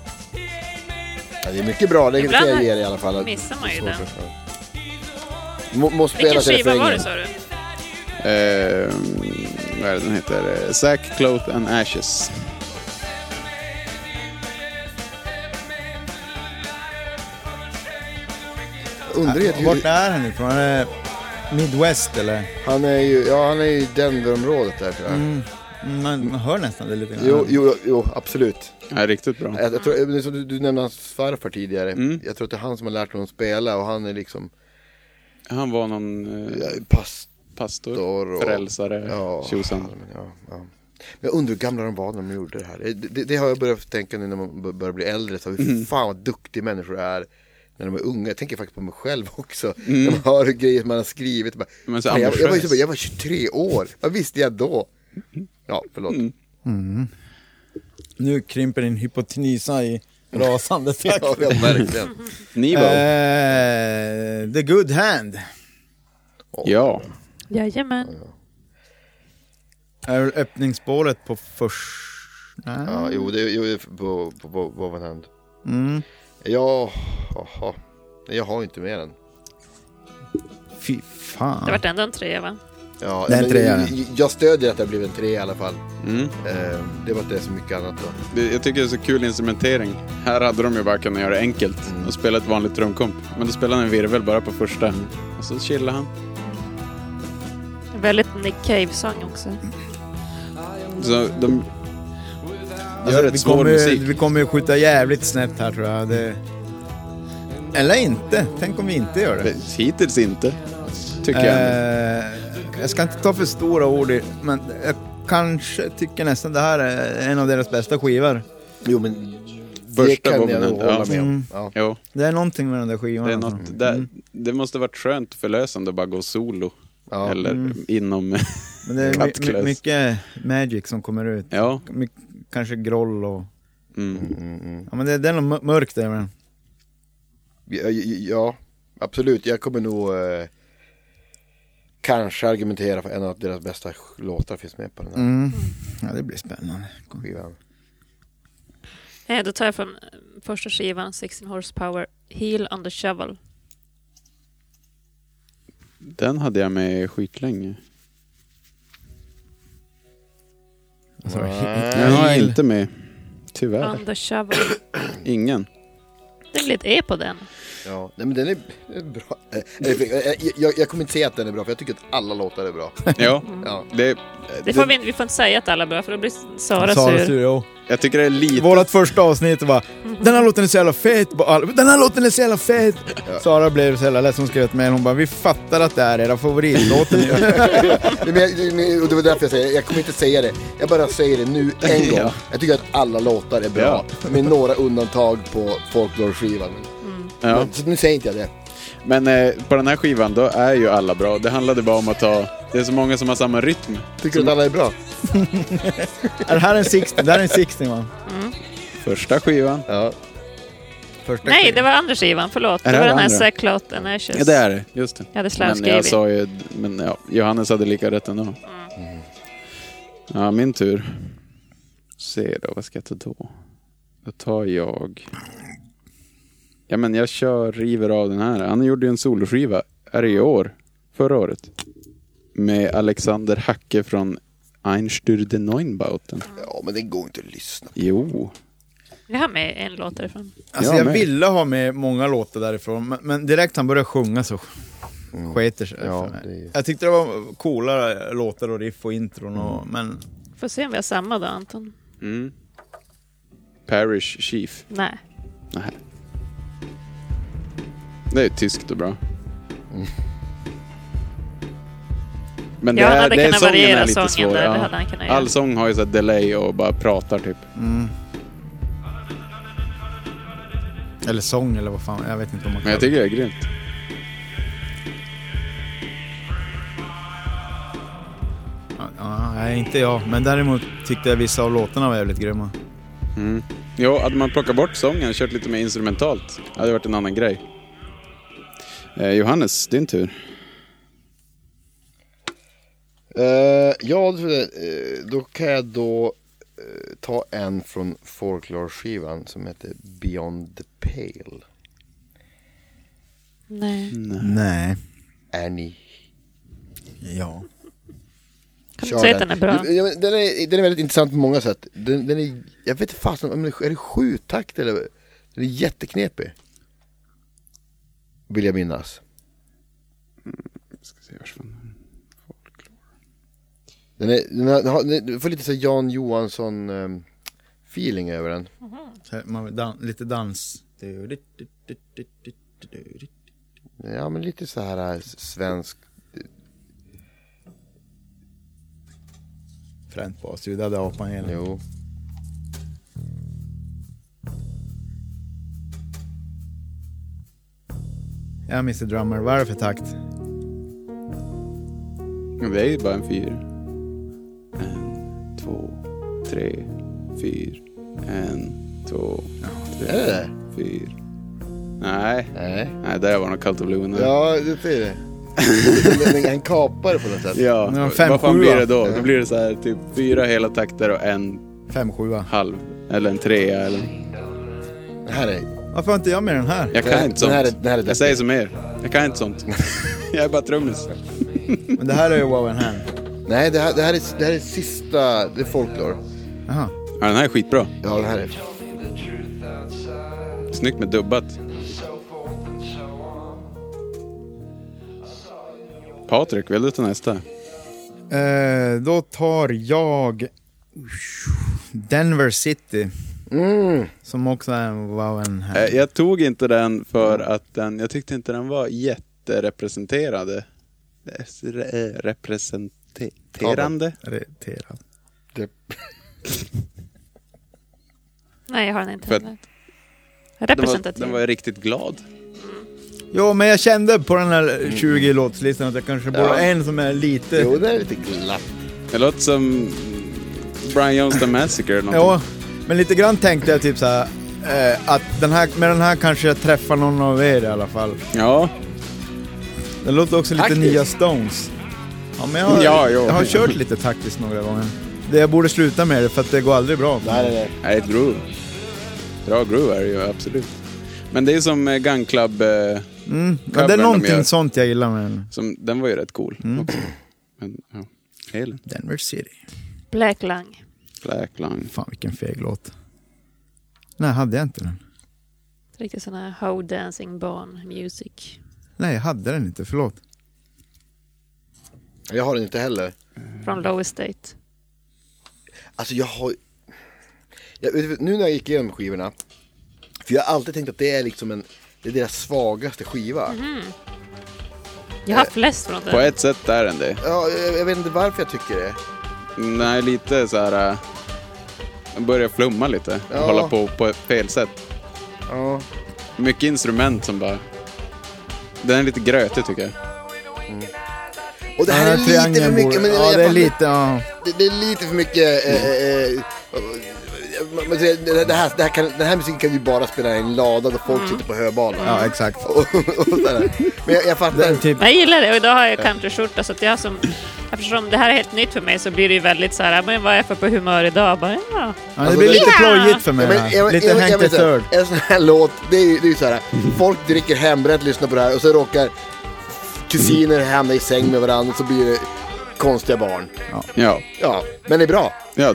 [SPEAKER 5] Ja, det är mycket bra, det kan jag ge er i alla fall.
[SPEAKER 3] missar man ju
[SPEAKER 5] Svårt
[SPEAKER 3] den.
[SPEAKER 5] att förklara. Må, måste spela
[SPEAKER 3] Vilken
[SPEAKER 5] till
[SPEAKER 3] skiva var det
[SPEAKER 5] refrängen.
[SPEAKER 3] sa du?
[SPEAKER 1] Eh, vad är det den heter? Eh, Sack, Cloth and Ashes.
[SPEAKER 5] Underligt,
[SPEAKER 4] Vart
[SPEAKER 5] hur,
[SPEAKER 4] är han ifrån? Han är Midwest eller?
[SPEAKER 5] han är ju, ja han är ju Denver-området där. tror jag.
[SPEAKER 4] Mm, Man, man hör nästan det lite grann.
[SPEAKER 5] Jo, jo, jo, absolut.
[SPEAKER 1] Ja, riktigt bra.
[SPEAKER 5] Jag, jag tror, eh, som du, du nämnde hans farfar tidigare.
[SPEAKER 1] Mm.
[SPEAKER 5] Jag tror att det är han som har lärt honom spela och han är liksom
[SPEAKER 1] Han var någon eh,
[SPEAKER 5] eh, past
[SPEAKER 1] pastor,
[SPEAKER 5] Pastor och-
[SPEAKER 1] frälsare, tjosan.
[SPEAKER 5] men Ja, ja. Men jag undrar hur gamla de var när de gjorde det här. Det, det, det har jag börjat tänka nu när man bör- börjar bli äldre. Så, mm. Fan vad duktiga människor är när de är unga. Jag tänker faktiskt på mig själv också. När man hör grejer som man har skrivit. Bara,
[SPEAKER 1] Mm. Men så
[SPEAKER 5] "Fan, jag, jag, var, ju
[SPEAKER 1] ambitiös."
[SPEAKER 5] så bara, jag var 23 år, vad visste jag då? Ja, förlåt.
[SPEAKER 1] Mm.
[SPEAKER 4] Nu krymper din hypotenisa i rasande takt.
[SPEAKER 5] Ja, ja, verkligen.
[SPEAKER 1] Nivo.
[SPEAKER 4] Eh, the Good Hand.
[SPEAKER 1] Ja.
[SPEAKER 3] Jajamän.
[SPEAKER 4] Är väl öppningsspåret på först... Nej.
[SPEAKER 5] Ja, jo, det jo, det är på, på, på, på vad hand.
[SPEAKER 4] Mm.
[SPEAKER 5] Ja, jaha. Nej, Jag har ju inte med den.
[SPEAKER 4] Fy
[SPEAKER 3] Det
[SPEAKER 4] fan.
[SPEAKER 3] vart ändå en trea va?
[SPEAKER 5] Ja,
[SPEAKER 4] Det är en
[SPEAKER 5] men
[SPEAKER 4] trea.
[SPEAKER 5] jag- Jag stödjer att det har blivit en tre i alla fall.
[SPEAKER 1] Mm.
[SPEAKER 5] Eh, det var inte så mycket annat då.
[SPEAKER 1] Det, jag tycker det är så kul instrumentering. Här hade de ju bara kunnat göra det enkelt
[SPEAKER 5] Mm.
[SPEAKER 1] och spela ett vanligt trumkomp. Men då spelade han en virvel bara på första. Och så chillade han.
[SPEAKER 3] En Väldigt Nick Cave-sång också.
[SPEAKER 1] Så de
[SPEAKER 4] Alltså,
[SPEAKER 1] gör ett
[SPEAKER 4] vi,
[SPEAKER 1] svår
[SPEAKER 4] kommer,
[SPEAKER 1] musik.
[SPEAKER 4] vi kommer ju skjuta jävligt snett här tror jag. Det... Eller inte. Tänk om vi inte gör det.
[SPEAKER 1] Hittills inte, tycker jag.
[SPEAKER 4] Eh, jag ska inte ta för stora ord i, men jag kanske tycker nästan det här är en av deras bästa skivor.
[SPEAKER 5] Jo men det
[SPEAKER 1] Första
[SPEAKER 5] kan jag
[SPEAKER 1] bomben,
[SPEAKER 5] nog hålla
[SPEAKER 1] ja.
[SPEAKER 5] med om. Mm.
[SPEAKER 4] Mm.
[SPEAKER 5] Ja.
[SPEAKER 1] Jo,
[SPEAKER 4] Det är någonting med den där skivan.
[SPEAKER 1] det, är
[SPEAKER 4] alltså.
[SPEAKER 1] något, det, det måste varit skönt förlösande att bara gå solo.
[SPEAKER 5] Ja. Mm.
[SPEAKER 1] Eller inom...
[SPEAKER 4] Men det är my, my,
[SPEAKER 1] Kattklös.
[SPEAKER 4] mycket magic som kommer ut.
[SPEAKER 1] ja.
[SPEAKER 4] My, kanske groll och...
[SPEAKER 1] Mm.
[SPEAKER 4] Ja men det, det är något mör- mörkt där men.
[SPEAKER 5] Ja, ja, absolut. Jag kommer nog eh, kanske argumentera för en av deras bästa sk- låtar finns med på den här
[SPEAKER 4] Mm. Ja det blir spännande.
[SPEAKER 5] skivan.
[SPEAKER 3] Eh, Då tar jag från eh, första skivan, 16 Horsepower, Heel on the Shovel.
[SPEAKER 1] Den hade jag med skitlänge.
[SPEAKER 4] Alltså,
[SPEAKER 1] Den har jag
[SPEAKER 4] Heel.
[SPEAKER 1] inte med. Tyvärr.
[SPEAKER 3] On the Shovel.
[SPEAKER 1] Ingen.
[SPEAKER 3] Det blir ett E på den.
[SPEAKER 5] Ja, nej men den är den är bra. Eh, eh, eh, Jag, jag kommer inte säga att den är bra för jag tycker att alla låtar är bra.
[SPEAKER 1] Ja,
[SPEAKER 3] Mm.
[SPEAKER 5] Ja.
[SPEAKER 1] det,
[SPEAKER 3] Det får vi, inte- vi får inte säga att alla är bra för då blir Sara,
[SPEAKER 4] Sara
[SPEAKER 3] sur.
[SPEAKER 4] Sur, ja.
[SPEAKER 1] jag tycker det är lite...
[SPEAKER 4] Vårat första avsnitt var Den här låten är så jävla fet, bara alla, den här låten är så jävla fet! Sara blev så jävla ledsen, hon skrev ett mejl, hon bara vi fattar att det här är era favoritlåter nu.
[SPEAKER 5] Nej, men jag, men- och det var därför jag säger jag kommer inte säga det. Jag bara säger det nu en gång.
[SPEAKER 1] Ja.
[SPEAKER 5] Jag tycker att alla låtar är bra. Med några undantag på Folklore-skivan.
[SPEAKER 1] Ja.
[SPEAKER 5] Men- Så nu säger inte jag det.
[SPEAKER 1] Men eh, på den här skivan då är ju alla bra. Det handlade bara om att ta... Det är så många som har samma rytm.
[SPEAKER 5] Tycker du att alla är bra?
[SPEAKER 4] är det här en 60? Det här är en 60 man.
[SPEAKER 1] Första skivan.
[SPEAKER 5] Ja.
[SPEAKER 4] första
[SPEAKER 3] Nej,
[SPEAKER 4] skivan.
[SPEAKER 3] det var andra skivan, förlåt.
[SPEAKER 1] Är
[SPEAKER 3] det
[SPEAKER 1] det
[SPEAKER 3] var
[SPEAKER 1] det
[SPEAKER 3] den här
[SPEAKER 1] andra?
[SPEAKER 3] Sackcloth and Ashes.
[SPEAKER 1] Ja, det är det. Just det.
[SPEAKER 3] Jag hade
[SPEAKER 1] Men eh,
[SPEAKER 3] slarvskrivit.
[SPEAKER 1] jag sa ju... Men ja, Johannes hade lika rätt ändå. Ja, min tur. Se då, vad ska jag ta då? Då tar jag... Ja, men jag kör, river av den här. Han gjorde ju en soloskiva. Är det i år? Förra året. Med Alexander Hacke från Einstürde Neunbauten.
[SPEAKER 5] Ja, men det går inte att lyssna.
[SPEAKER 1] Jo.
[SPEAKER 3] Jag har med en låt därifrån.
[SPEAKER 4] Alltså
[SPEAKER 1] Jag
[SPEAKER 4] jag
[SPEAKER 1] med.
[SPEAKER 4] ville ha med många låtar därifrån, men, men direkt han började sjunga så sketer sig
[SPEAKER 5] Ja,
[SPEAKER 4] för mig.
[SPEAKER 5] det är-
[SPEAKER 4] Jag tyckte det var coolare låtar och riff och intron och, men
[SPEAKER 3] Får se om vi har samma då, Anton.
[SPEAKER 1] Mm. Parish Chief.
[SPEAKER 3] Nej.
[SPEAKER 1] Nej. Det är tyskt och bra. Men
[SPEAKER 3] Ja,
[SPEAKER 1] det
[SPEAKER 3] han
[SPEAKER 1] här,
[SPEAKER 3] hade
[SPEAKER 1] det är
[SPEAKER 3] kunnat
[SPEAKER 1] sången
[SPEAKER 3] variera
[SPEAKER 1] är lite
[SPEAKER 3] sången
[SPEAKER 1] svår.
[SPEAKER 3] där, det
[SPEAKER 1] ja.
[SPEAKER 3] hade han kunnat göra.
[SPEAKER 1] All sång har ju så här delay och bara pratar typ.
[SPEAKER 4] Eller sång eller vad fan, jag vet inte om man
[SPEAKER 1] Men jag
[SPEAKER 4] kallar
[SPEAKER 1] tycker det är grymt.
[SPEAKER 4] det. ja, Nej, inte jag. Men däremot tyckte jag vissa av låtarna var jävligt grymma.
[SPEAKER 1] Jo, hade man plockat bort sången och kört lite mer instrumentalt hade det varit en annan grej. Eh, Johannes, din tur.
[SPEAKER 5] Eh, ja, eh, då kan jag då eh, ta en från folklore-skivan som heter Beyond the Pale.
[SPEAKER 3] Nej.
[SPEAKER 4] Nej.
[SPEAKER 5] Annie.
[SPEAKER 4] Ja.
[SPEAKER 3] Kan du
[SPEAKER 5] Kör
[SPEAKER 3] inte säga att den är bra?
[SPEAKER 5] Ja, men Den är, den är väldigt intressant på många sätt. Den, den är, jag vet inte fasen, om det- är det sju takt eller? Den är jätteknepig. Vill jag minnas.
[SPEAKER 1] Ska se, vars fan-
[SPEAKER 5] Den, är, den, har, den, har, den får lite så här Jan Johansson ehm, feeling över den.
[SPEAKER 4] Så Man, vill dan, lite dans.
[SPEAKER 5] Ja men lite så här eh, svensk.
[SPEAKER 4] Fränt basljud, det hade apan igen.
[SPEAKER 5] Jo.
[SPEAKER 4] Ja, Mr Drummer, vad är det för takt?
[SPEAKER 1] Ja, Det är ju bara en fyr. En, två, tre, fyr. En, två, tre,
[SPEAKER 5] Är det det?
[SPEAKER 1] fyr. Nej.
[SPEAKER 5] Nej.
[SPEAKER 1] Nej, det där var nog kallt och blod.
[SPEAKER 5] Ja det är det. Den- den- Han kapar det på något sätt.
[SPEAKER 1] ja.
[SPEAKER 4] Det var en fem
[SPEAKER 1] vad fan blir
[SPEAKER 4] sjua.
[SPEAKER 1] det då? Då blir det så här typ fyra hela takter och en
[SPEAKER 4] 5-7.
[SPEAKER 1] halv. Eller en trea eller...
[SPEAKER 5] Den här är,
[SPEAKER 4] Varför har inte jag med den här?
[SPEAKER 1] Jag kan
[SPEAKER 5] Den
[SPEAKER 1] inte sånt.
[SPEAKER 5] här är- den här är deppig.
[SPEAKER 1] jag säger som er. Jag kan inte sånt. jag är bara trummis.
[SPEAKER 4] Men det här är ju Wow and Hand.
[SPEAKER 5] nej det här, det här är, det här är sista, det är folklore.
[SPEAKER 4] Jaha.
[SPEAKER 1] Ja, den här är skitbra.
[SPEAKER 5] Ja den här är
[SPEAKER 1] Snyggt med dubbat. Patrik, vill du ta nästa?
[SPEAKER 4] Eh, då tar jag Denver City. Som också är en wow and hand.
[SPEAKER 1] Mm. Eh, Jag tog inte den för att den, jag tyckte inte den var jätterepresenterade. Res- re- Representerande?
[SPEAKER 4] Irriterad.
[SPEAKER 3] Nej, jag har den inte
[SPEAKER 1] För att-
[SPEAKER 3] heller.
[SPEAKER 1] Den var,
[SPEAKER 3] Representativ.
[SPEAKER 1] den var riktigt glad.
[SPEAKER 4] Jo, men jag kände på den här 20 låtslistan att jag kanske borde
[SPEAKER 1] Ja.
[SPEAKER 4] ha en som är lite...
[SPEAKER 5] Jo den är lite glatt.
[SPEAKER 1] Det låter som Brian Jones The Massacre eller
[SPEAKER 4] Ja,
[SPEAKER 1] någonting.
[SPEAKER 4] men lite grann tänkte jag typ så här. Eh, att den här, med den här kanske jag träffar någon av er i alla fall.
[SPEAKER 1] Ja.
[SPEAKER 4] Det låter också lite
[SPEAKER 5] Taktiskt.
[SPEAKER 4] nya Stones. Ja, men jag, har-
[SPEAKER 1] Ja, jo.
[SPEAKER 4] jag har kört lite taktiskt några gånger. Det jag borde sluta med det för att det går aldrig bra.
[SPEAKER 5] Nej nej nej.
[SPEAKER 1] Nej, ett groove. Bra groove är det ju, absolut. Men det är som eh, Gun Club, eh,
[SPEAKER 4] Mm. Men det är
[SPEAKER 1] Covern de gör.
[SPEAKER 4] någonting sånt jag gillar med den.
[SPEAKER 1] som, den var ju rätt cool också. Men, ja. Elin,
[SPEAKER 4] Denver City.
[SPEAKER 3] Black Lung.
[SPEAKER 1] Black Lung.
[SPEAKER 4] Fan vilken feg låt. Nej, hade jag inte den?
[SPEAKER 3] Riktigt sån här How Dancing Barn Music.
[SPEAKER 4] Nej, jag hade den inte, förlåt.
[SPEAKER 5] Jag har den inte heller.
[SPEAKER 3] Från Low Estate.
[SPEAKER 5] Alltså jag har... Jag, vet du, nu när jag gick igenom skivorna. För jag har alltid tänkt att det är liksom en... Det är deras svagaste skiva.
[SPEAKER 3] Jag har haft flest från
[SPEAKER 1] På
[SPEAKER 3] den.
[SPEAKER 1] ett sätt är den det.
[SPEAKER 5] Ja, jag, jag vet inte varför jag tycker det.
[SPEAKER 1] Nej, lite så här... eh, Den börjar flumma lite.
[SPEAKER 5] Ja.
[SPEAKER 1] Hålla på på fel sätt.
[SPEAKER 5] Ja.
[SPEAKER 1] Mycket instrument som bara... Den är lite grötig tycker jag.
[SPEAKER 5] Och det
[SPEAKER 4] Den
[SPEAKER 5] här
[SPEAKER 4] här
[SPEAKER 5] är lite för
[SPEAKER 4] triangeln
[SPEAKER 5] mycket.
[SPEAKER 4] borde...
[SPEAKER 5] Men
[SPEAKER 4] Ja,
[SPEAKER 5] jag
[SPEAKER 4] det är
[SPEAKER 5] fattar-
[SPEAKER 4] lite... Ja.
[SPEAKER 5] det, det är lite för mycket... Eh, eh, eh, men det, det, det här, det här kan, den här musiken kan vi bara spela i en lada där folk sitter på höbalar.
[SPEAKER 4] Mm. Ja, exakt.
[SPEAKER 5] Och, och sådär. Men jag, jag fattar.
[SPEAKER 4] Den typ,
[SPEAKER 3] Men jag gillar det och idag har jag countryskjorta så att jag som, eftersom det här är helt nytt för mig så blir det ju väldigt så här, men vad är jag för på humör idag? Bara, ja.
[SPEAKER 4] ja, det blir lite
[SPEAKER 3] Ja.
[SPEAKER 4] plojigt för mig.
[SPEAKER 5] Ja, men
[SPEAKER 4] här.
[SPEAKER 5] jag- jag-
[SPEAKER 4] lite
[SPEAKER 5] jag-
[SPEAKER 4] Hank
[SPEAKER 5] jag
[SPEAKER 4] the
[SPEAKER 5] vet
[SPEAKER 4] Third.
[SPEAKER 5] inte. En sån här låt, det är ju det är ju så här. Folk dricker hembränt, lyssnar på det här och så råkar kusiner hamna i säng med varandra så blir det konstiga barn.
[SPEAKER 1] Ja,
[SPEAKER 5] Ja, men det är bra.
[SPEAKER 1] ja.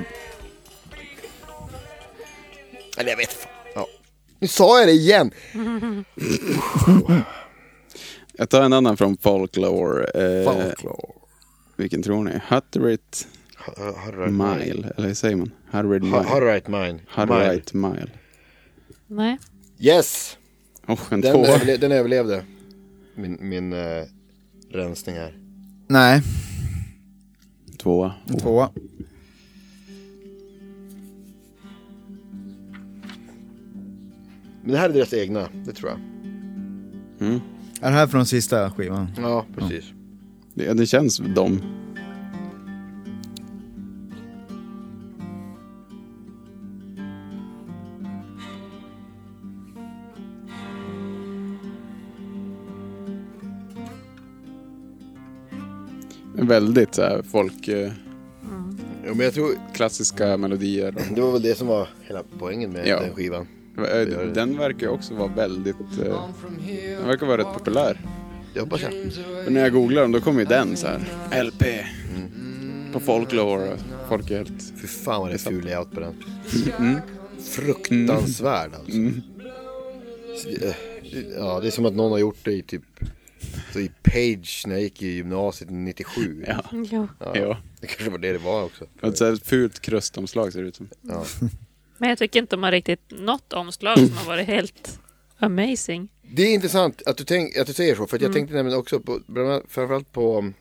[SPEAKER 5] Eller jag vet fan. ja. Nu sa jag det igen.
[SPEAKER 1] Jag tar en annan från folklore. Eh,
[SPEAKER 5] Folklore.
[SPEAKER 1] vilken tror ni? Hutterit Mile, eller hur säger man? Hutterit Mile.
[SPEAKER 5] right mine.
[SPEAKER 1] Hutterit Mile.
[SPEAKER 3] Nej.
[SPEAKER 5] Yes,
[SPEAKER 1] Åh, en
[SPEAKER 5] den,
[SPEAKER 1] tvåa.
[SPEAKER 5] överle- den överlevde. Min, min eh, rensning här.
[SPEAKER 4] Nej,
[SPEAKER 1] Tvåa.
[SPEAKER 4] en tvåa.
[SPEAKER 5] Men det här är deras egna, det tror jag.
[SPEAKER 4] Är det här från sista skivan?
[SPEAKER 5] Ja, precis.
[SPEAKER 1] Det, det känns dem. Väldigt så här, folk, eh,
[SPEAKER 5] Jo, men jag tror
[SPEAKER 1] klassiska melodier.
[SPEAKER 5] det var väl det som var hela poängen med
[SPEAKER 1] Ja.
[SPEAKER 5] den skivan.
[SPEAKER 1] Och, eh, den verkar ju också vara väldigt, eh, den verkar vara rätt populär.
[SPEAKER 5] Det hoppas jag.
[SPEAKER 1] Men när jag googlar dem då kommer ju den så här. LP. På folklore. Folk är helt...
[SPEAKER 5] Fy fan vad det är ful layout på den. Fruktansvärd alltså. Ja, det är som att någon har gjort det i typ så i Page när jag gick i gymnasiet 97.
[SPEAKER 1] Ja.
[SPEAKER 3] Jo.
[SPEAKER 1] ja.
[SPEAKER 5] Det kanske var det det var också.
[SPEAKER 1] Och Ett så här fult krustomslag ser det ut som.
[SPEAKER 3] Men jag tycker inte de har riktigt något omslag som har varit helt amazing.
[SPEAKER 5] Det är intressant att du, tänk, att du säger så, för att jag tänkte nämligen också på, bland annat- framförallt på um,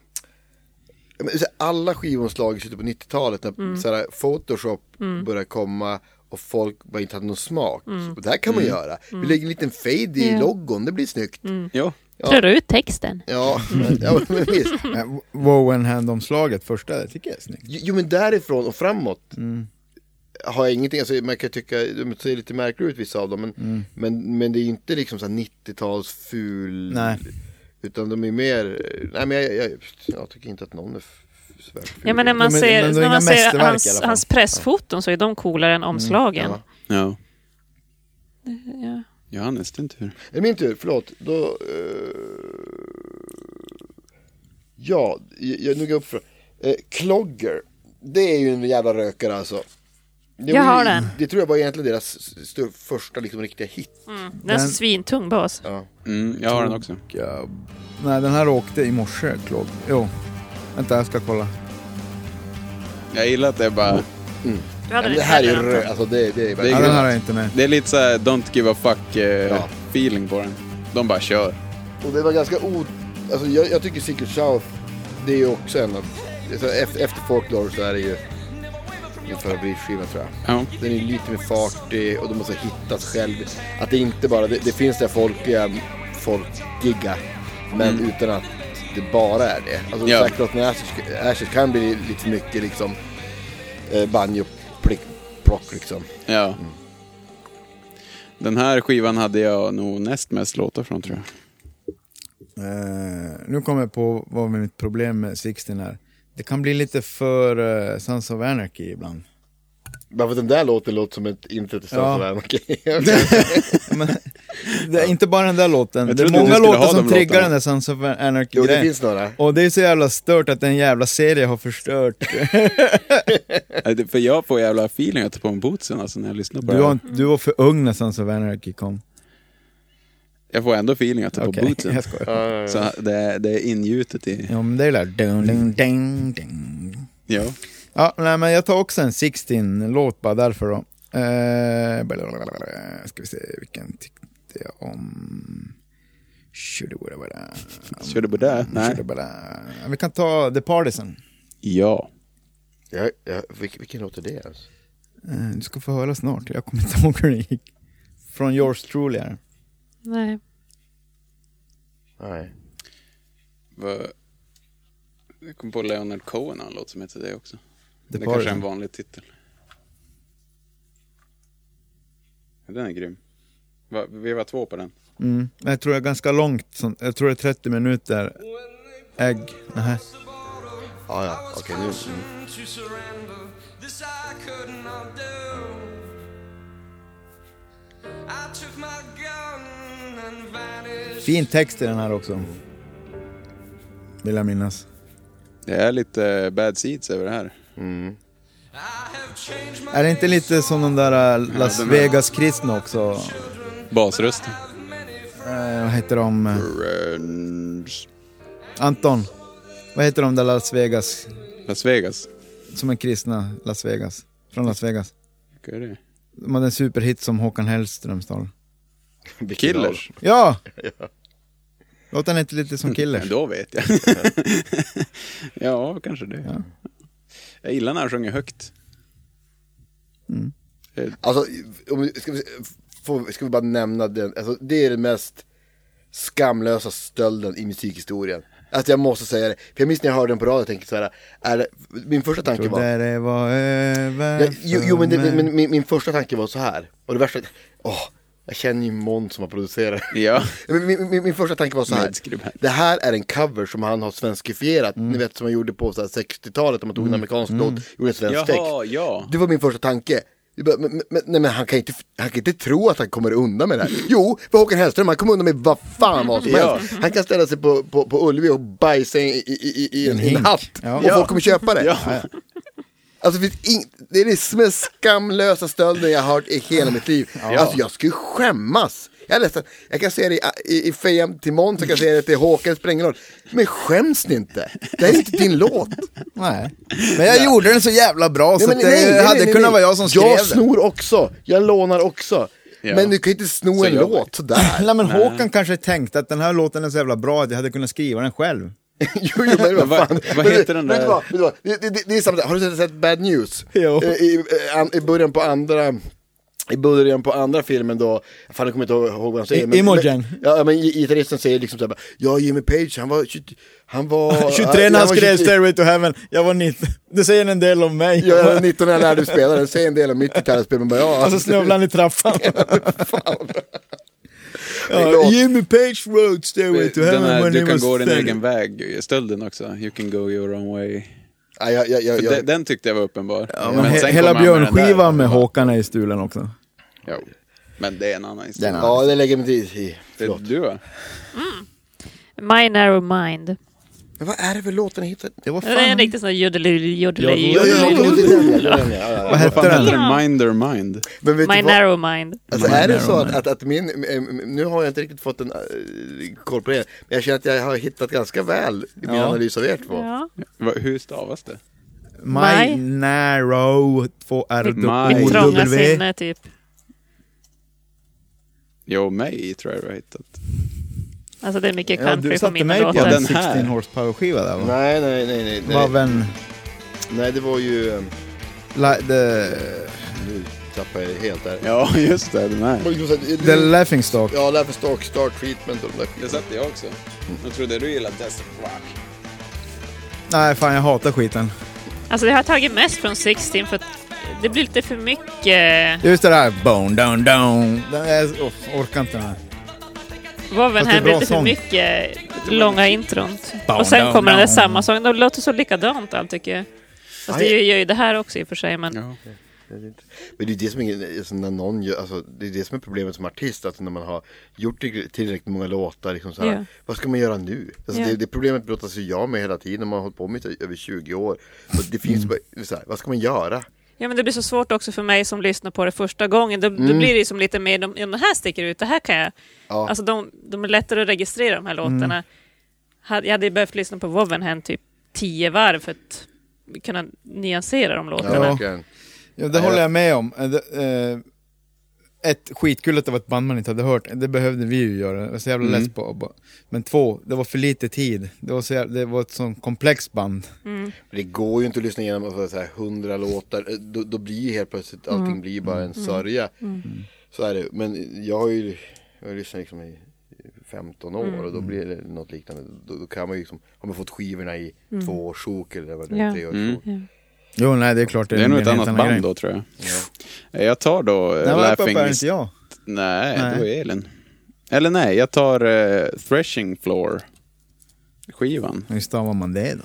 [SPEAKER 5] ja, men så här, alla skivomslag i slutet på 90-talet när så här, Photoshop började komma och folk bara inte hade någon smak. Och det här kan man göra. Vi lägger en liten fade i
[SPEAKER 3] Ja.
[SPEAKER 5] logon, det blir snyggt.
[SPEAKER 1] Ja.
[SPEAKER 5] Ja.
[SPEAKER 3] Drar du ut texten?
[SPEAKER 5] Ja, men, ja, men visst.
[SPEAKER 4] Nej, Wowen Eh, Hand-omslaget första, det tycker jag är snyggt.
[SPEAKER 5] Jo men därifrån och framåt har jag ingenting, alltså, man kan tycka, de ser lite märkliga ut vissa av dem men, men, men det är inte liksom så här 90-tals ful
[SPEAKER 4] Nej.
[SPEAKER 5] Utan de är mer, nej men jag, jag, jag, jag tycker inte att någon är f- svärt ful.
[SPEAKER 3] Ja, men när
[SPEAKER 4] men-
[SPEAKER 3] man
[SPEAKER 4] men
[SPEAKER 3] ser,
[SPEAKER 4] det är
[SPEAKER 3] när
[SPEAKER 4] inga
[SPEAKER 3] man ser
[SPEAKER 4] mästerverk i alla
[SPEAKER 3] hans,
[SPEAKER 4] fall.
[SPEAKER 3] hans pressfoton så är de coolare än omslagen.
[SPEAKER 5] Ja.
[SPEAKER 1] Ja.
[SPEAKER 3] Ja.
[SPEAKER 1] Johannes, din tur.
[SPEAKER 5] Är det min tur? Förlåt. Då, eh, ja, jag, jag nu går jag upp för eh, Klogger. Det är ju en jävla rökare alltså. Det
[SPEAKER 3] Jag
[SPEAKER 5] var ju-
[SPEAKER 3] har den.
[SPEAKER 5] Det tror jag var egentligen deras s- s- första liksom riktiga hit.
[SPEAKER 3] Mm. Den är så svintung bas.
[SPEAKER 5] Ja.
[SPEAKER 1] Mm, jag har den också.
[SPEAKER 4] Ja. Nej, den här åkte i morse, Claude. Jo. Vänta, jag ska kolla.
[SPEAKER 1] Jag gillar att det är bara...
[SPEAKER 3] Du hade
[SPEAKER 5] Men
[SPEAKER 3] den
[SPEAKER 5] det här är ju
[SPEAKER 3] inte heller,
[SPEAKER 5] rö-
[SPEAKER 3] Anton.
[SPEAKER 5] alltså det, det är
[SPEAKER 4] Ja,
[SPEAKER 5] verkligen.
[SPEAKER 4] den här har jag inte med.
[SPEAKER 1] Det är lite så här don't give a fuck eh,
[SPEAKER 5] Ja.
[SPEAKER 1] feeling på den. De bara kör.
[SPEAKER 5] Och det var ganska o... Alltså jag, jag tycker Secret South, det är ju också en av... alltså, Efter, efter Folklore så är det ju min favoritskiva tror jag.
[SPEAKER 1] Ja.
[SPEAKER 5] Den är lite mer fartig och de måste hittas själv. Att det inte bara, det, det finns det här folkliga, folkiga, men utan att det bara är det. Alltså
[SPEAKER 1] Ja.
[SPEAKER 5] säkert att när Ashes- Ashes kan bli lite för mycket liksom eh, banjo, plick, plock liksom.
[SPEAKER 1] Ja. Den här skivan hade jag nog näst mest låtar från tror jag.
[SPEAKER 4] Eh, nu kommer jag på vad mitt problem med Sixten är. Det kan bli lite för uh, Sons of Anarchy ibland.
[SPEAKER 5] Bara för att den där låten låter som ett intro till
[SPEAKER 4] Ja.
[SPEAKER 5] Sons of Anarchy.
[SPEAKER 4] Men, det är inte bara den där låten,
[SPEAKER 1] Jag
[SPEAKER 4] det är
[SPEAKER 1] trodde du
[SPEAKER 4] många
[SPEAKER 1] skulle
[SPEAKER 4] låtar
[SPEAKER 1] ha
[SPEAKER 4] som
[SPEAKER 1] de
[SPEAKER 4] triggar
[SPEAKER 1] låtarna.
[SPEAKER 4] den där Sons of
[SPEAKER 5] Jo, det
[SPEAKER 4] Anarchy-grejen.
[SPEAKER 5] finns några.
[SPEAKER 4] Och det är så jävla stört att en jävla serie har förstört.
[SPEAKER 1] Eh, det- För jag får jävla feeling att ta på mig bootsen alltså när jag lyssnar på
[SPEAKER 4] Du
[SPEAKER 1] det
[SPEAKER 4] var,
[SPEAKER 1] här.
[SPEAKER 4] inte- du var för ung när Sons of Anarchy kom.
[SPEAKER 1] Jag får ändå feeling att ta på
[SPEAKER 4] Okej,
[SPEAKER 1] bootsen.
[SPEAKER 4] jag skojar.
[SPEAKER 1] Så det är, det är ingjutet i...
[SPEAKER 4] Ja, men det är det där... Dun, dun, dun, dun.
[SPEAKER 1] Ja.
[SPEAKER 4] Ja, nej, men jag tar också en 16-låt bara därför då. Eh, blablabla. ska vi se, vilken tyckte jag om? Should it be that?
[SPEAKER 1] Körde på det? Nej.
[SPEAKER 4] Should it be that? Vi kan ta The Partisan.
[SPEAKER 1] Ja.
[SPEAKER 5] Ja, ja, vilken, vilken låt är det ens?
[SPEAKER 4] Eh, du ska få höra snart, jag kommer inte ihåg hur det gick. Från yours truly är det.
[SPEAKER 3] Nej.
[SPEAKER 5] Nej.
[SPEAKER 1] Vad- Jag kom på Leonard Cohen har en låt som heter det också. det
[SPEAKER 4] The
[SPEAKER 1] kanske är en
[SPEAKER 4] Partisan.
[SPEAKER 1] vanlig titel. Den är grym. Va, vi var två på den.
[SPEAKER 4] Mm. Jag tror jag är ganska långt, sånt- jag tror det är 30 minuter. Ägg. Nähä.
[SPEAKER 5] Ja, ja, okej nu.
[SPEAKER 7] to surrender. This I could not do. I took my gun and vanished.
[SPEAKER 4] Fin text i den här också. Vill jag minnas.
[SPEAKER 1] Det är lite eh, bad seeds över det här.
[SPEAKER 7] I have changed my
[SPEAKER 4] Är det inte lite som den där äh, Las
[SPEAKER 1] Ja, de är-
[SPEAKER 4] Vegas-kristna också?
[SPEAKER 1] Basrösten.
[SPEAKER 4] Eh, vad heter de? Eh,
[SPEAKER 1] Friends.
[SPEAKER 4] Anton. Vad heter de där Las Vegas?
[SPEAKER 1] Las Vegas.
[SPEAKER 4] Som är kristna Las Vegas. Från Las Vegas.
[SPEAKER 1] Vilka är det?
[SPEAKER 4] De hade en superhit som Håkan Hellström stal.
[SPEAKER 5] Vilken
[SPEAKER 1] Killers?
[SPEAKER 4] Ja! Låter den inte lite som Killers?
[SPEAKER 5] Mm.
[SPEAKER 1] Ja, då vet jag. ja, kanske det.
[SPEAKER 4] Ja.
[SPEAKER 1] Jag gillar när han sjunger högt.
[SPEAKER 5] Alltså, om, vi- ska, vi, får, ska vi bara nämna den, alltså, det är den mest skamlösa stölden i musikhistorien. Alltså jag måste säga det, för jag minns när jag hörde den på radio, jag tänkte så här, är det, min första tanke var...
[SPEAKER 4] Trodde det var över
[SPEAKER 5] Ja, jo, jo men, det,
[SPEAKER 4] för mig.
[SPEAKER 5] men min, min första tanke var så här, och det värsta, åh, jag känner ju Måns som har producerat.
[SPEAKER 1] Ja.
[SPEAKER 5] Min, min, min, min första tanke var så här,
[SPEAKER 1] Medskribent.
[SPEAKER 5] det här är en cover som han har svenskifierat,
[SPEAKER 4] Mm.
[SPEAKER 5] ni vet som han gjorde på så här 60-talet, att man tog en amerikansk låt, gjorde en svensk text.
[SPEAKER 1] Jaha, ja.
[SPEAKER 5] Det var min första tanke. Jag bara, Men, men, nej, men han, kan inte, han kan inte tro att han kommer undan med det här. Jo, för Håkan Hellström, han kommer undan med vad fan vad som
[SPEAKER 1] Ja.
[SPEAKER 5] helst. Han kan ställa sig på, på, på Ullevi och bajsa i, i, i, i en, i en
[SPEAKER 4] hink.
[SPEAKER 5] hatt.
[SPEAKER 4] Ja.
[SPEAKER 5] Och folk kommer köpa det.
[SPEAKER 1] Ja.
[SPEAKER 5] Alltså, det, finns ing, det är det mest skamlösa stölden jag har hört i hela mitt liv. Alltså jag skulle skämmas. Jag, är ledsen. jag kan säga det i, i, i fejan till Måns, jag kan säga det till Håkan, det spelar ingen roll. Men skäms ni inte? Det här är inte din låt.
[SPEAKER 4] Nej. Men jag gjorde den så jävla bra så
[SPEAKER 5] Nej,
[SPEAKER 4] att
[SPEAKER 5] men nej,
[SPEAKER 4] det
[SPEAKER 5] nej,
[SPEAKER 4] hade
[SPEAKER 5] nej, nej,
[SPEAKER 4] kunnat
[SPEAKER 5] nej.
[SPEAKER 4] vara jag som skrev
[SPEAKER 5] Jag
[SPEAKER 4] den.
[SPEAKER 5] snor också, jag lånar också.
[SPEAKER 1] Ja.
[SPEAKER 5] Men du kan ju inte sno
[SPEAKER 1] Så
[SPEAKER 5] en
[SPEAKER 1] gör man.
[SPEAKER 5] låt sådär.
[SPEAKER 4] Nej men Håkan kanske tänkte att den här låten är så jävla bra att jag hade kunnat skriva den själv.
[SPEAKER 5] jo, jo, men vad
[SPEAKER 1] Vad-
[SPEAKER 5] fan.
[SPEAKER 1] vad
[SPEAKER 5] Men
[SPEAKER 1] heter
[SPEAKER 5] du-
[SPEAKER 1] den
[SPEAKER 5] vet du
[SPEAKER 1] där?
[SPEAKER 5] vad, vet du vad? Det, det, det är samma sak, har du sett Bad News?
[SPEAKER 4] Jo.
[SPEAKER 5] Eh, I, eh, an- I början på andra... I början på andra filmen då, fan jag kommer inte ihåg vad han säger.
[SPEAKER 4] I-
[SPEAKER 5] men-
[SPEAKER 4] Imogen.
[SPEAKER 5] men- Ja men gi- gitarristen säger liksom såhär, bara, ja Jimmy Page han var, 20 han var...
[SPEAKER 4] 23 när
[SPEAKER 5] var
[SPEAKER 4] han skrev
[SPEAKER 5] 23.
[SPEAKER 4] Stairway to Heaven, jag var 19. Det säger en del om mig.
[SPEAKER 5] Ja, jag var 19 när jag lärde mig spela den, säger en del om mitt gitarrspel, men bara ja.
[SPEAKER 4] Och så snubblade han i trappan. ja,
[SPEAKER 5] låt.
[SPEAKER 4] Jimmy Page wrote Stairway to
[SPEAKER 1] Den
[SPEAKER 4] Heaven
[SPEAKER 1] här,
[SPEAKER 4] when he
[SPEAKER 1] du kan
[SPEAKER 4] was
[SPEAKER 1] gå din
[SPEAKER 4] 30.
[SPEAKER 1] egen väg, stölden också. You can go your own way.
[SPEAKER 5] Ja, jag, jag, jag,
[SPEAKER 1] För
[SPEAKER 5] jag,
[SPEAKER 1] de- den tyckte jag var uppenbar.
[SPEAKER 4] Ja, men he-
[SPEAKER 1] sen
[SPEAKER 4] hela
[SPEAKER 1] kommer han med den där.
[SPEAKER 4] björnskivan med Håkan är i stulen också.
[SPEAKER 1] Jo. Men det är en annan historia.
[SPEAKER 4] Den
[SPEAKER 5] ja det lägger jag mig inte i.
[SPEAKER 1] Det är
[SPEAKER 5] Förlåt.
[SPEAKER 1] du va?
[SPEAKER 3] My narrow mind.
[SPEAKER 5] Men vad är det för låt den heter?
[SPEAKER 4] Det var
[SPEAKER 3] Det är en
[SPEAKER 4] fan...
[SPEAKER 3] riktig sån här jodeli, jodeli,
[SPEAKER 5] Ja, ja, ja,
[SPEAKER 4] typ
[SPEAKER 5] det
[SPEAKER 3] jodeli.
[SPEAKER 5] är den, ja, det är den, ja, ja, ja.
[SPEAKER 4] Vad
[SPEAKER 1] Vad
[SPEAKER 4] hette
[SPEAKER 1] fan
[SPEAKER 4] den?
[SPEAKER 1] heter den? Mind their mind.
[SPEAKER 5] Men vet du
[SPEAKER 3] My
[SPEAKER 5] vad?
[SPEAKER 3] narrow mind.
[SPEAKER 5] Alltså
[SPEAKER 4] My
[SPEAKER 5] är det
[SPEAKER 4] narrow
[SPEAKER 5] så att,
[SPEAKER 4] mind.
[SPEAKER 5] att, att min, eh, nu har jag inte riktigt fått en eh, koll på er, men jag känner att jag har hittat ganska väl i min
[SPEAKER 4] Ja.
[SPEAKER 5] analys av er två.
[SPEAKER 3] Ja.
[SPEAKER 1] Va- Hur stavas det?
[SPEAKER 4] My
[SPEAKER 3] My-
[SPEAKER 4] Narrow 2 R
[SPEAKER 1] My-
[SPEAKER 3] Mitt trånga
[SPEAKER 4] W.
[SPEAKER 3] sinne typ.
[SPEAKER 1] Jo, mig tror jag du har hittat.
[SPEAKER 3] Alltså det är mycket
[SPEAKER 4] Ja,
[SPEAKER 3] country
[SPEAKER 4] du
[SPEAKER 3] på
[SPEAKER 4] satte
[SPEAKER 3] mina
[SPEAKER 4] mig på
[SPEAKER 3] låtar.
[SPEAKER 4] en
[SPEAKER 1] den här.
[SPEAKER 4] 16 horsepower skiva där va?
[SPEAKER 5] Nej, nej, nej, nej,
[SPEAKER 4] Var
[SPEAKER 5] nej,
[SPEAKER 4] vän...
[SPEAKER 5] nej, det var ju, eh,
[SPEAKER 4] Like the,
[SPEAKER 5] nu tappade jag det helt där.
[SPEAKER 1] Ja, just det. Den
[SPEAKER 5] Det var
[SPEAKER 1] här.
[SPEAKER 5] ju så att-
[SPEAKER 4] the
[SPEAKER 5] du-
[SPEAKER 4] laughing stock.
[SPEAKER 5] Ja, Laugh and Stock, Star Treatment och de där
[SPEAKER 1] Det
[SPEAKER 5] skiten.
[SPEAKER 1] satte jag också. Jag trodde du gillade Desert Rock.
[SPEAKER 4] Nej fan jag hatar skiten.
[SPEAKER 3] Alltså det har jag tagit mest från 16 för att det blir lite för mycket.
[SPEAKER 4] Just det där, bone down down. Den är, oh, orkar inte den här.
[SPEAKER 3] Woven
[SPEAKER 4] Fast det är
[SPEAKER 3] här blir
[SPEAKER 4] bra
[SPEAKER 3] lite för
[SPEAKER 4] sång.
[SPEAKER 3] mycket långa intron.
[SPEAKER 4] Down,
[SPEAKER 3] Och sen
[SPEAKER 4] down,
[SPEAKER 3] kommer den där
[SPEAKER 4] down.
[SPEAKER 3] samma sång. De låter så likadant allt tycker jag. Fast det gör ju det här också i och för sig. Men
[SPEAKER 1] Ja.
[SPEAKER 5] Men det är det som är, alltså, när någon gör, alltså, det är det som är problemet som artist, att när man har gjort till- tillräckligt många låtar, liksom, så här,
[SPEAKER 3] Ja.
[SPEAKER 5] vad ska man göra nu? Alltså,
[SPEAKER 3] Ja.
[SPEAKER 5] det, det problemet brottas ju jag med hela tiden, man har hållit på med det i över 20 år. Och det
[SPEAKER 3] Mm.
[SPEAKER 5] finns bara, så här, vad ska man göra?
[SPEAKER 3] ja, men det blir så svårt också för mig som lyssnar på det första gången. Då, då blir det ju som lite mer, de, ja, men här sticker ut, det här kan jag.
[SPEAKER 5] Mm. Ja. Mm.
[SPEAKER 3] Alltså de, de är lättare att registrera de här låtarna. Hade- Jag hade ju behövt lyssna på Wovenhen typ tio varv för att kunna nyansera de
[SPEAKER 5] Ja,
[SPEAKER 3] låtarna.
[SPEAKER 5] verkligen.
[SPEAKER 4] Ja, det håller jag med om. Eh, det, eh, Ett, skitkul att det var ett band man inte hade hört. Det behövde vi ju göra. Jag var så jävla less på. på- Men två, det var för lite tid. Det var, så jävla, det var ett sånt komplext band.
[SPEAKER 5] Det går ju inte att lyssna igenom alltså, så här, hundra låtar, Eh, då, då blir ju helt plötsligt
[SPEAKER 3] Mm.
[SPEAKER 5] allting blir bara en sörja. Så är det, men jag har ju jag har lyssnat liksom i 15
[SPEAKER 3] Mm.
[SPEAKER 5] år och då blir det något liknande. Då, då kan man ju liksom, har man fått skivorna i två års sjok eller vad det
[SPEAKER 3] Mm. Ja.
[SPEAKER 5] är, tre års
[SPEAKER 1] Mm.
[SPEAKER 5] sjok.
[SPEAKER 4] Jo, nej det är klart.
[SPEAKER 1] Det är nog
[SPEAKER 4] en
[SPEAKER 1] ett
[SPEAKER 4] helt
[SPEAKER 1] annat
[SPEAKER 4] annan
[SPEAKER 1] band
[SPEAKER 4] grej.
[SPEAKER 1] då tror jag. Jag tar då eh,
[SPEAKER 4] Nej, men
[SPEAKER 1] Laughing
[SPEAKER 4] pappa är inte jag.
[SPEAKER 1] Nej,
[SPEAKER 4] Nej.
[SPEAKER 1] det var Elin. Eller nej, jag tar eh, Threshing Floor. Skivan.
[SPEAKER 4] Hur stavar man det då?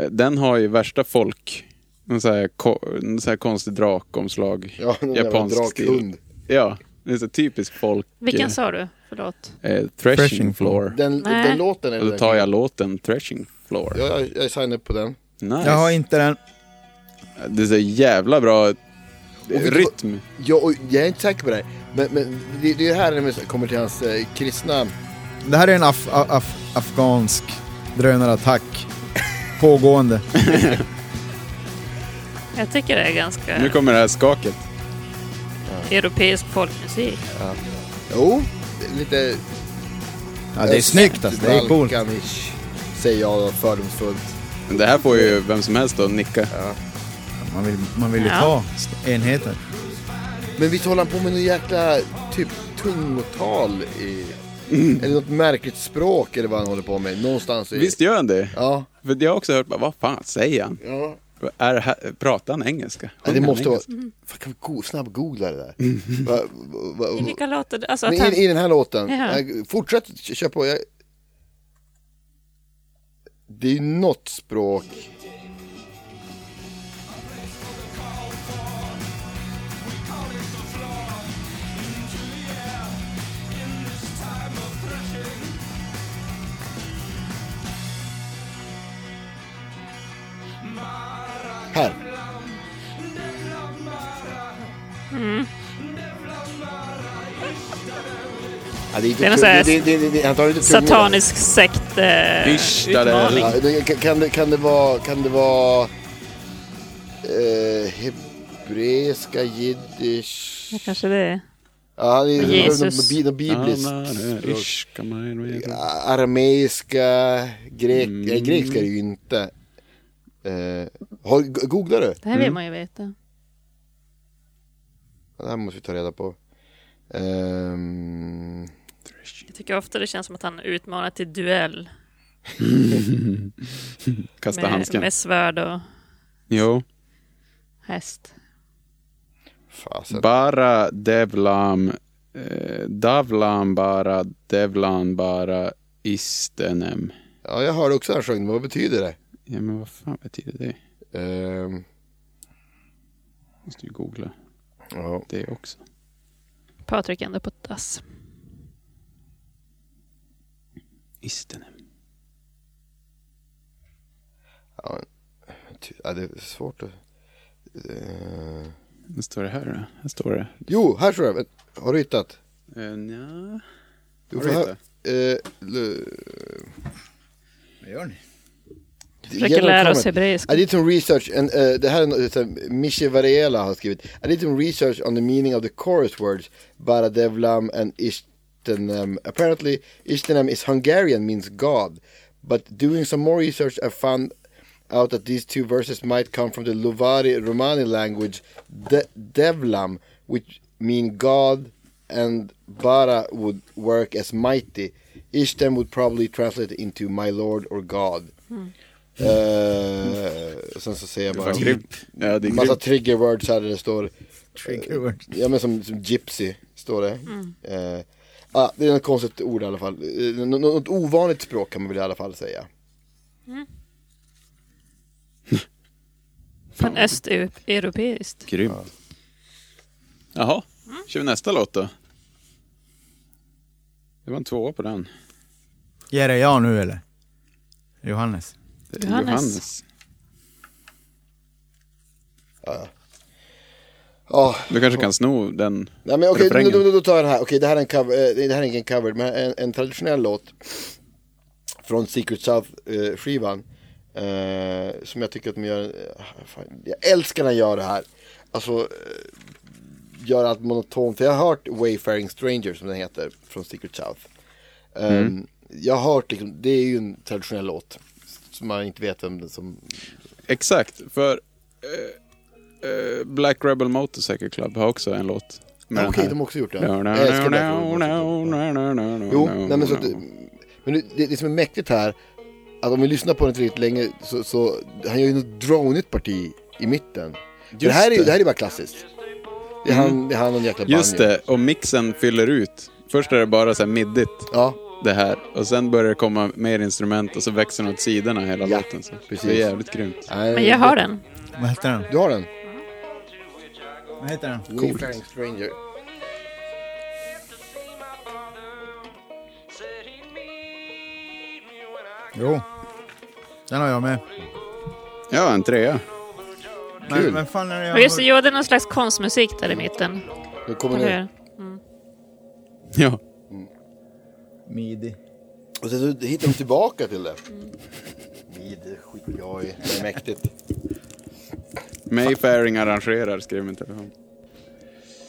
[SPEAKER 1] Eh, den har ju värsta folk. En sån här, ko- en sån här konstig drakomslag.
[SPEAKER 5] Ja, någon jävla
[SPEAKER 1] Japansk
[SPEAKER 5] drakhund.
[SPEAKER 1] Ja, det är så typisk folk.
[SPEAKER 3] Vilken sa du? Förlåt.
[SPEAKER 1] eh, eh, threshing,
[SPEAKER 4] Threshing
[SPEAKER 1] Floor.
[SPEAKER 5] Den,
[SPEAKER 3] Nej.
[SPEAKER 5] den låten är
[SPEAKER 1] Och då tar jag låten Threshing Floor.
[SPEAKER 5] Ja, jag, jag signar upp på den.
[SPEAKER 1] Nice.
[SPEAKER 4] Jag har inte den.
[SPEAKER 1] Det är så jävla bra rytm.
[SPEAKER 5] Ja, och jag är inte säker på det här. Men, men det, det är här när man kommer till hans eh, kristna...
[SPEAKER 4] Det här är en af af af afghansk drönarattack. Pågående.
[SPEAKER 3] Jag tycker det är ganska
[SPEAKER 1] Nu kommer det här skaket.
[SPEAKER 3] europeisk folkmusik.
[SPEAKER 5] Mm. Jo, lite...
[SPEAKER 4] Ja, det är snyggt alltså. Det är coolt.
[SPEAKER 5] Balkan-ish, Säger jag då, fördomsfullt.
[SPEAKER 1] Det här får ju vem som helst att nicka.
[SPEAKER 4] Man vill, man vill ju
[SPEAKER 3] Ja.
[SPEAKER 4] ta enheter.
[SPEAKER 5] Men visst håller han på med någon jäkla typ tungotal i...
[SPEAKER 4] Mm.
[SPEAKER 5] Eller något märkligt språk eller vad han håller på med. Någonstans i...
[SPEAKER 1] Visst gör han det?
[SPEAKER 5] Ja.
[SPEAKER 1] För jag har också hört, bara, vad fan säger han?
[SPEAKER 5] ja.
[SPEAKER 1] Är det här, pratar han engelska?
[SPEAKER 5] Ja, det
[SPEAKER 1] Sjunger han
[SPEAKER 5] måste vara...
[SPEAKER 1] engelska?
[SPEAKER 5] Fan, kan vi go- snabb-googla det där?
[SPEAKER 4] Mm.
[SPEAKER 5] Va, va, va,
[SPEAKER 3] I vilka låtar? Alltså
[SPEAKER 5] Men
[SPEAKER 3] att han...
[SPEAKER 5] i, I den här låten.
[SPEAKER 3] Ja.
[SPEAKER 5] Jag- Fortsätt k- kör på. Jag... Det är ju något språk. Här. Ja, det är inte
[SPEAKER 3] Det är någon
[SPEAKER 5] tu-
[SPEAKER 3] sån här
[SPEAKER 5] det- det- det- det- Han tar ju inte tungan.
[SPEAKER 3] Satanisk sekt...
[SPEAKER 5] Mm.
[SPEAKER 3] Eh,
[SPEAKER 1] Hyschade.
[SPEAKER 3] utmaning.
[SPEAKER 5] Ja, det- kan- kan, det, kan det vara, kan det vara eh, hebreiska, jiddisch?
[SPEAKER 3] Kanske det är.
[SPEAKER 5] Ja, det är
[SPEAKER 3] Jesus.
[SPEAKER 5] något bibliskt.
[SPEAKER 1] Ah, nej, nej, ish, kan man-
[SPEAKER 5] Arameiska, grek, nej, grekiska är det ju inte. Eh, har, go- googlar du?
[SPEAKER 3] Det här vill man ju veta.
[SPEAKER 5] Ja, Det här måste vi ta reda på. Ehm,
[SPEAKER 3] Jag tycker ofta det känns som att han utmanar till duell
[SPEAKER 1] Kasta
[SPEAKER 3] med,
[SPEAKER 1] handsken.
[SPEAKER 3] med svärd och
[SPEAKER 1] Jo.
[SPEAKER 3] häst.
[SPEAKER 5] fasen.
[SPEAKER 1] Bara Devlam, eh, Davlam bara, Devlan bara, Istenem.
[SPEAKER 5] Ja, jag hörde också han sjöng, men vad betyder det?
[SPEAKER 1] Ja men vad fan betyder det?
[SPEAKER 5] Ehm,
[SPEAKER 1] Måste ju googla
[SPEAKER 5] ja.
[SPEAKER 1] det också.
[SPEAKER 3] Patrik ändå på dass.
[SPEAKER 1] Istenem.
[SPEAKER 5] Ja, ty- ja, det är svårt att... Eh,
[SPEAKER 1] Vad står det här då? Här står det.
[SPEAKER 5] Jo, här står det. Har du hittat?
[SPEAKER 1] Eh, nja.
[SPEAKER 5] Du
[SPEAKER 1] Har
[SPEAKER 5] får
[SPEAKER 1] du
[SPEAKER 5] hö-
[SPEAKER 1] hittat?
[SPEAKER 5] eh, l-
[SPEAKER 4] Vad gör ni?
[SPEAKER 3] Försöker lära oss hebreiska.
[SPEAKER 5] I did some research and eh, det här är något som Michi Varela har skrivit. I did some research on the meaning of the chorus words Baradevlam and Ishtanem. Apparently Ishtanem is Hungarian means God. But doing some more research I found out that these two verses might come from the Luvari Romani language De- Devlam which mean God and Bara would work as mighty. Ishtem would probably translate into my lord or God. Eh, sen så säger jag
[SPEAKER 1] Det är
[SPEAKER 5] bara
[SPEAKER 1] fan grymt. Ja det är
[SPEAKER 5] massa
[SPEAKER 1] grymt.
[SPEAKER 5] trigger words här där det står, eh,
[SPEAKER 4] Trigger words.
[SPEAKER 5] ja men som, som gypsy står det. Eh, ah, det är något konstigt ord i alla fall, Eh, nå- nå- något ovanligt språk kan man väl i alla fall säga.
[SPEAKER 3] Fan östeuropeiskt.
[SPEAKER 1] Grymt. Jaha, kör vi nästa låt då. Det var en tvåa på den.
[SPEAKER 4] Ger det jag nu eller? Johannes?
[SPEAKER 1] Det är
[SPEAKER 3] Johannes.
[SPEAKER 5] Ja,
[SPEAKER 1] Du kanske kan sno den
[SPEAKER 5] nej men okej,
[SPEAKER 1] refrängen.
[SPEAKER 5] då, då, då tar jag den här, okej det här är en cover, eh, det här är ingen cover, men en, en traditionell låt från Secret South eh, skivan. Eh, som jag tycker att de gör, eh, fan, jag älskar när de gör det här. Alltså, eh, gör allt monotont. För jag har hört Wayfaring Stranger som den heter från Secret South. Ehm, Jag har hört, liksom, det är ju en traditionell låt. Som man inte vet vem den som...
[SPEAKER 1] Exakt, för eh, eh, Black Rebel Motorcycle Club har också en låt. med
[SPEAKER 5] Ah, Okej,
[SPEAKER 1] den här.
[SPEAKER 5] de har också gjort det.
[SPEAKER 1] No, no,
[SPEAKER 5] Jag älskar
[SPEAKER 1] no,
[SPEAKER 5] Black
[SPEAKER 1] no,
[SPEAKER 5] Rainbow Motorcycle
[SPEAKER 1] no,
[SPEAKER 5] Club.
[SPEAKER 1] no, no, no, no,
[SPEAKER 5] Jo,
[SPEAKER 1] no,
[SPEAKER 5] nej, men, så att,
[SPEAKER 1] no.
[SPEAKER 5] men det- det, det som är mäktigt här, att om vi lyssnar på den tillräckligt länge så, så han gör ju något dronigt parti i mitten. För Det här, är, ju-
[SPEAKER 1] det.
[SPEAKER 5] det här är bara klassiskt. Det är han, det är han och en jäkla banjo.
[SPEAKER 1] Just det, och mixen fyller ut. Först är det bara så här middigt,
[SPEAKER 5] Ja,
[SPEAKER 1] det här. Och sen börjar det komma mer instrument och så växer den åt sidorna hela
[SPEAKER 5] Ja,
[SPEAKER 1] låten. Så.
[SPEAKER 5] precis.
[SPEAKER 1] Det är jävligt grymt.
[SPEAKER 5] nej,
[SPEAKER 3] Men jag har den.
[SPEAKER 4] Vad heter den?
[SPEAKER 5] Du har den?
[SPEAKER 4] Vad heter den?
[SPEAKER 5] Coolt. Stranger.
[SPEAKER 4] Jo. Den har jag med.
[SPEAKER 1] Ja, en trea.
[SPEAKER 5] Kul.
[SPEAKER 4] Men vad fan är det jag
[SPEAKER 3] Och just det,
[SPEAKER 4] har...
[SPEAKER 3] jo, det är någon slags konstmusik där i mitten.
[SPEAKER 5] Nu kommer
[SPEAKER 3] Eller
[SPEAKER 5] den.
[SPEAKER 3] hur?
[SPEAKER 1] Ja.
[SPEAKER 4] Midi.
[SPEAKER 5] Och sen så hittar de tillbaka till det. Mid, skit, jag är det är mäktigt.
[SPEAKER 1] Mayfaring arrangerar, skrev min telefon.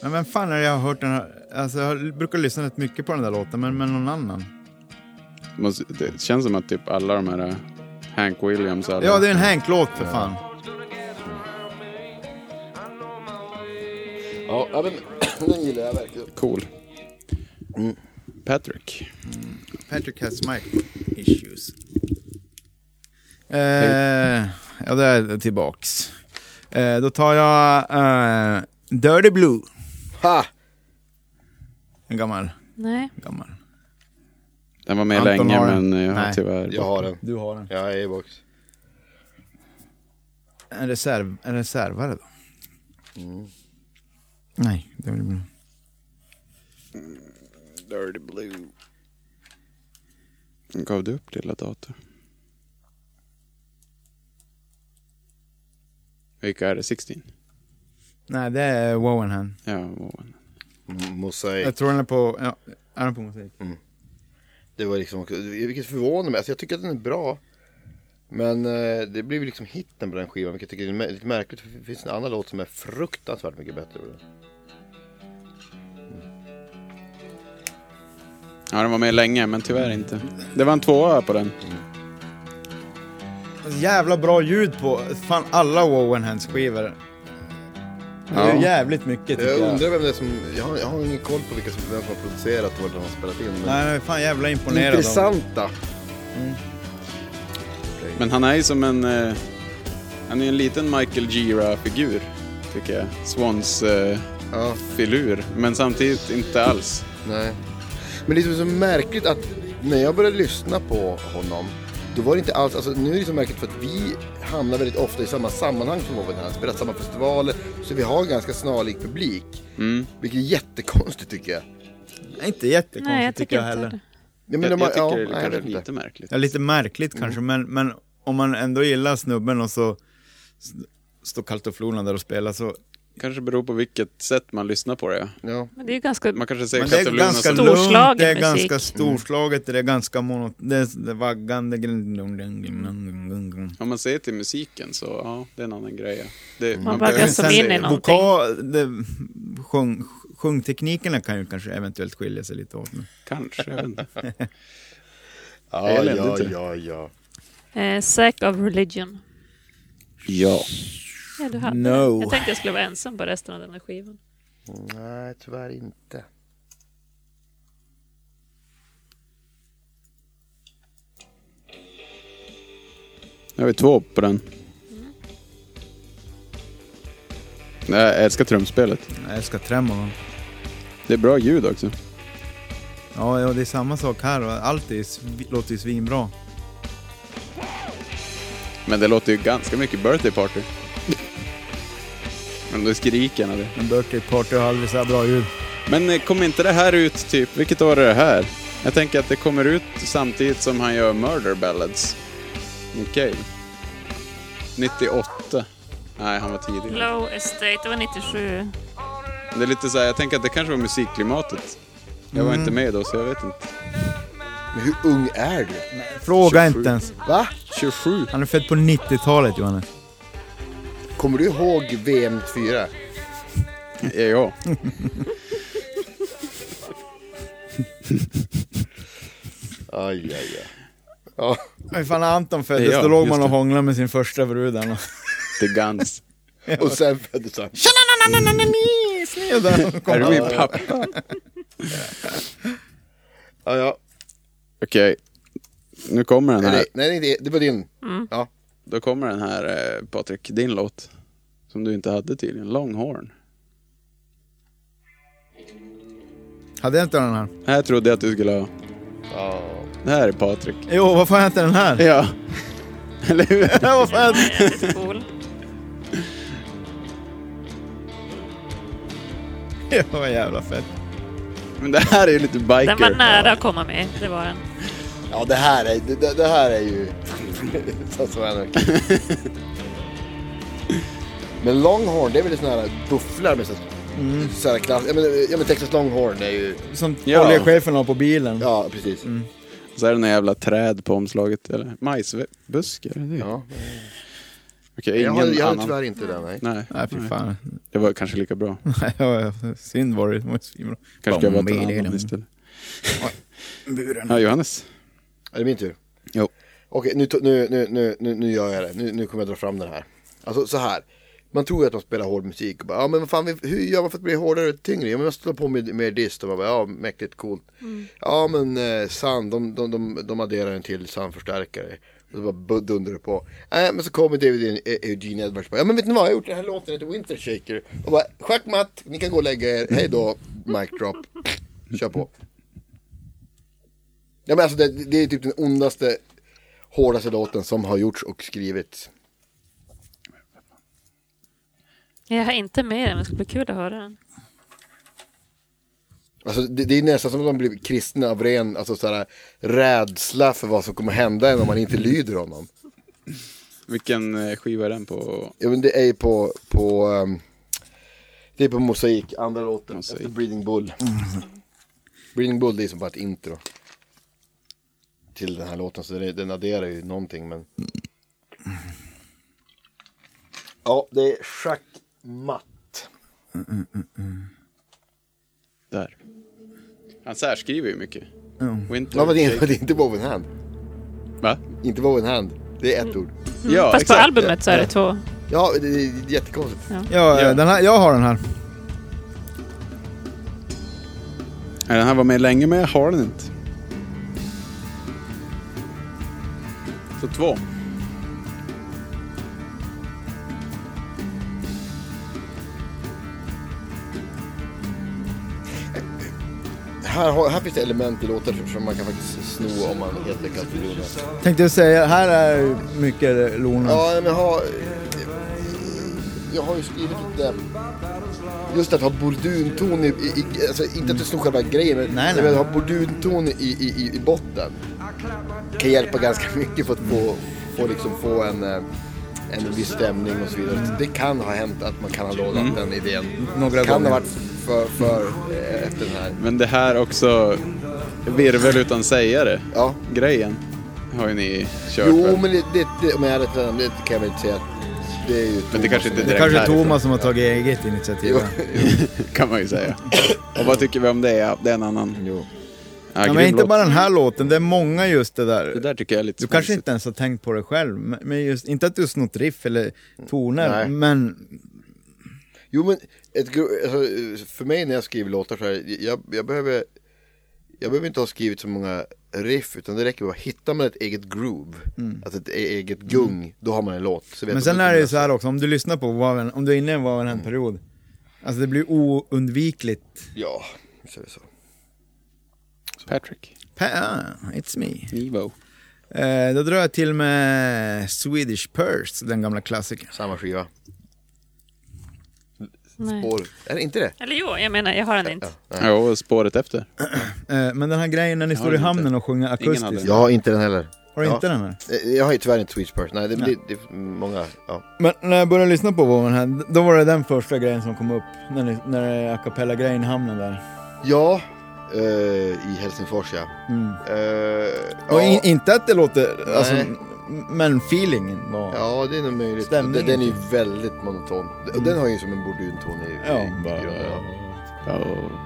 [SPEAKER 4] Men vem fan är det jag har hört den här? Alltså jag brukar lyssna rätt mycket på den där låten, men med någon annan.
[SPEAKER 1] Måste- Det känns som att typ alla de här äh, Hank Williams alla.
[SPEAKER 4] Ja, det är en Hank-låt för fan.
[SPEAKER 5] Ja, ja, men den gillar jag verkligen.
[SPEAKER 1] Cool.
[SPEAKER 4] Mm.
[SPEAKER 1] Patrick.
[SPEAKER 4] Patrick has mic issues. Eh, ja, det är tillbaks. Eh, då tar jag eh, Dirty Blue.
[SPEAKER 5] Ha!
[SPEAKER 4] En gammal,
[SPEAKER 3] Nej.
[SPEAKER 4] gammal.
[SPEAKER 1] Den var med
[SPEAKER 4] Anton
[SPEAKER 1] länge
[SPEAKER 4] har den.
[SPEAKER 1] men äh, jag har
[SPEAKER 4] Nej.
[SPEAKER 1] tyvärr...
[SPEAKER 5] Jag har den.
[SPEAKER 4] Du har den.
[SPEAKER 5] Jag är i box.
[SPEAKER 4] En, reserv, en reservare då? Nej, Dirty Blue.
[SPEAKER 1] Dirty Blue. Gav du upp lilla dator? Vilka är det? 16?
[SPEAKER 4] Nej, det är Wowenhan.
[SPEAKER 1] Ja, Wowan.
[SPEAKER 5] M- Mosaik.
[SPEAKER 4] Jag tror den är på... Ja, är den på musik?
[SPEAKER 5] Det var liksom också, vilket förvånar mig. Alltså jag tycker att den är bra. Men eh, det blev ju liksom hitten på den skivan, vilket jag tycker är mä- lite märkligt. För det finns en annan låt som är fruktansvärt mycket bättre. på den.
[SPEAKER 1] Ja, den var med länge men tyvärr inte. Det var en tvåa på den.
[SPEAKER 4] Jävla bra ljud på fan alla Wowenhans skivor. Det är
[SPEAKER 1] Ja.
[SPEAKER 4] jävligt mycket tycker
[SPEAKER 5] Jag
[SPEAKER 4] jag.
[SPEAKER 5] undrar vem det är som, jag har, jag har ingen koll på vilka som, vem som har producerat och vad de har spelat in. Men
[SPEAKER 4] Nej, jag är fan jävla imponerad av
[SPEAKER 5] intressanta.
[SPEAKER 1] Men han är ju som en... Eh, han är en liten Michael Gira-figur. Tycker jag. Swans eh,
[SPEAKER 5] Ja,
[SPEAKER 1] filur. Men samtidigt inte alls.
[SPEAKER 5] nej. Men det är liksom så märkligt att när jag började lyssna på honom, då var det inte alls, alltså nu är det så märkligt för att vi hamnar väldigt ofta i samma sammanhang som Owen Han spelat samma festivaler, så vi har ganska snarlik publik.
[SPEAKER 1] Mm.
[SPEAKER 5] Vilket är jättekonstigt tycker jag.
[SPEAKER 4] Nej, Inte jättekonstigt
[SPEAKER 3] Nej, jag
[SPEAKER 4] tycker
[SPEAKER 3] tycker
[SPEAKER 4] jag
[SPEAKER 3] inte
[SPEAKER 4] heller.
[SPEAKER 3] det.
[SPEAKER 5] Ja,
[SPEAKER 1] jag,
[SPEAKER 5] de
[SPEAKER 1] jag tycker
[SPEAKER 5] har-
[SPEAKER 1] det
[SPEAKER 5] ja,
[SPEAKER 1] är
[SPEAKER 5] nej, jag
[SPEAKER 1] kanske
[SPEAKER 5] vet
[SPEAKER 1] lite
[SPEAKER 5] inte.
[SPEAKER 1] märkligt.
[SPEAKER 4] Ja, lite märkligt kanske, men, men om man ändå gillar snubben och så s- står kallt och flolan där och spelar så...
[SPEAKER 1] Kanske beror på vilket sätt man lyssnar på det. ja.
[SPEAKER 5] Ja.
[SPEAKER 3] Men det är ju ganska...
[SPEAKER 1] Man kanske säger
[SPEAKER 4] Men det är
[SPEAKER 1] Kataluna
[SPEAKER 4] ganska
[SPEAKER 1] som-
[SPEAKER 3] Storslagen
[SPEAKER 4] lugnt, det är
[SPEAKER 3] musik.
[SPEAKER 4] ganska storslaget, det är ganska monot... Det är det är vaggande... grun- grun- grun- grun- grun- grun.
[SPEAKER 1] Om man ser till musiken så, ja, det är en annan grej. ja. Det, man
[SPEAKER 3] bara
[SPEAKER 1] behöver-
[SPEAKER 3] Jag gasar
[SPEAKER 4] Sen
[SPEAKER 3] in i någonting.
[SPEAKER 4] Vokal... det- Sjung, sjungteknikerna kan ju kanske eventuellt skilja sig lite åt. Men.
[SPEAKER 1] Kanske, jag vet inte.
[SPEAKER 5] Ja,
[SPEAKER 1] Eller
[SPEAKER 5] ja,
[SPEAKER 1] inte.
[SPEAKER 5] ja, ja.
[SPEAKER 3] Eh, Sack of Religion.
[SPEAKER 1] Ja.
[SPEAKER 3] Ja, du hade
[SPEAKER 4] No.
[SPEAKER 3] det. Jag tänkte jag skulle vara ensam på resten av den här skivan.
[SPEAKER 5] Nej, tyvärr inte.
[SPEAKER 1] Nu har vi två på den. Nej, jag älskar trumspelet.
[SPEAKER 4] Jag älskar tremolon.
[SPEAKER 1] Det är bra ljud också.
[SPEAKER 4] Ja, ja, det är samma sak här. och Allt är, svi- låter ju svinbra.
[SPEAKER 1] Men det låter ju ganska mycket birthday party. Men då skriker han av det.
[SPEAKER 4] Men Birthday Party har aldrig så här bra ljud.
[SPEAKER 1] Men eh, kom inte det här ut typ, vilket år är det här? Jag tänker att det kommer ut samtidigt som han gör Murder Ballads. Okej. 98. Nej, han var tidigare.
[SPEAKER 3] Low Estate, det var 97.
[SPEAKER 1] Det är lite så här, jag tänker att det kanske var musikklimatet. Jag var inte med då, så jag vet inte.
[SPEAKER 5] Men hur ung är du?
[SPEAKER 4] Fråga
[SPEAKER 1] 27.
[SPEAKER 4] inte ens.
[SPEAKER 5] Va?
[SPEAKER 1] 27.
[SPEAKER 4] Han är född på 90-talet, Johannes.
[SPEAKER 5] Kommer du ihåg VM 4?
[SPEAKER 1] Ja, ja.
[SPEAKER 5] Aj, aj, aj. Ja,
[SPEAKER 4] Men fan när Anton
[SPEAKER 1] Det
[SPEAKER 4] föddes
[SPEAKER 1] är jag,
[SPEAKER 4] då låg
[SPEAKER 1] just
[SPEAKER 4] man och
[SPEAKER 1] det.
[SPEAKER 4] hånglade med sin första brud. där.
[SPEAKER 1] The Guns.
[SPEAKER 5] och sen föddes han.
[SPEAKER 4] Och där kom
[SPEAKER 1] Är du
[SPEAKER 4] han.
[SPEAKER 1] min pappa?
[SPEAKER 5] Ja, ja.
[SPEAKER 1] Okej. Nu kommer den
[SPEAKER 5] Nej,
[SPEAKER 1] här.
[SPEAKER 5] det- nej, det, det var din. Ja.
[SPEAKER 1] Då kommer den här, eh, Patrik, din låt. Som du inte hade tydligen. Longhorn.
[SPEAKER 4] Hade jag inte den här?
[SPEAKER 1] Här trodde jag att du skulle ha...
[SPEAKER 5] Ja.
[SPEAKER 1] Det här är Patrik.
[SPEAKER 4] Jo, varför har jag inte den här?
[SPEAKER 1] Ja. Eller hur?
[SPEAKER 4] varför har jag inte...
[SPEAKER 3] Jävligt cool.
[SPEAKER 4] Ja, vad jävla fett.
[SPEAKER 1] Men det här är ju lite biker.
[SPEAKER 3] Den var nära att komma med, det var den.
[SPEAKER 5] ja, det här är, det- det, det här är ju... så så är det. Men longhorn, det är väl sådana här bufflar med sådana mm. så här klass... Ja men, ja men Texas longhorn är ju...
[SPEAKER 4] Som
[SPEAKER 1] Ja.
[SPEAKER 4] oljechefen har på bilen.
[SPEAKER 5] Ja, precis.
[SPEAKER 1] Så är det några jävla träd på omslaget. Eller majsbuskar. Ja.
[SPEAKER 5] Ja.
[SPEAKER 1] Okej,
[SPEAKER 5] Jag
[SPEAKER 1] ingen
[SPEAKER 5] har, jag har
[SPEAKER 1] annan.
[SPEAKER 5] tyvärr inte den, nej.
[SPEAKER 1] Nej.
[SPEAKER 4] Nej, fy fan.
[SPEAKER 1] Det var kanske lika bra.
[SPEAKER 4] Nej, ja, ja, Synd var det. Det var ju svinbra.
[SPEAKER 1] Kanske ska jag
[SPEAKER 4] Bom,
[SPEAKER 1] vara
[SPEAKER 4] bil i
[SPEAKER 1] till annan
[SPEAKER 4] den.
[SPEAKER 1] istället.
[SPEAKER 4] Buren.
[SPEAKER 1] Ja, Johannes.
[SPEAKER 5] Är det min tur?
[SPEAKER 1] Jo.
[SPEAKER 5] Okej, nu, to- nu, nu, nu, nu, nu gör jag det. Nu, nu kommer jag dra fram den här. Alltså så här. Man tror ju att man spelar hård musik. Och bara, ja, men vad fan, vi- hur gör man för att bli hårdare och tyngre? Ja, men man slår på med mer dist. Och man bara, ja, mäktigt coolt. Ja, men eh, sand, de, de, de, de adderar en till sandförstärkare. Och så bara bud- dundrar det på. Äh, men så kommer David in, eh, Eugene Edwards och bara, ja men vet ni vad, jag har gjort den här låten, heter Winter Shaker. Och bara, schackmatt, ni kan gå och lägga er, hej då, mic drop. Kör på. Ja men alltså det, det är typ den ondaste, hårdaste låten som har gjorts och skrivits.
[SPEAKER 3] Jag har inte med den, men det skulle bli kul att höra den.
[SPEAKER 5] Alltså det, det är nästan som att de blir kristna av ren, alltså såhär rädsla för vad som kommer hända en om man inte lyder honom.
[SPEAKER 1] Vilken eh, skiva är den på?
[SPEAKER 5] Ja men det är ju på, på, ehm, det är på Mosaik, andra låten,
[SPEAKER 1] Mosaik.
[SPEAKER 5] efter Breeding Bull. Breeding Bull det är som bara ett intro. Till den här låten, så det, den adderar ju någonting men. Ja, det är schackmatt.
[SPEAKER 1] Där. Han särskriver ju mycket. Winter.
[SPEAKER 5] Ja, men det, är,
[SPEAKER 1] Shake-
[SPEAKER 5] det är inte Woven Hand.
[SPEAKER 1] Va?
[SPEAKER 5] Inte Woven Hand. Det är ett ord.
[SPEAKER 1] Ja,
[SPEAKER 3] Mm. Fast på
[SPEAKER 1] exakt.
[SPEAKER 3] albumet så är det två.
[SPEAKER 5] Ja, det är jättekonstigt.
[SPEAKER 4] Ja, eh,
[SPEAKER 1] Ja.
[SPEAKER 4] Den här, jag har den här.
[SPEAKER 1] Ja, Den här var med länge men jag har den inte. Så två.
[SPEAKER 5] Här, har- här finns det element i låtar som man kan faktiskt sno om man helt lyckas med det.
[SPEAKER 4] Tänkte jag säga, här är ju mycket Lorna.
[SPEAKER 5] Ja, men jag har... Jag har ju skrivit lite... Just att ha bourdunton i... i i- alltså, inte att du snor själva grejen, men,
[SPEAKER 4] Nej, nej.
[SPEAKER 5] men att ha bourdunton i, i, i, i botten. Kan hjälpa ganska mycket för att få, få, liksom få en... eh, En viss stämning och så vidare. Så Det kan ha hänt att man kan ha lånat den idén.
[SPEAKER 4] Mm. Några
[SPEAKER 5] kan
[SPEAKER 4] gånger.
[SPEAKER 5] ha varit för, för eh, efter den här.
[SPEAKER 1] Men det här också, virvel utan sägare,
[SPEAKER 5] Ja.
[SPEAKER 1] grejen, har ju ni kört
[SPEAKER 5] Jo,
[SPEAKER 1] väl?
[SPEAKER 5] men det, det, det, om jag hade tränat det kan jag väl inte säga att det är ju
[SPEAKER 1] Men det kanske inte
[SPEAKER 4] Det
[SPEAKER 1] direkt
[SPEAKER 4] kanske är
[SPEAKER 1] härifrån.
[SPEAKER 4] Thomas som har tagit eget initiativ.
[SPEAKER 5] Jo.
[SPEAKER 4] här.
[SPEAKER 1] kan man ju säga. Och vad tycker vi om det? Ja, det är en annan.
[SPEAKER 5] Jo.
[SPEAKER 1] Ja,
[SPEAKER 4] Ja,
[SPEAKER 1] grym
[SPEAKER 4] men inte
[SPEAKER 1] låt.
[SPEAKER 4] bara den här låten, det är många just det där.
[SPEAKER 1] Det där tycker jag är lite
[SPEAKER 4] Du kanske
[SPEAKER 1] småsigt.
[SPEAKER 4] inte ens har tänkt på det själv, men- men just, inte att du har snott riff eller toner,
[SPEAKER 5] Nej.
[SPEAKER 4] men
[SPEAKER 5] Jo, men ett, gro- alltså, för mig när jag skriver låtar så här, jag, jag behöver jag behöver inte ha skrivit så många riff utan det räcker med att hittar man ett eget groove, alltså ett e- eget gung, då har man en låt. Så vet
[SPEAKER 4] Mm. Men
[SPEAKER 5] man
[SPEAKER 4] sen
[SPEAKER 5] inte
[SPEAKER 4] är det ju
[SPEAKER 5] mer.
[SPEAKER 4] så här också, om du lyssnar på Waven, om du är inne i en Waven mm. period Alltså det blir oundvikligt.
[SPEAKER 5] Ja, visst är det så.
[SPEAKER 1] Patrick.
[SPEAKER 4] Pa, ah, it's me.
[SPEAKER 1] Nivo.
[SPEAKER 4] Eh, då drar jag till med Swedish Purse, den gamla klassikern.
[SPEAKER 5] Samma skiva.
[SPEAKER 3] Nej.
[SPEAKER 5] Spår. Är det inte det?
[SPEAKER 3] Eller jo, jag menar, jag har den inte.
[SPEAKER 1] Ja, och spåret efter.
[SPEAKER 4] Eh, men den här grejen när ni
[SPEAKER 1] Jag
[SPEAKER 4] står
[SPEAKER 1] har
[SPEAKER 4] i
[SPEAKER 1] den
[SPEAKER 4] hamnen
[SPEAKER 1] inte.
[SPEAKER 4] och sjunger akustiskt.
[SPEAKER 1] hade den.
[SPEAKER 5] Jag har inte den heller.
[SPEAKER 4] Har du
[SPEAKER 5] Ja.
[SPEAKER 4] inte den här?
[SPEAKER 5] Eh, Jag har ju tyvärr inte Swedish Purse, nej det,
[SPEAKER 4] Nej.
[SPEAKER 5] det, det är många, ja.
[SPEAKER 4] Men när jag började lyssna på Waven här, då var det den första grejen som kom upp. När, ni, när det är a cappella-grejen i hamnen där.
[SPEAKER 5] Ja, eh, i Helsingfors ja.
[SPEAKER 4] Mm.
[SPEAKER 5] Eh,
[SPEAKER 4] Och
[SPEAKER 5] ja.
[SPEAKER 4] in, inte att det låter, alltså,
[SPEAKER 5] Nej.
[SPEAKER 4] m- men feelingen var...
[SPEAKER 5] ja, det är nog möjligt.
[SPEAKER 4] Stämningen.
[SPEAKER 5] Den, den är ju väldigt monoton. Den- Den har ju som en bordunton i,
[SPEAKER 4] Ja,
[SPEAKER 5] i
[SPEAKER 1] bara-
[SPEAKER 5] grunden. ja.
[SPEAKER 1] Ja, och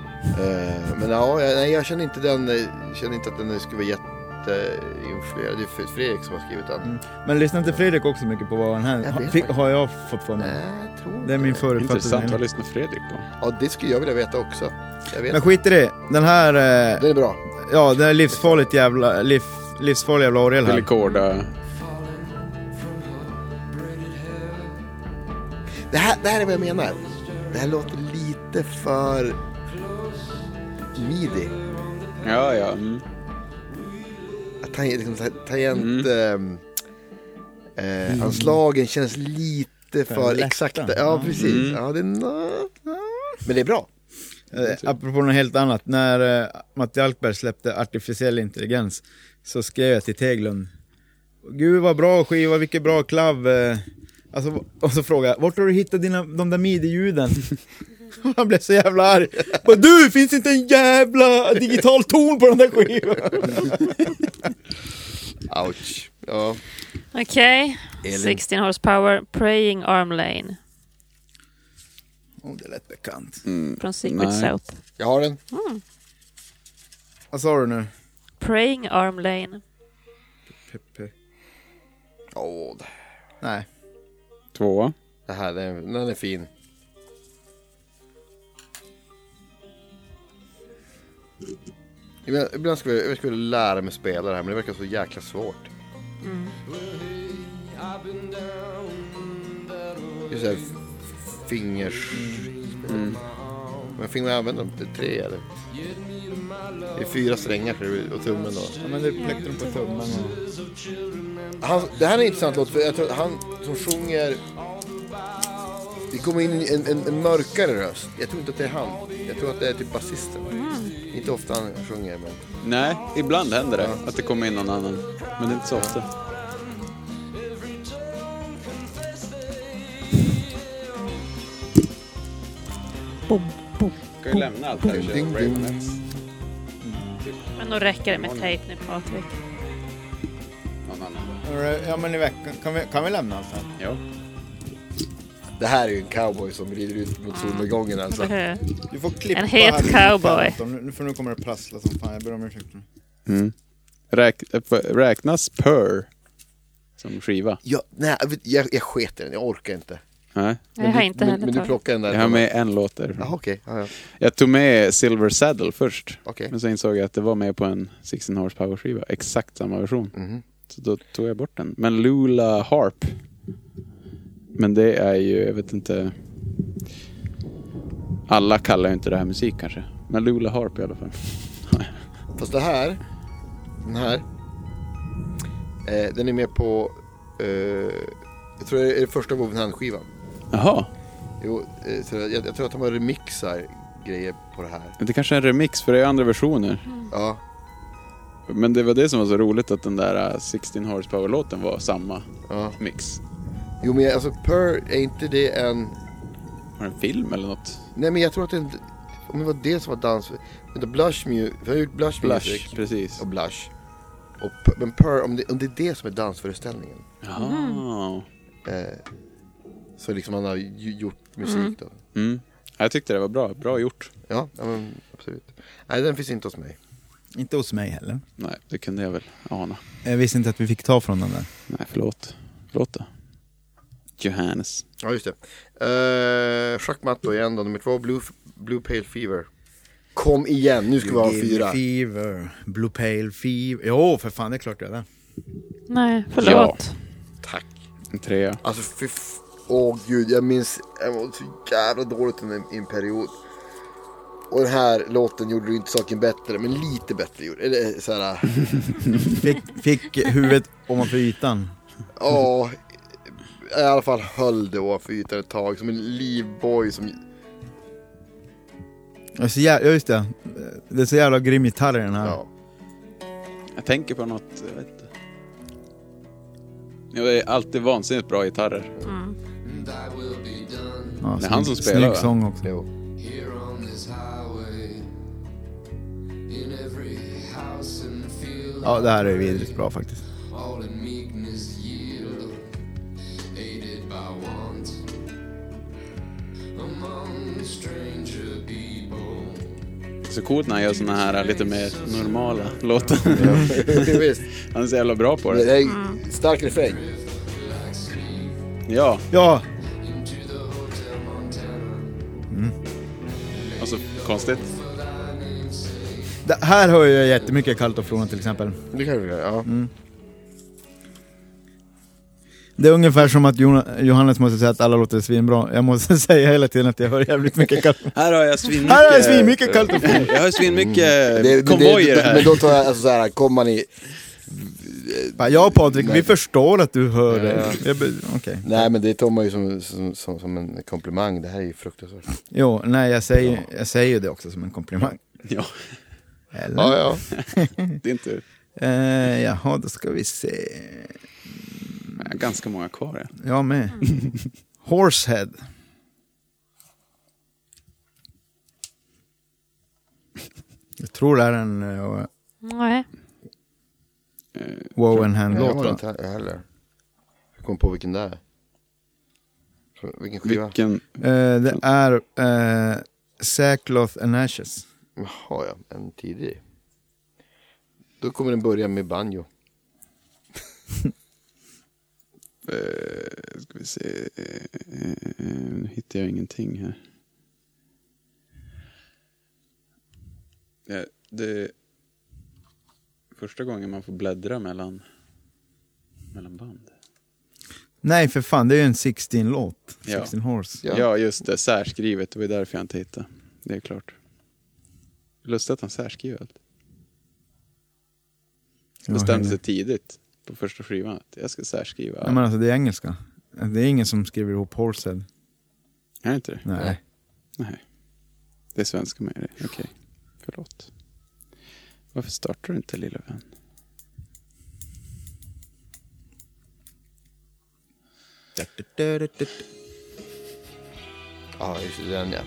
[SPEAKER 5] Eh, men ja, jag, nej, jag känner inte den, eh, känner inte att den skulle vara jätteinfluerad. Det är Fre- Fredrik som har skrivit den.
[SPEAKER 4] Men lyssnar inte Fredrik också mycket på Waven här?
[SPEAKER 5] Jag vet Eh,
[SPEAKER 4] Har, har jag fått för mig.
[SPEAKER 5] Nej, jag tror
[SPEAKER 4] Det
[SPEAKER 5] inte
[SPEAKER 4] är min förutfattade
[SPEAKER 1] intressant. Vad
[SPEAKER 4] mening.
[SPEAKER 1] lyssnar Fredrik på?
[SPEAKER 5] Ja, det skulle jag vilja veta också. Jag vet.
[SPEAKER 4] Men skit i det. Den här, eh,
[SPEAKER 5] Den är bra.
[SPEAKER 4] ja den är livsfarligt jävla, liv, livsfarlig jävla orgel
[SPEAKER 1] Billy
[SPEAKER 4] här.
[SPEAKER 1] Corda.
[SPEAKER 5] Det här, det här är vad jag menar. Det här låter lite för... midi.
[SPEAKER 1] Ja, ja. mm.
[SPEAKER 5] Tangent, liksom, ta- tangent ehm, eh, eh, anslagen känns lite för,
[SPEAKER 4] lätta.
[SPEAKER 5] exakta. Ja, precis. Ja, det är nå- Mm. Men det är bra.
[SPEAKER 4] Eh, apropå något helt annat, när eh, Matti Alkberg släppte Artificiell intelligens så skrev jag till Teglund. Gud vad bra skiva, vilket bra klav. Eh, alltså, och så frågade jag, vart har du hittat dina, de där midi-ljuden? Han blev så jävla arg. Bara, du, finns inte en jävla digital ton på den där skivan?
[SPEAKER 5] Ouch. Ja.
[SPEAKER 3] Okej.
[SPEAKER 5] Elin.
[SPEAKER 3] 16 horsepower, Praying Arm Lane
[SPEAKER 4] Oh, det lät bekant.
[SPEAKER 3] från Secret
[SPEAKER 1] Nej.
[SPEAKER 3] South. Mm.
[SPEAKER 5] Jag har den.
[SPEAKER 4] Vad sa du nu?
[SPEAKER 3] Praying Arm Lane.
[SPEAKER 4] Pepe.
[SPEAKER 5] Åh, det-
[SPEAKER 4] Nej.
[SPEAKER 1] Tvåa.
[SPEAKER 5] det här den, den är fin. Ibland, ibland skulle jag, jag skulle lära mig spela det här, men det verkar så jäkla svårt. Just det här, f- fingers... Men fingrarna använder de inte tre eller? Det är fyra strängar så det blir- och tummen då.
[SPEAKER 4] Ja, men det är plektrum på tummen och...
[SPEAKER 5] Han, det här är en intressant låt för jag tror att han som sjunger... Det kommer in en, en, en mörkare röst. Jag tror inte att det är han. Jag tror att det är typ basisten. Inte ofta han sjunger men...
[SPEAKER 1] Nej, ibland händer det att det kommer in någon annan. Men det är inte så ofta. Ska vi lämna allt här och köra
[SPEAKER 5] Ding, ding.
[SPEAKER 1] Ravenettes?
[SPEAKER 3] Men då räcker det med tejp nu Patrik.
[SPEAKER 1] Någon annan?
[SPEAKER 4] Ja men i veckan, kan vi, kan vi lämna allt här?
[SPEAKER 1] Ja.
[SPEAKER 5] Det här är ju en cowboy som rider ut mot solnedgången alltså.
[SPEAKER 3] Eller hur?
[SPEAKER 4] Du får klippa
[SPEAKER 3] En het
[SPEAKER 4] här till
[SPEAKER 3] cowboy.
[SPEAKER 4] 15, nu- För nu kommer det prassla som fan, jag ber om ursäkt.
[SPEAKER 1] Räk, äh, räknas per som skiva?
[SPEAKER 5] Jag, nej, jag vet- jag, jag sket i den. Jag orkar inte.
[SPEAKER 1] Nej.
[SPEAKER 3] Jag har
[SPEAKER 5] du,
[SPEAKER 3] inte
[SPEAKER 5] men, men
[SPEAKER 3] heller
[SPEAKER 5] du
[SPEAKER 3] tagit.
[SPEAKER 5] plockar den där.
[SPEAKER 1] Jag har med en låt där.
[SPEAKER 5] Jaha okej. Ja, ja.
[SPEAKER 1] Jag tog med Silver Saddle först.
[SPEAKER 5] Okej.
[SPEAKER 1] Men så insåg jag att det var med på en 16 Horsepower skiva. Exakt samma version.
[SPEAKER 5] Mhm.
[SPEAKER 1] Så då tog jag bort den. Men Lula Harp. Men det är ju, jag vet inte. Alla kallar ju inte det här musik kanske. Men Lula Harp i alla fall.
[SPEAKER 5] Fast det här, den här, eh, den är med på, eh, jag tror det är första Woven Hand-skivan.
[SPEAKER 1] Jaha,
[SPEAKER 5] Jo, eh, så jag, jag tror att de har remixar grejer på det här.
[SPEAKER 1] det kanske är en remix för det är andra versioner.
[SPEAKER 5] Ja,
[SPEAKER 1] Men det var det som var så roligt att den där äh, 16 Horsepower-låten var samma
[SPEAKER 5] ja.
[SPEAKER 1] mix.
[SPEAKER 5] Jo men jag- alltså Per, är inte det en,
[SPEAKER 1] Har den en film eller något?
[SPEAKER 5] nej men jag tror att det är en, om det var det som var dans, vänta Blush Music, vi har gjort Blush, Music
[SPEAKER 1] Blush, precis.
[SPEAKER 5] och Blush. Och, Per- men Per, om det, om det är det som är dansföreställningen,
[SPEAKER 1] Jaha.
[SPEAKER 5] eh, så liksom han har ju, gjort musik då.
[SPEAKER 1] Mm. Jag tyckte det var bra. Bra gjort.
[SPEAKER 5] Ja, ja men absolut. Nej, den finns inte hos mig.
[SPEAKER 4] Inte hos mig heller.
[SPEAKER 1] Nej, det kunde jag väl ana.
[SPEAKER 4] Jag visste inte att vi fick ta från den där.
[SPEAKER 1] Nej, förlåt. Förlåt då. Johannes.
[SPEAKER 5] Ja, just det. Uh, Schackmatt då igen då, nummer två, Blue, Blue Pale Fever. Kom igen, nu ska vi ha fyra.
[SPEAKER 4] Fever, Blue Pale Fever. Jo, för fan, det är klart jag är det.
[SPEAKER 3] Nej, förlåt.
[SPEAKER 5] Tack.
[SPEAKER 1] En trea.
[SPEAKER 5] Alltså fy f- Åh gud, jag minns, jag var så jävla dåligt under en, i en period. Och den här låten gjorde ju inte saken bättre, men lite bättre gjorde Eller eh, såhär,
[SPEAKER 4] Fick, fick huvudet ovanför ytan.
[SPEAKER 5] ja. I alla fall höll det ovanför ytan ett tag, som en livboj som...
[SPEAKER 4] Jag är så jä- Ja, just det. Det är så jävla grym gitarr i den här.
[SPEAKER 5] Ja.
[SPEAKER 1] Jag tänker på något, jag vet inte. Ja, Det är alltid vansinnigt bra gitarrer.
[SPEAKER 4] Ja,
[SPEAKER 1] Det är han som
[SPEAKER 4] snygg-
[SPEAKER 1] spelar,
[SPEAKER 4] Snygg
[SPEAKER 1] va?
[SPEAKER 4] sång också.
[SPEAKER 5] Jo.
[SPEAKER 7] Here on this highway, in every house and field,
[SPEAKER 4] Ja, det här är vidrigt bra faktiskt.
[SPEAKER 7] all in meekness yield, aided by want. Among stranger people,
[SPEAKER 1] Så coolt när han gör såna här lite mer normala låtar.
[SPEAKER 5] Visst,
[SPEAKER 1] Han är så jävla bra på
[SPEAKER 5] det
[SPEAKER 1] det.
[SPEAKER 5] är en stark refräng.
[SPEAKER 1] Ja,
[SPEAKER 4] Ja,
[SPEAKER 7] into the Hotel Montana.
[SPEAKER 1] alltså konstigt.
[SPEAKER 4] det här hör jag
[SPEAKER 5] Mm.
[SPEAKER 4] jättemycket Kallt och Frona till exempel.
[SPEAKER 5] Det kan du göra, ja.
[SPEAKER 4] Det är ungefär som att Jona- Johannes måste säga att alla låter svinbra. Jag måste säga hela tiden att jag hör jävligt mycket kallt.
[SPEAKER 1] Här har jag svinmycket.
[SPEAKER 4] Här har jag svinmycket kallt och fint.
[SPEAKER 1] Jag har svinmycket
[SPEAKER 5] Det-
[SPEAKER 1] konvojer
[SPEAKER 5] Eh, det-
[SPEAKER 1] här.
[SPEAKER 5] Men då tar jag, alltså så här, kommer man i...
[SPEAKER 4] Bara, Ja Patrik, vi förstår att du hör det. Jag be- Okej.
[SPEAKER 5] Nej men det tar man ju som, som, som, som en komplimang, det här är ju fruktansvärt.
[SPEAKER 4] Jo, nej jag säger, jag säger det också som en komplimang.
[SPEAKER 1] Ja,
[SPEAKER 4] Eller?
[SPEAKER 5] Ja, ja.
[SPEAKER 1] det är inte...
[SPEAKER 4] Eh, jaha, då ska vi se.
[SPEAKER 1] Jag har ganska många kvar. Jag.
[SPEAKER 4] Jag med. Horsehead. Jag tror det är en uh,
[SPEAKER 3] Nej.
[SPEAKER 4] Wow and hand
[SPEAKER 5] Jag har
[SPEAKER 4] låt
[SPEAKER 5] inte
[SPEAKER 4] va?
[SPEAKER 5] he- heller. Jag kom på vilken det är. Så, Vilken skiva?
[SPEAKER 1] Vilken...
[SPEAKER 4] Eh, Det är uh, Sackcloth and Ashes.
[SPEAKER 5] Jaha ja, en tidig. Då kommer den börja med banjo.
[SPEAKER 1] Eh, ska vi se. Eh, eh, nu hittar jag ingenting här. Ja, Eh, det är första gången man får bläddra mellan, mellan band.
[SPEAKER 4] Nej för fan, det är ju en 16-låt.
[SPEAKER 1] Ja.
[SPEAKER 4] 16 Horse.
[SPEAKER 5] Ja.
[SPEAKER 1] Ja. just det. Särskrivet. Det var därför jag inte hittade. Det är klart. Lustigt att han särskriver allt.
[SPEAKER 4] Ja,
[SPEAKER 1] Bestämde sig
[SPEAKER 4] herregud.
[SPEAKER 1] tidigt på första skivan att jag ska särskriva
[SPEAKER 4] Nej,
[SPEAKER 1] allt.
[SPEAKER 4] men alltså det är engelska. Det är ingen som skriver ihop Horsehead.
[SPEAKER 1] Är det inte det?
[SPEAKER 4] Nej.
[SPEAKER 1] Nej. Det är svenska med det. Okej. Förlåt. Varför startar du inte lilla vän?
[SPEAKER 5] Ja, just det, den ja.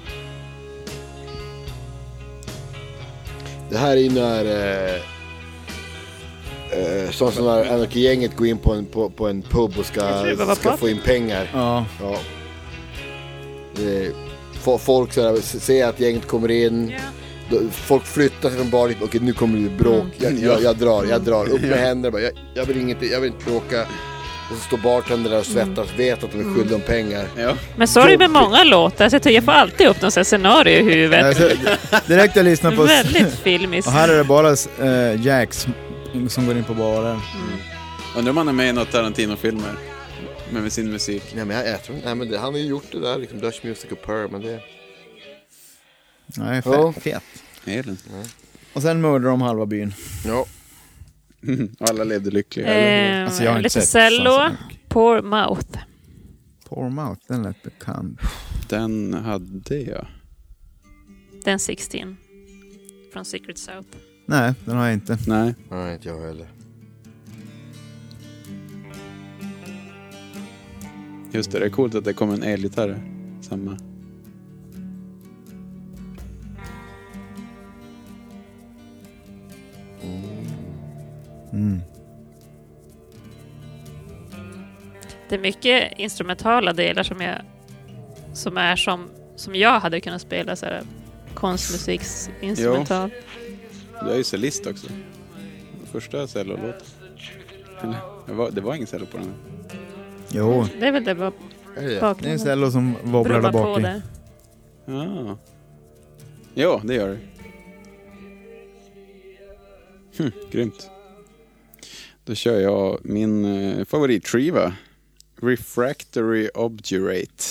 [SPEAKER 5] Det här är ju när... Eh, eh, sånt som när Anarchy-gänget går in på en, på, på en pub och
[SPEAKER 3] Jag tror det
[SPEAKER 5] ska,
[SPEAKER 3] var
[SPEAKER 5] ska
[SPEAKER 3] Patrik.
[SPEAKER 5] få in pengar.
[SPEAKER 4] Ja.
[SPEAKER 5] Ja. Eh, fo- folk så här, s- ser att gänget kommer in. Då- Folk flyttar sig från baren. Okej, nu kommer det bråk. Jag, jag, jag drar, jag drar. Upp med händerna bara. Jag, jag, vill inget, jag vill inte bråka. Och så står bartendern där och svettas. Vet att de är skyldiga om pengar.
[SPEAKER 1] Ja.
[SPEAKER 3] Men så är det med många låtar, så jag, tycker jag får alltid upp någon sån här scenario i huvudet.
[SPEAKER 4] Alltså, direkt jag lyssnar på...
[SPEAKER 3] Väldigt filmiskt.
[SPEAKER 4] Och här är det bara eh, Jacks som går in på baren.
[SPEAKER 1] Undrar om han är med i något Tarantino-filmer. Men med sin musik.
[SPEAKER 5] Nej, men jag, jag tror inte... Nej, men det, han har ju gjort det där. Liksom, Dutch Music och Pearl. Men det...
[SPEAKER 4] Nej, fet.
[SPEAKER 5] Ja.
[SPEAKER 4] fet.
[SPEAKER 1] Elin.
[SPEAKER 4] Och sen mördar de halva byn.
[SPEAKER 5] Ja.
[SPEAKER 1] Och alla levde lyckliga. eller?
[SPEAKER 3] Ehm,
[SPEAKER 4] Alltså, jag har inte
[SPEAKER 3] lite
[SPEAKER 4] sett
[SPEAKER 3] cello,
[SPEAKER 4] Sunset
[SPEAKER 3] Poor Mouth.
[SPEAKER 4] Pormouth, den lät bekant.
[SPEAKER 1] Den hade jag.
[SPEAKER 3] Den 16. Från Secret South.
[SPEAKER 4] Nej, den har jag inte.
[SPEAKER 1] Nej.
[SPEAKER 5] Nej, inte jag heller.
[SPEAKER 1] Just det, det är coolt att det kom en elgitarr. här. Samma.
[SPEAKER 4] Mm.
[SPEAKER 3] Det är mycket instrumentala delar som, jag, som är som, som jag hade kunnat spela så här, konstmusiksinstrumental.
[SPEAKER 1] Du är ju cellist också. Första cellolåten. Eller, det var, det var ingen cello på den. här.
[SPEAKER 4] Jo,
[SPEAKER 3] Det är väl det bara
[SPEAKER 5] Är det?
[SPEAKER 4] det är en
[SPEAKER 3] bakgrunden
[SPEAKER 4] cello som wobblar där
[SPEAKER 3] brummar
[SPEAKER 4] bak
[SPEAKER 3] på
[SPEAKER 4] i.
[SPEAKER 3] där.
[SPEAKER 1] Ja. Ja, Ah. det gör det. Hm, grymt. Då kör jag min eh, favoritskiva. Refractory Obdurate.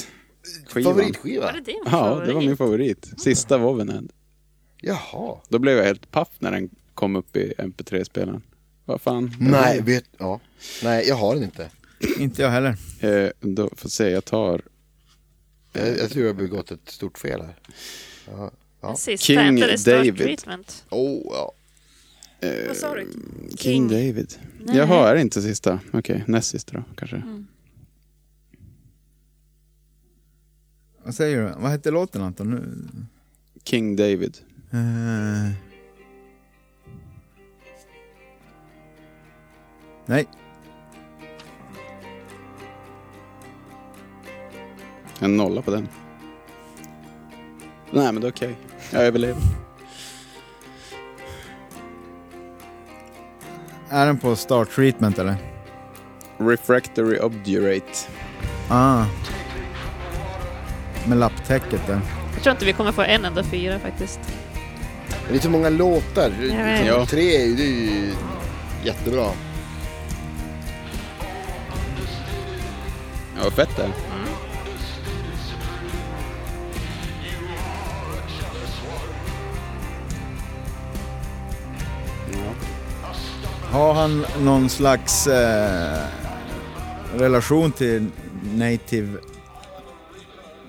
[SPEAKER 1] Skivan.
[SPEAKER 5] Favoritskiva?
[SPEAKER 3] Var det din
[SPEAKER 1] Ja, det var min
[SPEAKER 3] favorit?
[SPEAKER 1] favorit. Sista Wovenhead.
[SPEAKER 5] Jaha.
[SPEAKER 1] Då blev jag helt paff när den kom upp i MP3-spelaren. Vad fan?
[SPEAKER 5] Nej, vet... Ja. Nej, jag har den inte.
[SPEAKER 4] Inte jag heller.
[SPEAKER 1] Eh, då får se, jag tar
[SPEAKER 5] Jag, jag tror jag har begått ett stort fel här. Ja. Ja.
[SPEAKER 3] Den sista
[SPEAKER 1] King
[SPEAKER 3] inte, det står
[SPEAKER 1] David. Eh,
[SPEAKER 3] Treatment.
[SPEAKER 5] Oh, ja.
[SPEAKER 3] Vad sa du?
[SPEAKER 1] King
[SPEAKER 3] King.
[SPEAKER 1] David.
[SPEAKER 3] Nej.
[SPEAKER 1] Jaha, är det inte sista? Okej, näst sista då kanske.
[SPEAKER 4] Vad säger du? Vad hette låten Anton? Nu?
[SPEAKER 1] King David.
[SPEAKER 4] Eh. Nej,
[SPEAKER 1] En nolla på den. Nej, men det är okej. Jag överlever.
[SPEAKER 4] är den på Star Treatment eller?
[SPEAKER 1] Refractory Obdurate.
[SPEAKER 4] Ah. Med lapptäcket där.
[SPEAKER 3] Jag tror inte vi kommer få en enda fyra faktiskt.
[SPEAKER 5] Det är så många låtar. Liksom
[SPEAKER 3] vet.
[SPEAKER 1] Ja.
[SPEAKER 5] Tre är ju- det är ju jättebra.
[SPEAKER 1] Vad fett det är.
[SPEAKER 4] Har han någon slags eh, relation till native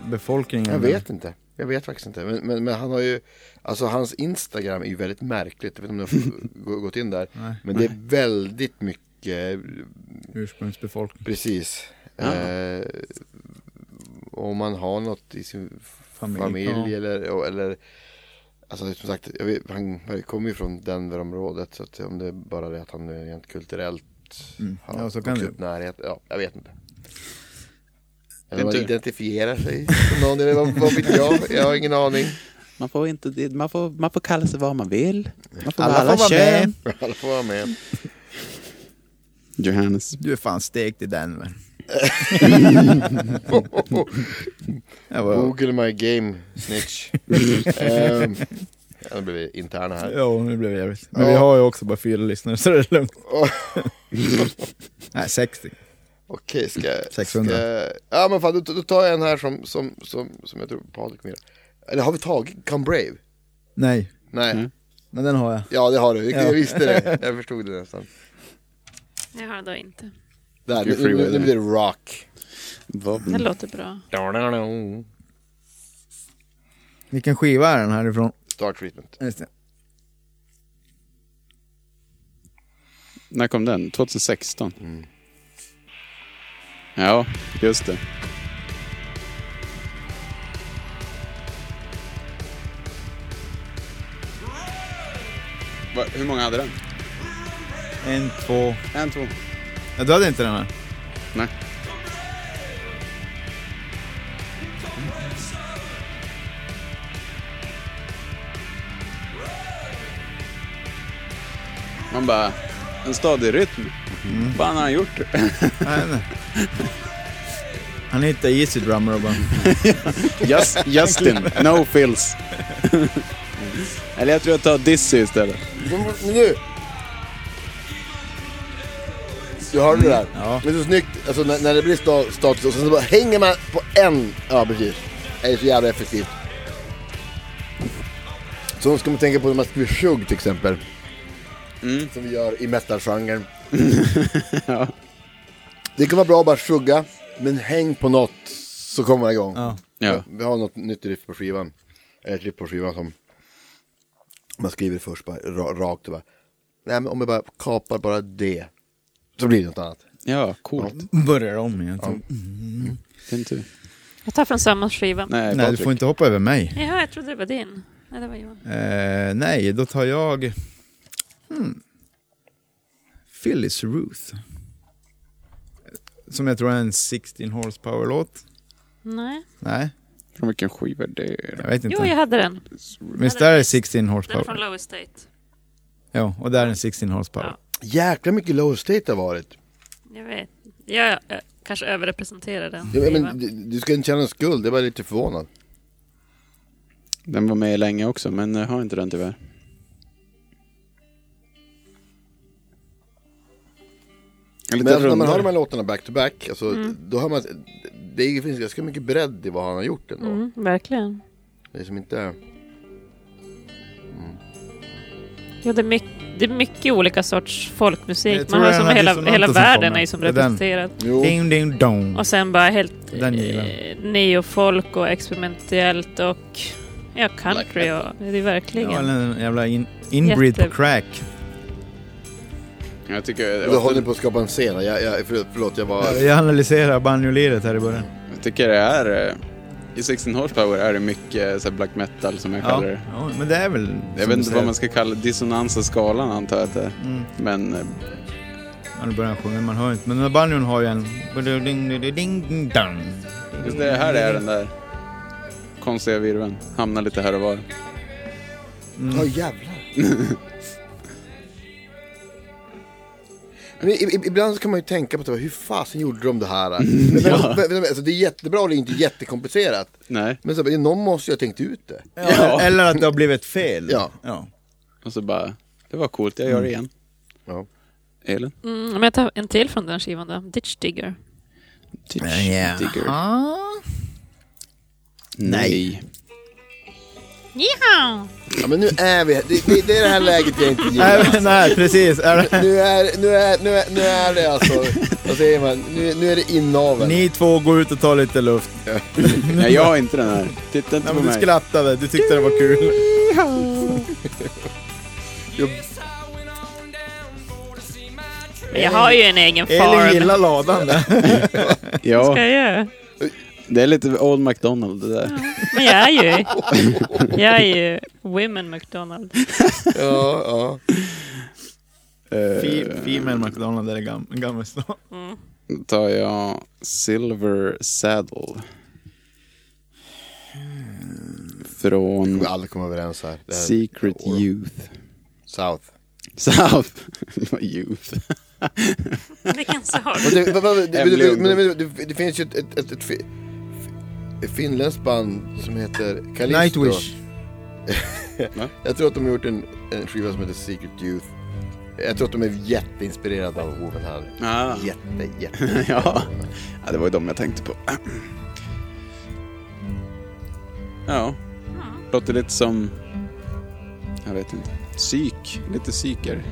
[SPEAKER 4] befolkningen?
[SPEAKER 5] Jag vet inte. Jag vet faktiskt inte. Men, men, men han har ju, alltså hans Instagram är ju väldigt märkligt. Jag vet inte om du har gått in där.
[SPEAKER 4] Nej.
[SPEAKER 5] Men det är väldigt mycket,
[SPEAKER 4] Ursprungsbefolkning.
[SPEAKER 5] precis.
[SPEAKER 1] Ja.
[SPEAKER 5] Eh, om man har något i sin
[SPEAKER 4] Familj.
[SPEAKER 5] familj,
[SPEAKER 4] Ja.
[SPEAKER 5] eller, eller Alltså som sagt, jag vet, han kommer ju från Denverområdet så att om det är bara det att han är rent kulturellt
[SPEAKER 4] Mm.
[SPEAKER 5] har
[SPEAKER 4] Ja, så kan
[SPEAKER 5] vuxit
[SPEAKER 4] det
[SPEAKER 5] upp närhet, ja, jag vet inte.
[SPEAKER 1] Det
[SPEAKER 5] Eller
[SPEAKER 1] är
[SPEAKER 5] man
[SPEAKER 1] tur.
[SPEAKER 5] identifierar sig som någon, eller vad, vad vet jag? Jag har ingen aning.
[SPEAKER 1] Man får, inte, det- man, får, man får kalla sig vad man vill. Man får
[SPEAKER 4] Alla
[SPEAKER 1] vara
[SPEAKER 4] får vara med.
[SPEAKER 5] Alla får vara med.
[SPEAKER 1] Johannes.
[SPEAKER 4] Du är fan stekt i Denver. Jag var,
[SPEAKER 5] Google my game, snitch. um, nu blir vi interna här.
[SPEAKER 4] ja, nu blev det jävligt. Men
[SPEAKER 5] Ja.
[SPEAKER 4] vi har ju också bara fyra lyssnare så det är lugnt. Nej, 60.
[SPEAKER 5] Okej, ska jag...
[SPEAKER 4] 600.
[SPEAKER 5] Ska, ja, men fan, då, då tar jag en här som, som, som, som jag tror Patrik vill. Eller har vi tagit Come Brave?
[SPEAKER 4] Nej,
[SPEAKER 5] Nej,
[SPEAKER 1] Mm.
[SPEAKER 4] men den har jag.
[SPEAKER 5] ja det har du. Jag,
[SPEAKER 4] Ja.
[SPEAKER 5] jag visste det. Jag förstod det nästan.
[SPEAKER 3] Jag har då inte.
[SPEAKER 5] Där,
[SPEAKER 1] You're
[SPEAKER 5] nu,
[SPEAKER 1] free
[SPEAKER 5] nu,
[SPEAKER 1] with
[SPEAKER 5] nu
[SPEAKER 1] it.
[SPEAKER 5] blir det rock.
[SPEAKER 1] Mm.
[SPEAKER 3] Det låter bra.
[SPEAKER 4] Vilken skiva är den härifrån?
[SPEAKER 5] Star Treatment.
[SPEAKER 4] Just det.
[SPEAKER 1] När kom den? 2016? Ja, just det. Va, hur många hade den?
[SPEAKER 4] En, två.
[SPEAKER 1] En, två.
[SPEAKER 4] Ja, du hade inte den här?
[SPEAKER 1] Nej. Man bara, en stadig rytm. Vad fan har han gjort?
[SPEAKER 4] Nej, nej. Han hittade Easy Drummer och bara...
[SPEAKER 1] Just, Justin, no fills. Eller jag tror jag tar Dizzy istället.
[SPEAKER 5] Men nu! Du hörde det där?
[SPEAKER 4] Mm, Ja.
[SPEAKER 5] Det är så snyggt, alltså, när, när det blir sta, status och sen så bara hänger man på en. Ja precis. Det är så jävla effektivt. Så ska man tänka på när man skriver sjugg till exempel.
[SPEAKER 4] Mm.
[SPEAKER 5] Som vi gör i metalgenren. Det kan vara bra att bara sjugga, men häng på något så kommer man igång.
[SPEAKER 4] Ja.
[SPEAKER 1] Ja.
[SPEAKER 5] Vi har något nytt riff på skivan. Eller ett riff på skivan som man skriver först bara ra- rakt och bara. Nej men om jag bara kapar bara det. Så blir det något annat.
[SPEAKER 1] Ja, coolt.
[SPEAKER 4] Börjar om igen. typ.
[SPEAKER 1] Din tur.
[SPEAKER 3] Jag tar från samma skiva.
[SPEAKER 1] Nej,
[SPEAKER 4] Nej, du
[SPEAKER 1] Patrik.
[SPEAKER 4] får inte hoppa över mig.
[SPEAKER 3] Jaha, jag trodde det var din. Nej, det var Johan.
[SPEAKER 4] Eh, nej, då tar jag... Hmm. Phyllis Ruth. Som jag tror är en 16 horsepower-låt.
[SPEAKER 3] Nej.
[SPEAKER 4] Nej,
[SPEAKER 1] Från vilken skiva är det?
[SPEAKER 4] jag vet inte.
[SPEAKER 3] Jo, jag hade den.
[SPEAKER 4] Visst är det 16
[SPEAKER 3] Den är från
[SPEAKER 4] horsepower?
[SPEAKER 3] Low Estate.
[SPEAKER 4] Ja, och där är en 16 horsepower.
[SPEAKER 3] Ja.
[SPEAKER 5] Jäkla mycket low state det har varit.
[SPEAKER 3] Jag vet. Jag, jag kanske överrepresenterar den.
[SPEAKER 5] Ja, men,
[SPEAKER 3] skivan.
[SPEAKER 5] du, du ska inte känna en skuld, jag är bara lite förvånad.
[SPEAKER 1] Den var med länge också, men jag har inte den tyvärr. En
[SPEAKER 5] Men
[SPEAKER 1] liten
[SPEAKER 5] alltså, när man hör
[SPEAKER 1] rundare.
[SPEAKER 5] de här låtarna back to back, alltså, då hör man att det finns ganska mycket bredd i vad han har gjort ändå.
[SPEAKER 3] Mm, verkligen.
[SPEAKER 5] Det är som inte...
[SPEAKER 3] Ja, det, är mycket, det är mycket olika sorts folkmusik.
[SPEAKER 4] Jag
[SPEAKER 3] Man
[SPEAKER 4] tror
[SPEAKER 3] har
[SPEAKER 4] jag
[SPEAKER 3] som
[SPEAKER 4] hade
[SPEAKER 3] hela,
[SPEAKER 4] dissonanter
[SPEAKER 3] hela
[SPEAKER 4] som
[SPEAKER 3] världen
[SPEAKER 4] fångar.
[SPEAKER 3] är ju som
[SPEAKER 4] Det är den.
[SPEAKER 3] representerad.
[SPEAKER 5] Jo.
[SPEAKER 4] Ding, ding, dong.
[SPEAKER 3] Och sen bara helt
[SPEAKER 4] Den gillar
[SPEAKER 3] eh, neofolk och experimentellt och ja, country. Och, det är verkligen...
[SPEAKER 4] Ja, eller en jävla in, inbreed på
[SPEAKER 3] Jätte-
[SPEAKER 4] crack.
[SPEAKER 1] Jag tycker,
[SPEAKER 5] Då
[SPEAKER 1] jag,
[SPEAKER 5] håller ni på att skapa en scen. Jag, jag, förlåt, förlåt, jag var...
[SPEAKER 4] Jag analyserar banjoliret här i början.
[SPEAKER 1] tycker det är... eh, I 16 Horsepower är det mycket eh, så här, black metal som jag
[SPEAKER 4] Ja,
[SPEAKER 1] kallar det.
[SPEAKER 4] ja, men det är väl...
[SPEAKER 1] Jag
[SPEAKER 4] som
[SPEAKER 1] vet
[SPEAKER 4] du
[SPEAKER 1] inte
[SPEAKER 4] säger.
[SPEAKER 1] vad man ska kalla dissonans av skalan antar jag att det är.
[SPEAKER 4] Mm.
[SPEAKER 1] Men eh,
[SPEAKER 4] Ja, nu börjar han sjunga, man hör inte. Men den här banjon har ju en... Ding, ding, ding, ding, dong.
[SPEAKER 1] just det här är den där konstiga virveln. Hamnar lite här och var.
[SPEAKER 5] Ja jävlar. Men i, i, ibland så kan man ju tänka på det, hur fasen gjorde de det här?
[SPEAKER 4] Mm,
[SPEAKER 5] Men,
[SPEAKER 1] Ja.
[SPEAKER 5] men, men, alltså, det är jättebra och det är inte jättekomplicerat.
[SPEAKER 1] Nej.
[SPEAKER 5] Men så, bara, någon måste ju ha tänkt ut det.
[SPEAKER 4] Ja,
[SPEAKER 1] Ja.
[SPEAKER 4] Eller att det har blivit fel.
[SPEAKER 5] Ja.
[SPEAKER 4] ja.
[SPEAKER 1] Och så bara, det var coolt, jag gör det igen.
[SPEAKER 5] Ja.
[SPEAKER 1] Elin?
[SPEAKER 3] Mm, men jag tar en till från den skivan då. Ditch Digger.
[SPEAKER 1] Ditch
[SPEAKER 4] Ja.
[SPEAKER 1] digger.
[SPEAKER 4] Ah. Nej.
[SPEAKER 3] Jaha!
[SPEAKER 5] Ja, men nu är vi det, det, det är det här läget jag inte gillar.
[SPEAKER 4] Nej, men- nej, precis. Är det-
[SPEAKER 5] Nu är, nu är, nu är, nu är det alltså, vad säger man, nu, nu är det inaveln.
[SPEAKER 4] Ni två, gå ut och ta lite luft.
[SPEAKER 1] Nej, jag har inte den här. Titta inte
[SPEAKER 4] Nej,
[SPEAKER 1] på
[SPEAKER 4] men du
[SPEAKER 1] mig.
[SPEAKER 4] skrattade, du tyckte det var kul.
[SPEAKER 3] Jag har ju en egen
[SPEAKER 4] Elin
[SPEAKER 3] farm.
[SPEAKER 4] gillar ladan där.
[SPEAKER 3] Ska
[SPEAKER 1] Ja,
[SPEAKER 3] jag göra?
[SPEAKER 1] det är lite Old McDonald det där.
[SPEAKER 3] Men jag är ju... Jag är ju Women McDonald.
[SPEAKER 5] Ja, ja.
[SPEAKER 1] Eh,
[SPEAKER 4] Fe- Female McDonald är gam- Gammelstad.
[SPEAKER 1] Då tar jag Silver Saddle.
[SPEAKER 5] Vi
[SPEAKER 1] Från
[SPEAKER 5] kommer aldrig komma överens här. Det här är
[SPEAKER 1] Secret
[SPEAKER 5] år.
[SPEAKER 1] Youth.
[SPEAKER 5] South.
[SPEAKER 1] South. Youth.
[SPEAKER 3] Vilken sak.
[SPEAKER 5] Och det, vad- vad- det,
[SPEAKER 1] Hemlig
[SPEAKER 5] det,
[SPEAKER 1] ungdom.
[SPEAKER 5] men, men, det, det finns ju ett, ett, ett, ett, fi- ett finländskt band som heter Callisto.
[SPEAKER 4] Nightwish.
[SPEAKER 5] Jag tror att de har gjort en, en skiva som heter Secret Youth. Jag tror att de är jätteinspirerade av Hoven här.
[SPEAKER 1] Ah.
[SPEAKER 5] Jätte, jätte.
[SPEAKER 1] ja. ja, det var ju de jag tänkte på. Ja, låter lite som... Jag vet inte. Psyk. Lite psyker.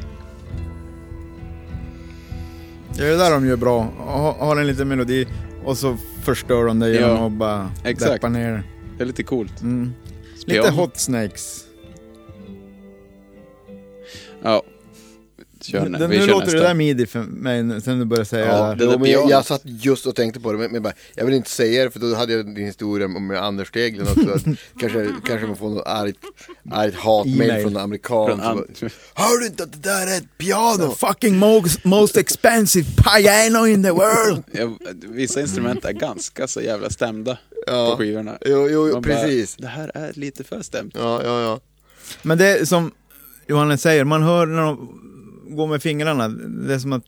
[SPEAKER 4] Det är det där de gör bra. Ha- Har en liten melodi och så förstör de det genom
[SPEAKER 1] Ja,
[SPEAKER 4] att bara
[SPEAKER 1] exakt.
[SPEAKER 4] deppa ner.
[SPEAKER 1] Det är lite coolt.
[SPEAKER 4] Mm.
[SPEAKER 1] Spion.
[SPEAKER 4] Lite Hot Snakes.
[SPEAKER 1] Ja. Kör
[SPEAKER 4] Den,
[SPEAKER 1] nä- vi
[SPEAKER 4] nu
[SPEAKER 1] kör
[SPEAKER 4] låter
[SPEAKER 1] nästa.
[SPEAKER 4] det där midi för mig nu- sen du började säga
[SPEAKER 5] Ja,
[SPEAKER 4] det där.
[SPEAKER 1] det-
[SPEAKER 5] jo,
[SPEAKER 1] där
[SPEAKER 5] men jag,
[SPEAKER 1] pianot.
[SPEAKER 5] jag satt just och tänkte på det, men, men bara, jag vill inte säga det för då hade jag din historia om med Anders Teglund också. Att kanske, kanske man får något argt, argt hatmejl
[SPEAKER 4] E-mail.
[SPEAKER 5] från en amerikan.
[SPEAKER 1] Från
[SPEAKER 5] som
[SPEAKER 1] an-
[SPEAKER 5] bara, Hör du inte att det där är ett piano?
[SPEAKER 4] Fucking most, most expensive piano in the world!
[SPEAKER 1] Ja, vissa instrument är ganska så jävla stämda
[SPEAKER 5] Ja.
[SPEAKER 1] på skivorna.
[SPEAKER 5] Jo, jo, jo
[SPEAKER 1] Man bara,
[SPEAKER 5] precis.
[SPEAKER 1] det här är lite för stämt.
[SPEAKER 5] Ja, ja, ja.
[SPEAKER 4] Men det är som Johannes säger, man hör när de går med fingrarna, det är som att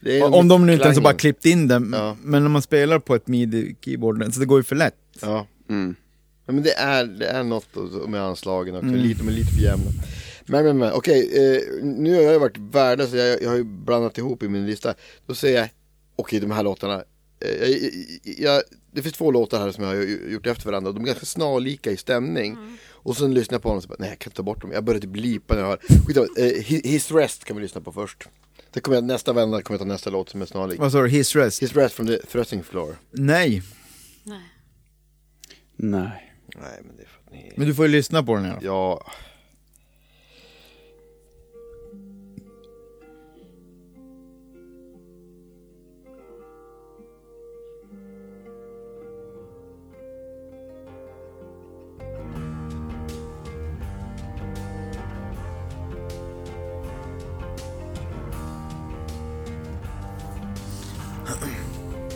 [SPEAKER 5] Det är
[SPEAKER 4] Om de nu inte ens har
[SPEAKER 5] klangen.
[SPEAKER 4] bara klippt in den,
[SPEAKER 5] Ja.
[SPEAKER 4] men när man spelar på ett midi-keyboard, så det går ju för lätt.
[SPEAKER 5] Ja.
[SPEAKER 1] Mm.
[SPEAKER 5] Ja, men det är, det är något och- med anslagen
[SPEAKER 4] Mm.
[SPEAKER 5] också, lite, de är lite för jämna. Men, men, men, okej, eh, nu har jag ju varit värdelös, jag, jag har ju blandat ihop i min lista. Då säger jag, okej de här låtarna, eh, jag, jag, jag, det finns två låtar här som jag har ju- gjort efter varandra och de är ganska snarlika i stämning. Och sen lyssnar jag på dem och så bara, nej jag kan inte ta bort dem, jag börjar typ lipa när jag hör. Skitsamma, eh, Hi- His Rest kan vi lyssna på först. Det kommer jag, nästa vända kommer jag ta nästa låt som är snarlik.
[SPEAKER 4] Vad sa du? His rest?
[SPEAKER 5] His Rest from the Thrusting Floor.
[SPEAKER 4] Nej,
[SPEAKER 1] Nej.
[SPEAKER 5] Nej men det är för att ni...
[SPEAKER 4] men du får ju lyssna på den här.
[SPEAKER 5] Ja.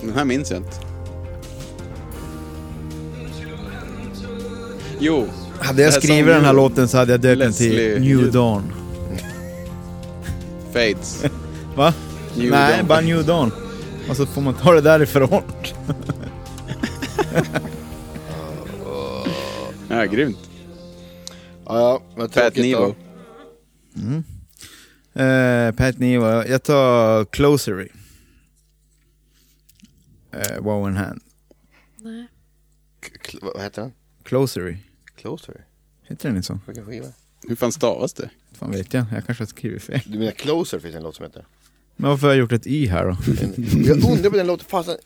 [SPEAKER 1] Den här minns jag inte. Jo,
[SPEAKER 4] Hade jag
[SPEAKER 1] Det här
[SPEAKER 4] skrivit
[SPEAKER 1] som
[SPEAKER 4] den här låten så hade jag döpt den
[SPEAKER 1] Leslie-
[SPEAKER 4] till New Dawn.
[SPEAKER 1] Fades.
[SPEAKER 4] Va?
[SPEAKER 1] New
[SPEAKER 4] Nej,
[SPEAKER 1] Dawn.
[SPEAKER 4] bara New Dawn. Och så får man ta det därifrån.
[SPEAKER 1] Ja, grymt.
[SPEAKER 5] Ja, ja, vad
[SPEAKER 1] Fat
[SPEAKER 5] tråkigt då.
[SPEAKER 1] Nemo.
[SPEAKER 4] Mm. Eh, Pat Neva, jag tar Closery. Uh, wow and hand.
[SPEAKER 3] Nej.
[SPEAKER 5] K- vad heter den?
[SPEAKER 4] Closery.
[SPEAKER 5] Closer?
[SPEAKER 4] Heter den inte så?
[SPEAKER 5] Vilken skiva?
[SPEAKER 1] Hur fan stavas det?
[SPEAKER 4] Fan vet jag, jag kanske har skrivit fel.
[SPEAKER 5] Du menar Closer finns det en låt som heter?
[SPEAKER 4] Men varför har jag gjort ett Y här då?
[SPEAKER 5] Jag undrar på den låten, fasen.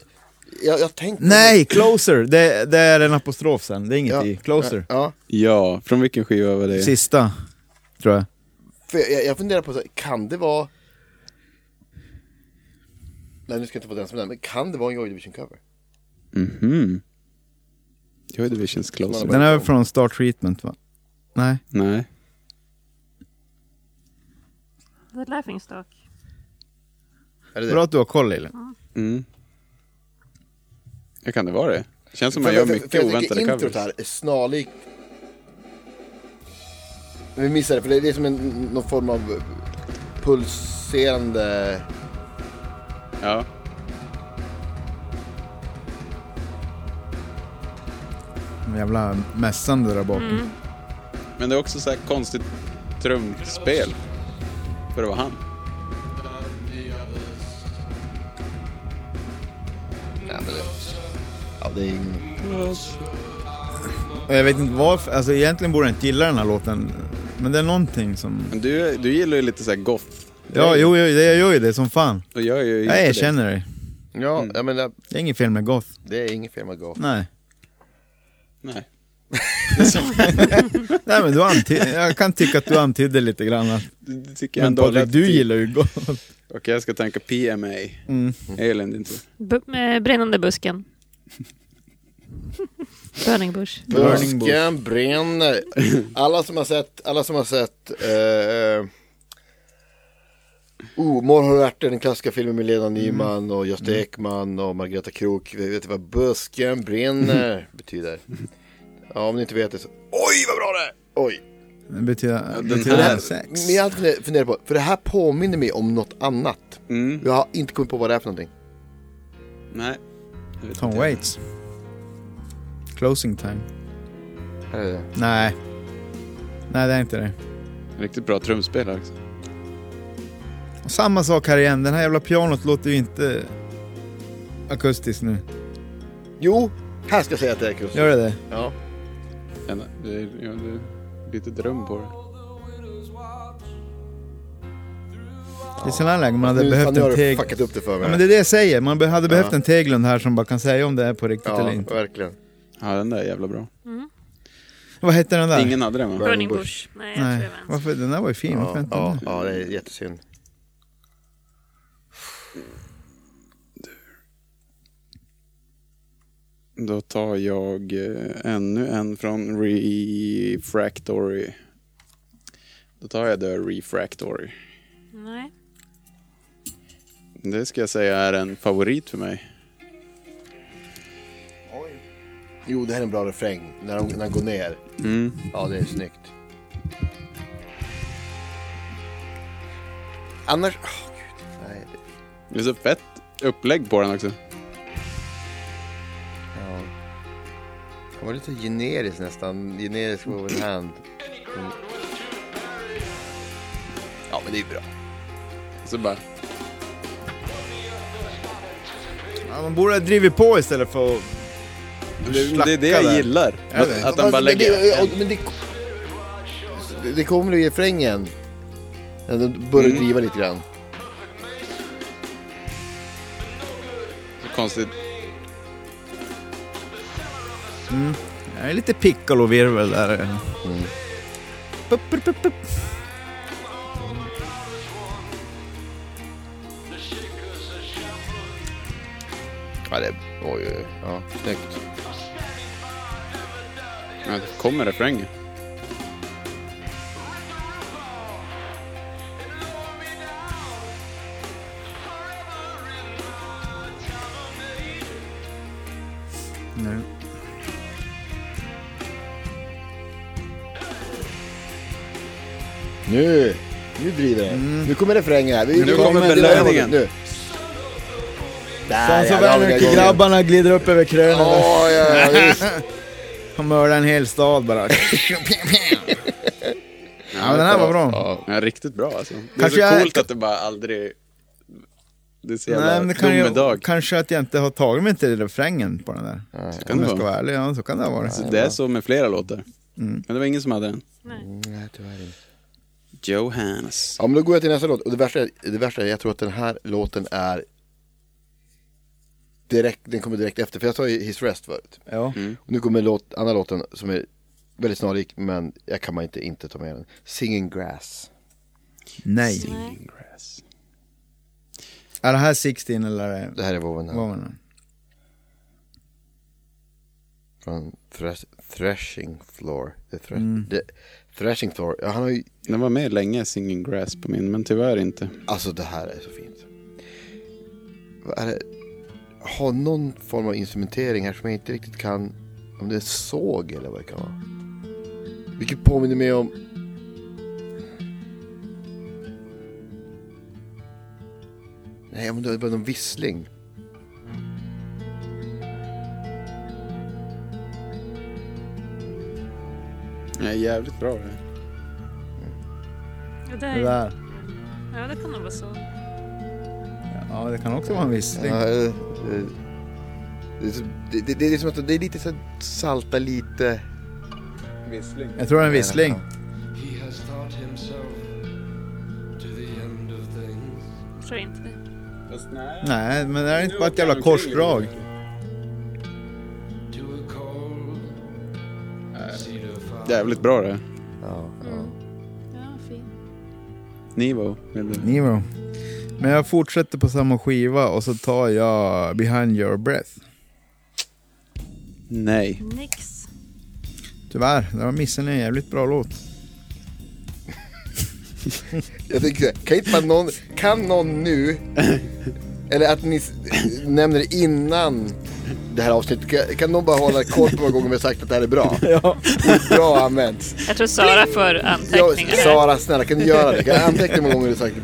[SPEAKER 5] Jag, jag tänkte...
[SPEAKER 4] Nej, Closer! Det, det är en apostrof sen, det är inget
[SPEAKER 5] Ja,
[SPEAKER 4] I. Closer.
[SPEAKER 5] Ja,
[SPEAKER 1] Ja, från vilken skiva var det?
[SPEAKER 4] Sista, tror jag.
[SPEAKER 5] för jag, jag funderar på så här, kan det vara... Nej nu ska jag inte få den som den, men kan det vara en Joy Division cover?
[SPEAKER 1] Mhm. Joy Divisions Closer.
[SPEAKER 4] Den är väl från Star Treatment va? Nej.
[SPEAKER 1] Nej.
[SPEAKER 3] The Laughing Stock.
[SPEAKER 5] Är det det?
[SPEAKER 4] Bra att du har koll Elin.
[SPEAKER 1] Mm. Ja, kan det vara det? Känns som
[SPEAKER 5] För-
[SPEAKER 1] man gör
[SPEAKER 5] för- för
[SPEAKER 1] mycket
[SPEAKER 5] jag tycker
[SPEAKER 1] oväntade
[SPEAKER 5] introt
[SPEAKER 1] covers.
[SPEAKER 5] här är snarlikt... Men vi missar det, för det är som en, någon form av pulserande...
[SPEAKER 1] Ja.
[SPEAKER 4] De jävla mässande där bakom.
[SPEAKER 1] Men det är också så här konstigt trumspel. För det var han.
[SPEAKER 5] Anderlecht. Ja, det är ingen...
[SPEAKER 4] Och jag vet inte varför, alltså egentligen borde jag inte gilla den här låten. Men det är någonting som...
[SPEAKER 1] Men du, du gillar ju lite så här goth.
[SPEAKER 4] Ja, jo, jo, jag gör ju det som fan.
[SPEAKER 1] Och jag är ju inte
[SPEAKER 4] Jag
[SPEAKER 1] det.
[SPEAKER 4] erkänner dig.
[SPEAKER 5] Ja, jag menar,
[SPEAKER 4] Det är inget fel med goth.
[SPEAKER 5] det är inget fel med goth.
[SPEAKER 4] Nej.
[SPEAKER 1] Nej.
[SPEAKER 4] Nej men du antydde, jag kan tycka att du antydde lite grann att...
[SPEAKER 1] Det tycker jag
[SPEAKER 4] Men
[SPEAKER 1] ändå.
[SPEAKER 4] Patrik,
[SPEAKER 1] att-
[SPEAKER 4] du gillar ju goth.
[SPEAKER 1] Okej, jag ska tänka PMA.
[SPEAKER 4] Mm.
[SPEAKER 1] Elin, din tur.
[SPEAKER 3] B- med brinnande eh, busken. Burning bush.
[SPEAKER 4] Burning
[SPEAKER 5] Busken brinner. Alla som har sett, alla som har sett eh, Oh, Morr har ärtor, den klassiska filmen med Lena Nyman och Gösta Ekman och Margareta Krook. Vi Vet ni vad busken brinner betyder? Ja, om ni inte vet det så, oj vad bra det är! Oj!
[SPEAKER 4] Det betyder,
[SPEAKER 1] den
[SPEAKER 4] betyder
[SPEAKER 1] här-
[SPEAKER 4] sex.
[SPEAKER 5] Men jag har alltid funder- funderat på, för det här påminner mig om något annat.
[SPEAKER 1] Mm.
[SPEAKER 5] Jag har inte kommit på vad det är för någonting.
[SPEAKER 1] Nej. Jag vet
[SPEAKER 4] Tom
[SPEAKER 1] inte.
[SPEAKER 4] Waits. Closing time.
[SPEAKER 5] Här är det.
[SPEAKER 4] Nej. Nej det är inte det.
[SPEAKER 1] Riktigt bra trumspelare också.
[SPEAKER 4] Och samma sak här igen, den här jävla pianot låter ju inte akustiskt nu.
[SPEAKER 5] Jo, här ska jag säga att det är kul.
[SPEAKER 4] Gör det det?
[SPEAKER 5] Ja.
[SPEAKER 1] Ja, Det är, ja, det är lite dröm på det.
[SPEAKER 4] Det är sådana här lägen man hade
[SPEAKER 5] Nu,
[SPEAKER 4] behövt
[SPEAKER 5] fan, nu har
[SPEAKER 4] en
[SPEAKER 5] du
[SPEAKER 4] teg...
[SPEAKER 5] fuckat upp det för mig.
[SPEAKER 4] Ja, men det är det jag säger, man be- hade behövt
[SPEAKER 5] Ja.
[SPEAKER 4] en Teglund här som bara kan säga om det är på riktigt eller
[SPEAKER 5] ja
[SPEAKER 4] inte.
[SPEAKER 5] verkligen.
[SPEAKER 1] Ja, den där är jävla bra.
[SPEAKER 4] Vad hette den där?
[SPEAKER 1] Ingen hade den va?
[SPEAKER 3] Burning bush. Nej, jag
[SPEAKER 4] Nej,
[SPEAKER 3] tror jag var
[SPEAKER 4] varför? Den där var ju fin, varför
[SPEAKER 5] Ja,
[SPEAKER 4] inte
[SPEAKER 5] ja,
[SPEAKER 4] den?
[SPEAKER 5] ja, det är jättesynd.
[SPEAKER 1] Då tar jag eh, ännu en från Refractory. Då tar jag The Refractory.
[SPEAKER 3] Nej.
[SPEAKER 1] Det ska jag säga är en favorit för mig.
[SPEAKER 5] Jo, det här är en bra refräng. När de, när de går ner.
[SPEAKER 1] Mm.
[SPEAKER 5] Ja, det är snyggt. Annars... Åh, gud. Nej.
[SPEAKER 1] Det är så fett upplägg på den också.
[SPEAKER 5] Ja. Det var lite generisk nästan. Generisk over hand. Men- Ja, men det är bra.
[SPEAKER 1] Så bara,
[SPEAKER 4] Ja, man borde ha drivit på istället för att...
[SPEAKER 1] det, det är det jag
[SPEAKER 4] där.
[SPEAKER 1] gillar.
[SPEAKER 4] Jag vet.
[SPEAKER 1] Att, att den bara
[SPEAKER 5] Men det-
[SPEAKER 1] lägger...
[SPEAKER 5] ja, Men det, det, det kommer ju i refrängen. Ja, Den börjar driva lite grann.
[SPEAKER 1] Så konstigt.
[SPEAKER 4] Det är lite piccolo-virvel där. Pup, pup, pup, pup.
[SPEAKER 5] Ja, det... Oj, oj, oj. Ja, snyggt.
[SPEAKER 1] Ja, det kommer refrängen.
[SPEAKER 4] Nej.
[SPEAKER 5] Nu! Nu driver det. Nu kommer refrängen här. Vi-
[SPEAKER 1] Nu kommer belöningen.
[SPEAKER 5] Nu. Där
[SPEAKER 4] Sons of
[SPEAKER 5] ja, där har vi det igång.
[SPEAKER 4] Anarchy-grabbarna glider upp över krönet
[SPEAKER 5] Ja,
[SPEAKER 4] och
[SPEAKER 5] ja, ja, visst.
[SPEAKER 4] och mördar en hel stad bara. Ja, men den här var bra.
[SPEAKER 5] Ja.
[SPEAKER 1] Ja, riktigt bra alltså. Det är
[SPEAKER 4] Kanske
[SPEAKER 1] så
[SPEAKER 4] jag-
[SPEAKER 1] coolt att det bara aldrig... Det är så jävla
[SPEAKER 4] Nej, men det kan ju,
[SPEAKER 1] domedag.
[SPEAKER 4] kanske att jag inte har tagit mig till refrängen på den där.
[SPEAKER 1] Det kan
[SPEAKER 4] Om
[SPEAKER 1] det
[SPEAKER 4] jag ska
[SPEAKER 1] vara.
[SPEAKER 4] vara ärlig, ja, så kan det ha varit.
[SPEAKER 1] Så Alltså, det är så med flera låtar.
[SPEAKER 4] Mm.
[SPEAKER 1] Men det var ingen som hade den.
[SPEAKER 5] Nej, tyvärr inte.
[SPEAKER 1] Johannes.
[SPEAKER 5] Ja, men då går jag till nästa låt. Och det värsta, det värsta är, jag tror att den här låten är direkt, den kommer direkt efter. För jag sa ju His Rest förut.
[SPEAKER 4] Ja.
[SPEAKER 5] Och nu kommer låt, andra låten som är väldigt snarlik, men jag kan man inte inte ta med den. Singing Grass.
[SPEAKER 4] Nej.
[SPEAKER 1] Grass.
[SPEAKER 4] Är det här 16 eller är det
[SPEAKER 5] Det här är Woven Hand
[SPEAKER 4] Woman?
[SPEAKER 5] från thresh, Threshing Floor. The thre- the, threshing Floor, ja, han har ju
[SPEAKER 1] Den var med länge, Singing Grass, på min, men tyvärr inte.
[SPEAKER 5] Alltså det här är så fint. Vad är det? Har någon form av instrumentering här som jag inte riktigt kan. Om det är såg eller vad det kan vara. Vilket påminner mig om. Nej, men det var någon vissling.
[SPEAKER 1] Ja, jävligt bra det.
[SPEAKER 3] Ja, det,
[SPEAKER 4] Det
[SPEAKER 3] är,
[SPEAKER 4] där.
[SPEAKER 3] ja, det kan nog vara så.
[SPEAKER 4] Ja, det kan också vara en vissling.
[SPEAKER 5] Ja, eh, eh, Det är, så, det, det, det är som att det är lite så här salta lite. Vissling.
[SPEAKER 4] Jag tror det är en vissling.
[SPEAKER 7] He has taught himself to the end of things.
[SPEAKER 3] Jag tror inte det.
[SPEAKER 1] Fast nej.
[SPEAKER 4] Nej, men det är inte bara ett jävla korsdrag.
[SPEAKER 7] To a cold cedar fire.
[SPEAKER 1] Jävligt bra det.
[SPEAKER 5] Ja, ja.
[SPEAKER 3] Mm. Ja, fin.
[SPEAKER 1] Nivo. Eller?
[SPEAKER 4] Nemo. Men jag fortsätter på samma skiva och så tar jag Behind Your Breath.
[SPEAKER 1] Nej.
[SPEAKER 3] Nix.
[SPEAKER 4] Tyvärr, där var missen en jävligt bra låt.
[SPEAKER 5] Jag tänker så här, kan inte man någon, kan någon nu, eller att ni s- nämner det innan det här avsnittet, kan, kan någon bara hålla koll på hur många gånger vi har sagt att det här är bra? Ja. Bra använt.
[SPEAKER 3] Jag tror Sara får
[SPEAKER 5] Jag,
[SPEAKER 3] anteckningar. här.
[SPEAKER 5] Sara, snälla kan du göra det? Kan jag anteckna hur många gånger du har sagt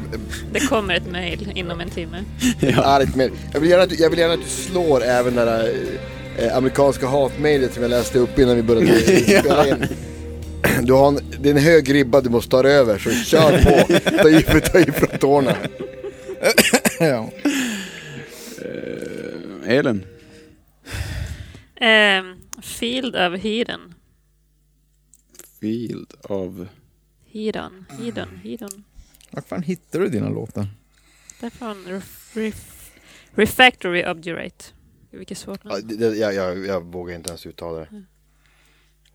[SPEAKER 3] Det kommer ett mejl inom en timme.
[SPEAKER 5] argt mejl? Jag vill gärna att du, jag vill gärna att du slår även det där eh, amerikanska hatmejlet som jag läste upp innan vi började spela in. Du har en, det är en hög ribba du måste ta över, så kör på. Ta i, ta i från tårna.
[SPEAKER 4] ja.
[SPEAKER 1] Elin.
[SPEAKER 3] Ehm, Field of Hidden.
[SPEAKER 1] Field av...
[SPEAKER 3] Hidden, Hidden, Hidden.
[SPEAKER 4] Var fan hittar du dina låtar?
[SPEAKER 3] Därifrån ref, ref, Refactory Obdurate. Vilket svårt
[SPEAKER 5] Ja,
[SPEAKER 3] namn.
[SPEAKER 5] det- det- Jag, jag, jag vågar inte ens uttala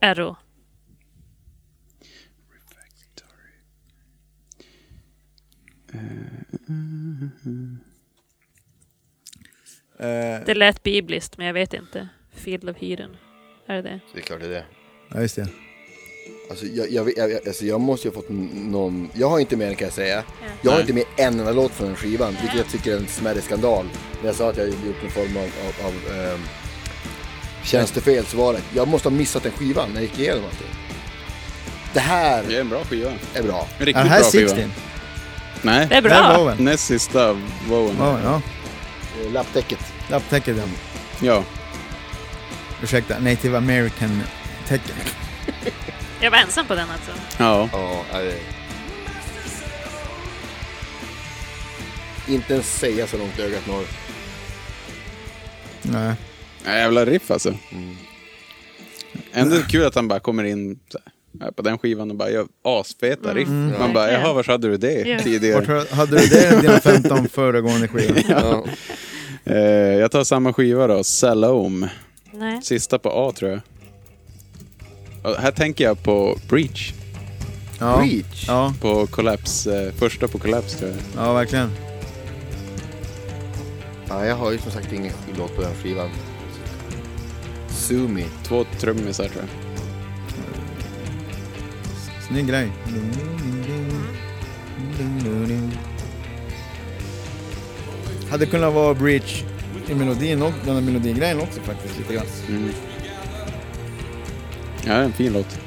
[SPEAKER 5] det.
[SPEAKER 3] RO.
[SPEAKER 4] Eh,
[SPEAKER 3] Det lät bibliskt, men jag vet inte. Field of Hidden. Är det det?
[SPEAKER 5] Det är klart det är det.
[SPEAKER 4] ja, just det.
[SPEAKER 5] Alltså jag, jag, jag, jag- alltså jag måste ju ha fått n- någon, jag har inte med den kan jag säga. Jag har
[SPEAKER 1] Nej.
[SPEAKER 5] inte med en enda låt från den skivan, vilket jag tycker är en smärre skandal. När jag sa att jag hade gjort en form av, av, av ehm, tjänstefel så var det, jag måste ha missat den skivan när jag gick igenom allting. Det
[SPEAKER 1] Det
[SPEAKER 5] här
[SPEAKER 1] är en bra skiva.
[SPEAKER 5] är bra.
[SPEAKER 1] En riktigt
[SPEAKER 4] Ja, här
[SPEAKER 1] bra
[SPEAKER 4] är
[SPEAKER 1] skiva.
[SPEAKER 4] 16.
[SPEAKER 1] Nej.
[SPEAKER 3] Det är
[SPEAKER 4] Där
[SPEAKER 3] bra!
[SPEAKER 4] var den.
[SPEAKER 1] Näst sista av Wowen.
[SPEAKER 4] Ja, ja.
[SPEAKER 5] Eh, Lapptäcket.
[SPEAKER 4] Lapptäcket ja.
[SPEAKER 1] Ja.
[SPEAKER 4] Ursäkta, native american täcket.
[SPEAKER 3] Jag var ensam på den alltså.
[SPEAKER 1] Ja.
[SPEAKER 5] Ja, eh. Inte ens säga så långt ögat når.
[SPEAKER 4] Nej.
[SPEAKER 1] Ja, Jävla riff alltså. Ändå kul att han bara kommer in så här, på den skivan och bara gör asfeta riff. Man bara, jaha, var hade du det
[SPEAKER 3] Ja.
[SPEAKER 4] Vart
[SPEAKER 1] tidigare?
[SPEAKER 4] har- hade du det i dina 15 föregående skivor?
[SPEAKER 5] Ja.
[SPEAKER 1] Eh, jag tar samma skiva då, Salome.
[SPEAKER 3] Nej.
[SPEAKER 1] Sista på A tror jag. Och här tänker jag på Breach.
[SPEAKER 4] Ja.
[SPEAKER 5] Reach.
[SPEAKER 4] Ja,
[SPEAKER 1] På Collapse. Eh, första på Collapse tror jag.
[SPEAKER 4] ja verkligen.
[SPEAKER 5] Ja, jag har ju som sagt ingen låt på den skivan. Sumi.
[SPEAKER 1] Två trummisar tror jag.
[SPEAKER 4] Snygg grej. Hade kunnat vara Breach i melodin och den här melodingrejen också faktiskt lite grann.
[SPEAKER 1] Ja, en fin låt.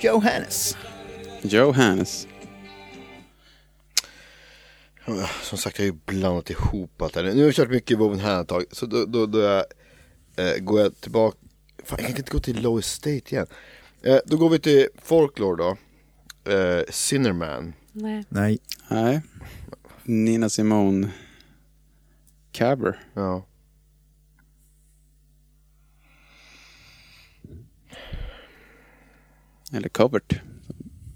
[SPEAKER 4] Johannes.
[SPEAKER 1] Johannes.
[SPEAKER 5] Som sagt, jag har ju blandat ihop allt det här. Nu har jag kört mycket Woven här ett tag. Så då, då, då jag, eh, går jag tillbaka. Fan, jag kan inte gå till Low Estate igen. Eh, då går vi till Folklore då. Eh, Sinnerman.
[SPEAKER 3] Nej.
[SPEAKER 4] Nej.
[SPEAKER 1] Nej. Nina Simone. Caber.
[SPEAKER 5] Ja.
[SPEAKER 1] Eller Covert.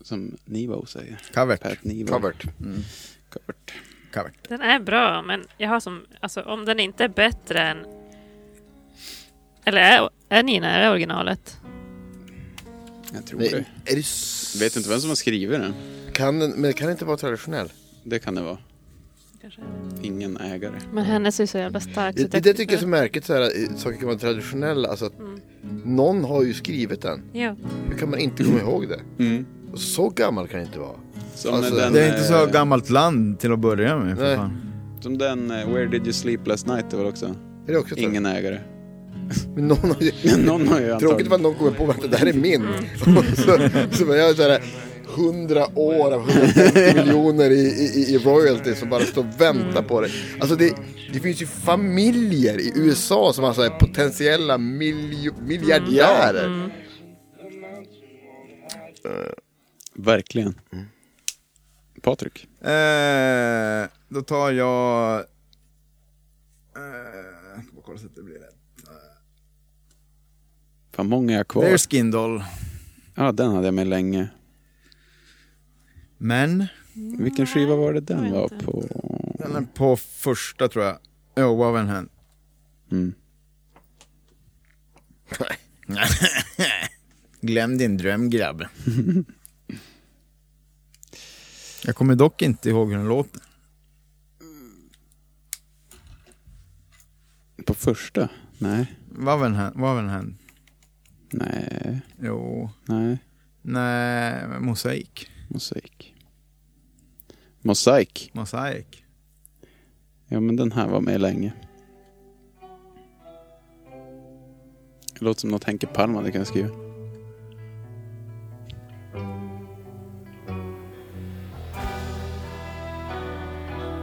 [SPEAKER 1] Som Nivo säger.
[SPEAKER 4] Covert.
[SPEAKER 1] Pat Nivo.
[SPEAKER 5] Covert.
[SPEAKER 1] Covert.
[SPEAKER 4] Covert.
[SPEAKER 3] Den är bra, men jag har som... Alltså om den inte är bättre än... Eller är, är Nina, är det originalet?
[SPEAKER 1] Jag tror
[SPEAKER 5] Nej,
[SPEAKER 1] det.
[SPEAKER 5] är det s-
[SPEAKER 1] Mm. Vet inte vem som har skrivit den.
[SPEAKER 5] Kan den, men det kan inte vara traditionell.
[SPEAKER 1] Det kan det vara. Ingen ägare.
[SPEAKER 3] Men hennes är så jävla stark.
[SPEAKER 5] Det, det, det tycker jag är så märkligt så här, eh, saker kan vara traditionella. Alltså att någon har ju skrivit den.
[SPEAKER 3] Jo.
[SPEAKER 5] Hur kan man inte komma ihåg det?
[SPEAKER 1] Mm.
[SPEAKER 5] Och Så gammal kan det inte vara.
[SPEAKER 1] Som
[SPEAKER 5] Alltså,
[SPEAKER 1] den,
[SPEAKER 4] Det är inte så
[SPEAKER 1] eh,
[SPEAKER 4] gammalt land till att börja med. För
[SPEAKER 5] Nej.
[SPEAKER 4] fan.
[SPEAKER 1] Som den eh, Where Did You Sleep Last Night det var också.
[SPEAKER 5] Är det också så?
[SPEAKER 1] Ingen ägare.
[SPEAKER 5] Men någon har ju...
[SPEAKER 1] Någon har ju
[SPEAKER 5] Tråkigt
[SPEAKER 1] antagligen...
[SPEAKER 5] var att någon kommer på att det här är min. Och så, så börjar jag såhär 100 år av 150 miljoner i, i, i royalty som bara står och väntar på det. Alltså det, det finns ju familjer i USA som alltså är potentiella miljo, miljardärer.
[SPEAKER 1] Verkligen. Patrik.
[SPEAKER 4] Eh, då tar jag... Eh, år så att det blir rätt.
[SPEAKER 1] Fan, många är kvar.
[SPEAKER 4] Bearskin Doll.
[SPEAKER 1] Ja, den hade jag med länge.
[SPEAKER 4] Men
[SPEAKER 1] Vilken skiva var det den
[SPEAKER 3] jag
[SPEAKER 1] var
[SPEAKER 3] inte.
[SPEAKER 1] på?
[SPEAKER 4] den är på första tror jag. Ja, oh, Woven Hand.
[SPEAKER 1] Mm.
[SPEAKER 4] Glöm din dröm grabb. jag kommer dock inte ihåg hur den låter.
[SPEAKER 1] På första? Nej.
[SPEAKER 4] Woven Hand. Woven Hand.
[SPEAKER 1] Nej.
[SPEAKER 4] Jo.
[SPEAKER 1] Nej.
[SPEAKER 4] Nej, men mosaik.
[SPEAKER 1] Mosaik. Mosaik.
[SPEAKER 4] Mosaik.
[SPEAKER 1] Ja, men den här var med länge. Det låter som något Henke Palm hade kunnat skriva.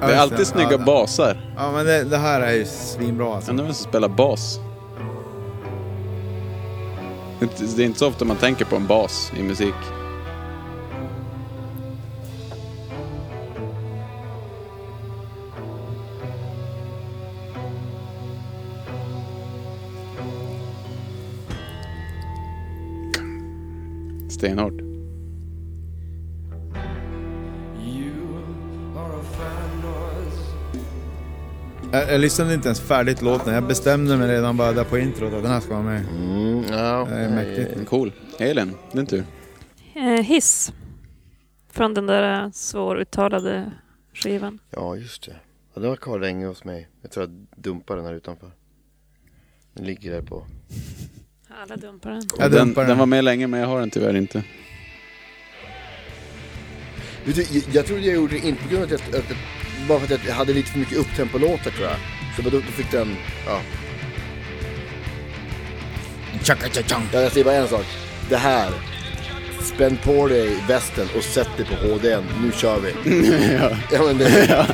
[SPEAKER 1] Det är alltid snygga basar.
[SPEAKER 4] Ja, men det, det här är ju svinbra alltså.
[SPEAKER 1] Undrar vem som spelar bas. Det är inte- det är inte så ofta man tänker på en bas i musik. Stenhårt.
[SPEAKER 7] You are a fine noise.
[SPEAKER 4] Jag, jag lyssnade inte ens färdigt låten. Jag bestämde mig redan bara där på introt att den här ska vara med.
[SPEAKER 5] Mm, ja.
[SPEAKER 4] Det är mäktigt.
[SPEAKER 1] Eh, Cool. Elin, din tur.
[SPEAKER 3] Eh, hiss. Från den där svåruttalade skivan.
[SPEAKER 5] Ja, just det. Ja, den var kvar länge hos mig. Jag tror jag dumpar den här utanför. Den ligger där på.
[SPEAKER 3] Alla dumpar den.
[SPEAKER 4] Jag
[SPEAKER 1] Den,
[SPEAKER 4] dumpar
[SPEAKER 1] den
[SPEAKER 4] den.
[SPEAKER 1] var med länge men jag har den tyvärr inte.
[SPEAKER 5] Vet du, jag, jag trodde jag gjorde det inte på grund av att jag, att, jag- bara för att jag hade lite för mycket upptempo-låtar tror jag. Så då, då fick den, ja. Ja, Jag säger bara en sak. Det här. Spänn på dig västen och sätt dig på HDn. Nu kör vi.
[SPEAKER 1] ja.
[SPEAKER 5] Ja, men det,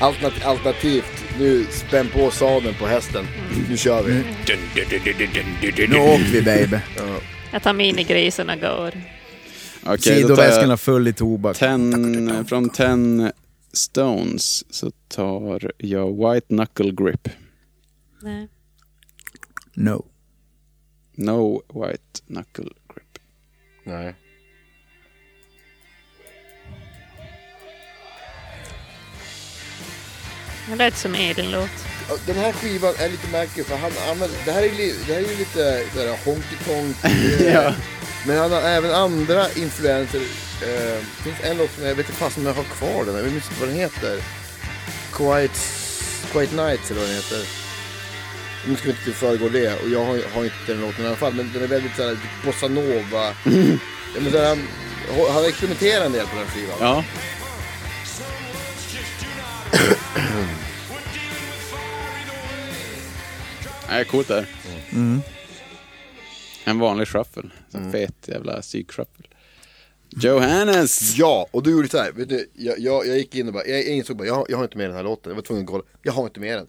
[SPEAKER 5] Alternat, alternativt, nu spänn på sadeln på hästen. Nu kör vi.
[SPEAKER 4] Nu åker vi baby.
[SPEAKER 3] Jag tar minigrisarna och går.
[SPEAKER 1] Okej, då tar jag-
[SPEAKER 4] Sidoväskorna full i tobak.
[SPEAKER 1] Ten, från Ten Stones så tar jag White Knuckle Grip.
[SPEAKER 3] Nej.
[SPEAKER 4] No.
[SPEAKER 1] No White Knuckle Grip.
[SPEAKER 5] Nej.
[SPEAKER 3] Det lät som Elin-låt.
[SPEAKER 5] Ja, Den här skivan är lite märklig för han använder, det här är ju det här är ju lite sådär honky tonk. eh, Men han har även andra influenser. Eh, det finns en låt som jag vet inte fast om jag har kvar den. Jag minns inte vad den heter. Quiet, Quiet Nights eller vad den heter. Nu ska vi inte föregå det och jag har, har inte den låten i alla fall. Men den är väldigt såhär bossanova. Ja, men såhär, han, han experimenterar en del på den skivan.
[SPEAKER 1] Ja, nej, coolt där. En vanlig shuffle. En fet jävla psykshuffle. Johannes!
[SPEAKER 5] Ja, och du gjorde så här. Vet du, jag, jag, jag gick in och bara, jag, jag insåg bara, jag, jag har inte med den här låten. Jag var tvungen att kolla, jag har inte med den.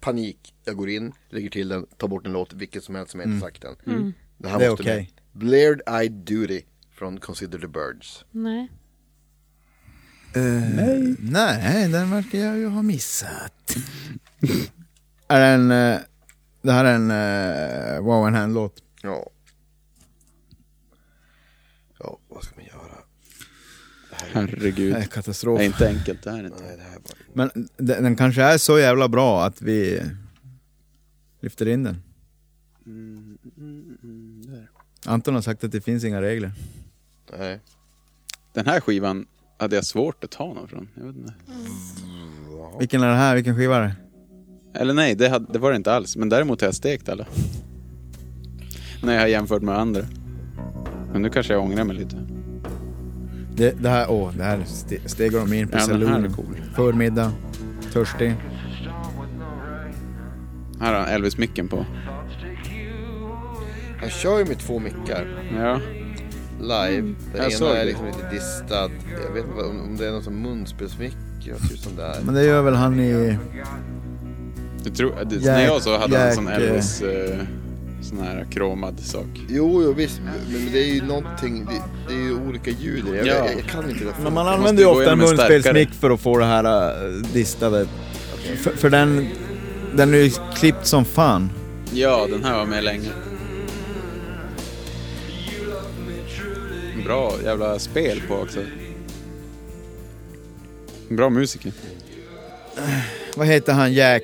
[SPEAKER 5] Panik, jag går in, lägger till den, tar bort en låt, vilket som helst som jag inte sagt den. Det, här
[SPEAKER 4] Det är
[SPEAKER 5] måste med.
[SPEAKER 4] okej.
[SPEAKER 5] Blared Eyed Duty från Consider the Birds.
[SPEAKER 3] Nej.
[SPEAKER 4] nej. Eh, Nej, den verkar jag ju ha missat. är den, eh, det här är en uh, Wow and Hand-låt.
[SPEAKER 5] Ja. Ja, vad ska man göra?
[SPEAKER 1] Herregud.
[SPEAKER 4] Det är katastrof.
[SPEAKER 1] Det är inte enkelt det här. är Inte.
[SPEAKER 5] Nej, det här var...
[SPEAKER 4] Men den, den kanske är så jävla bra att vi lyfter in den. Anton har sagt att det finns inga regler.
[SPEAKER 5] Nej.
[SPEAKER 1] Den här skivan hade jag svårt att ta någon från. Jag vet inte.
[SPEAKER 4] Vilken är det här? Vilken skiva är det?
[SPEAKER 1] Eller nej, det, hade, det var det inte alls. Men däremot har jag stekt alla. När jag har jämfört med andra. Men nu kanske jag ångrar mig lite.
[SPEAKER 4] Det, det här, åh, det här ste- stegar de in på
[SPEAKER 1] Ja, den här är
[SPEAKER 4] saloon.
[SPEAKER 1] cool.
[SPEAKER 4] Förmiddag, törstig.
[SPEAKER 1] Här har han Elvis-micken på.
[SPEAKER 5] Han kör ju med två mickar
[SPEAKER 1] Ja.
[SPEAKER 5] live. Den
[SPEAKER 1] Jag såg
[SPEAKER 5] ena
[SPEAKER 1] det.
[SPEAKER 5] är liksom lite distad. Jag vet inte vad- om, om det är någon som munspelsmick. Jag ser ut som det är.
[SPEAKER 4] Men det gör väl han i...
[SPEAKER 1] Du tror, det,
[SPEAKER 4] Jack-
[SPEAKER 1] när jag så hade han en sån
[SPEAKER 4] Jack,
[SPEAKER 1] Elvis... Eh, sån här kromad sak.
[SPEAKER 5] Jo, jo visst, men det är ju någonting, det, det är ju olika ljud i det. Jag,
[SPEAKER 1] Ja.
[SPEAKER 5] jag, jag kan inte det.
[SPEAKER 4] Men man
[SPEAKER 1] måste
[SPEAKER 4] använder ju
[SPEAKER 1] gå
[SPEAKER 4] ofta en
[SPEAKER 1] igenom en
[SPEAKER 4] munspelsmick för att få det här äh, distade. För, för den Den är ju klippt som fan.
[SPEAKER 1] Ja, den här var med länge. Bra jävla spel på också. Bra musiker.
[SPEAKER 4] Vad heter han, Jack?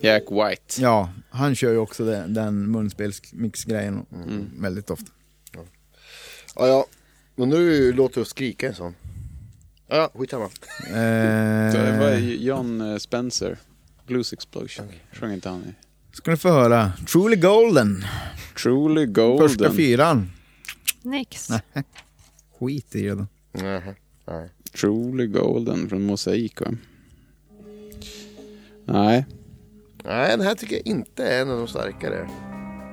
[SPEAKER 1] Jack White.
[SPEAKER 4] Ja, han kör ju också den, den munspelsmixgrejen
[SPEAKER 1] Mm.
[SPEAKER 4] väldigt ofta.
[SPEAKER 5] Ja, ja. Men nu låter det oss skrika en sån. Ja, ja, skitsamma.
[SPEAKER 1] Det var
[SPEAKER 4] Eh,
[SPEAKER 1] ju John eh, Spencer. Blues Explosion. Sjöng inte han i?
[SPEAKER 4] ska ni få höra. Truly Golden,
[SPEAKER 1] Truly Golden.
[SPEAKER 4] första fyran.
[SPEAKER 3] Nix.
[SPEAKER 4] Skit i det då.
[SPEAKER 5] Nähä. Nej.
[SPEAKER 1] Truly Golden från Mosaik va? Nej,
[SPEAKER 5] Nej, den här tycker jag inte är en av de starkare.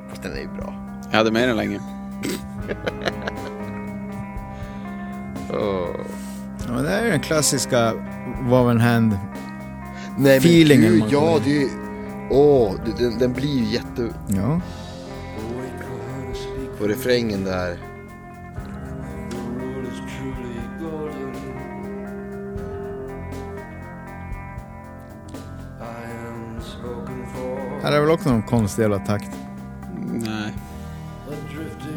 [SPEAKER 5] Fast den är ju bra.
[SPEAKER 1] jag hade med den länge.
[SPEAKER 5] Åh.
[SPEAKER 4] Ja, men det här är den klassiska Woven Hand.
[SPEAKER 5] Nej,
[SPEAKER 4] Feelingen
[SPEAKER 5] men
[SPEAKER 4] man
[SPEAKER 5] gud,
[SPEAKER 4] får
[SPEAKER 5] ja,
[SPEAKER 4] med.
[SPEAKER 5] det är ju... Åh, det- den, den blir ju jätte...
[SPEAKER 4] Ja.
[SPEAKER 5] Och refrängen där.
[SPEAKER 4] Här är väl också någon konstig jävla takt.
[SPEAKER 1] Nej,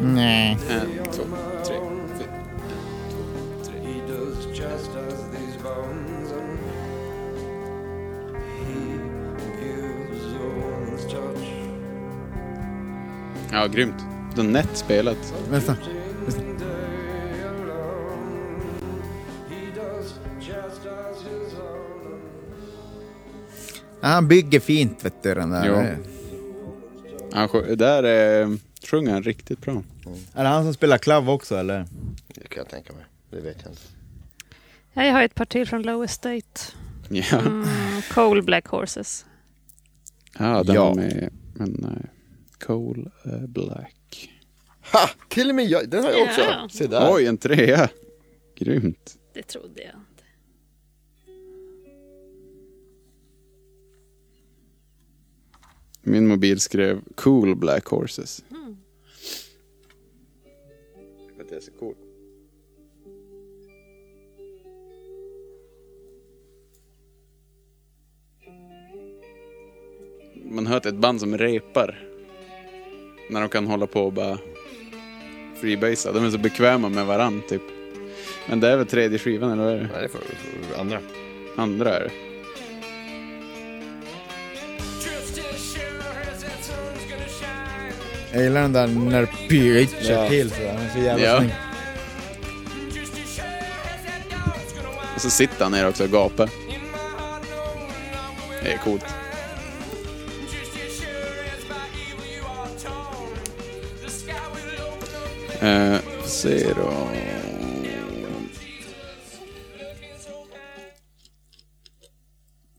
[SPEAKER 4] Nej.
[SPEAKER 1] en, två, tre, fyra. Ja, grymt. Den nätt spelat.
[SPEAKER 4] Vänta. Ja, han bygger fint vet du den där.
[SPEAKER 1] Jo.
[SPEAKER 4] Är
[SPEAKER 1] Han sjö, där eh, sjunger han riktigt bra.
[SPEAKER 4] det han som spelar klav också eller?
[SPEAKER 5] Det kan jag tänka mig. Det vet jag inte.
[SPEAKER 3] Ja, Jag har ett par till från Low Estate.
[SPEAKER 1] Ja,
[SPEAKER 3] Mm, Coal Black Horses.
[SPEAKER 1] ja den
[SPEAKER 5] Ja.
[SPEAKER 1] var med. Men nej. Cole eh, Black.
[SPEAKER 5] Ha! Till och med jag, den har jag också.
[SPEAKER 3] Ja.
[SPEAKER 5] Se där.
[SPEAKER 1] Oj, en trea. Grymt.
[SPEAKER 3] Det trodde jag inte.
[SPEAKER 1] Min mobil skrev Cool Black Horses. För att det är så coolt. Man hör att ett band som repar. När de kan hålla på och bara freebasea. De är så bekväma med varann typ. Men det är väl tredje skivan eller vad är det?
[SPEAKER 5] Nej, det är för, för andra.
[SPEAKER 1] Andra är det.
[SPEAKER 4] Jag gillar den där när Pyrit kör
[SPEAKER 1] Ja.
[SPEAKER 4] till sådär. Han är så jävla
[SPEAKER 1] Ja.
[SPEAKER 4] snygg.
[SPEAKER 1] Och så sitter han ner också och gapar. Det är coolt. Eh, se då.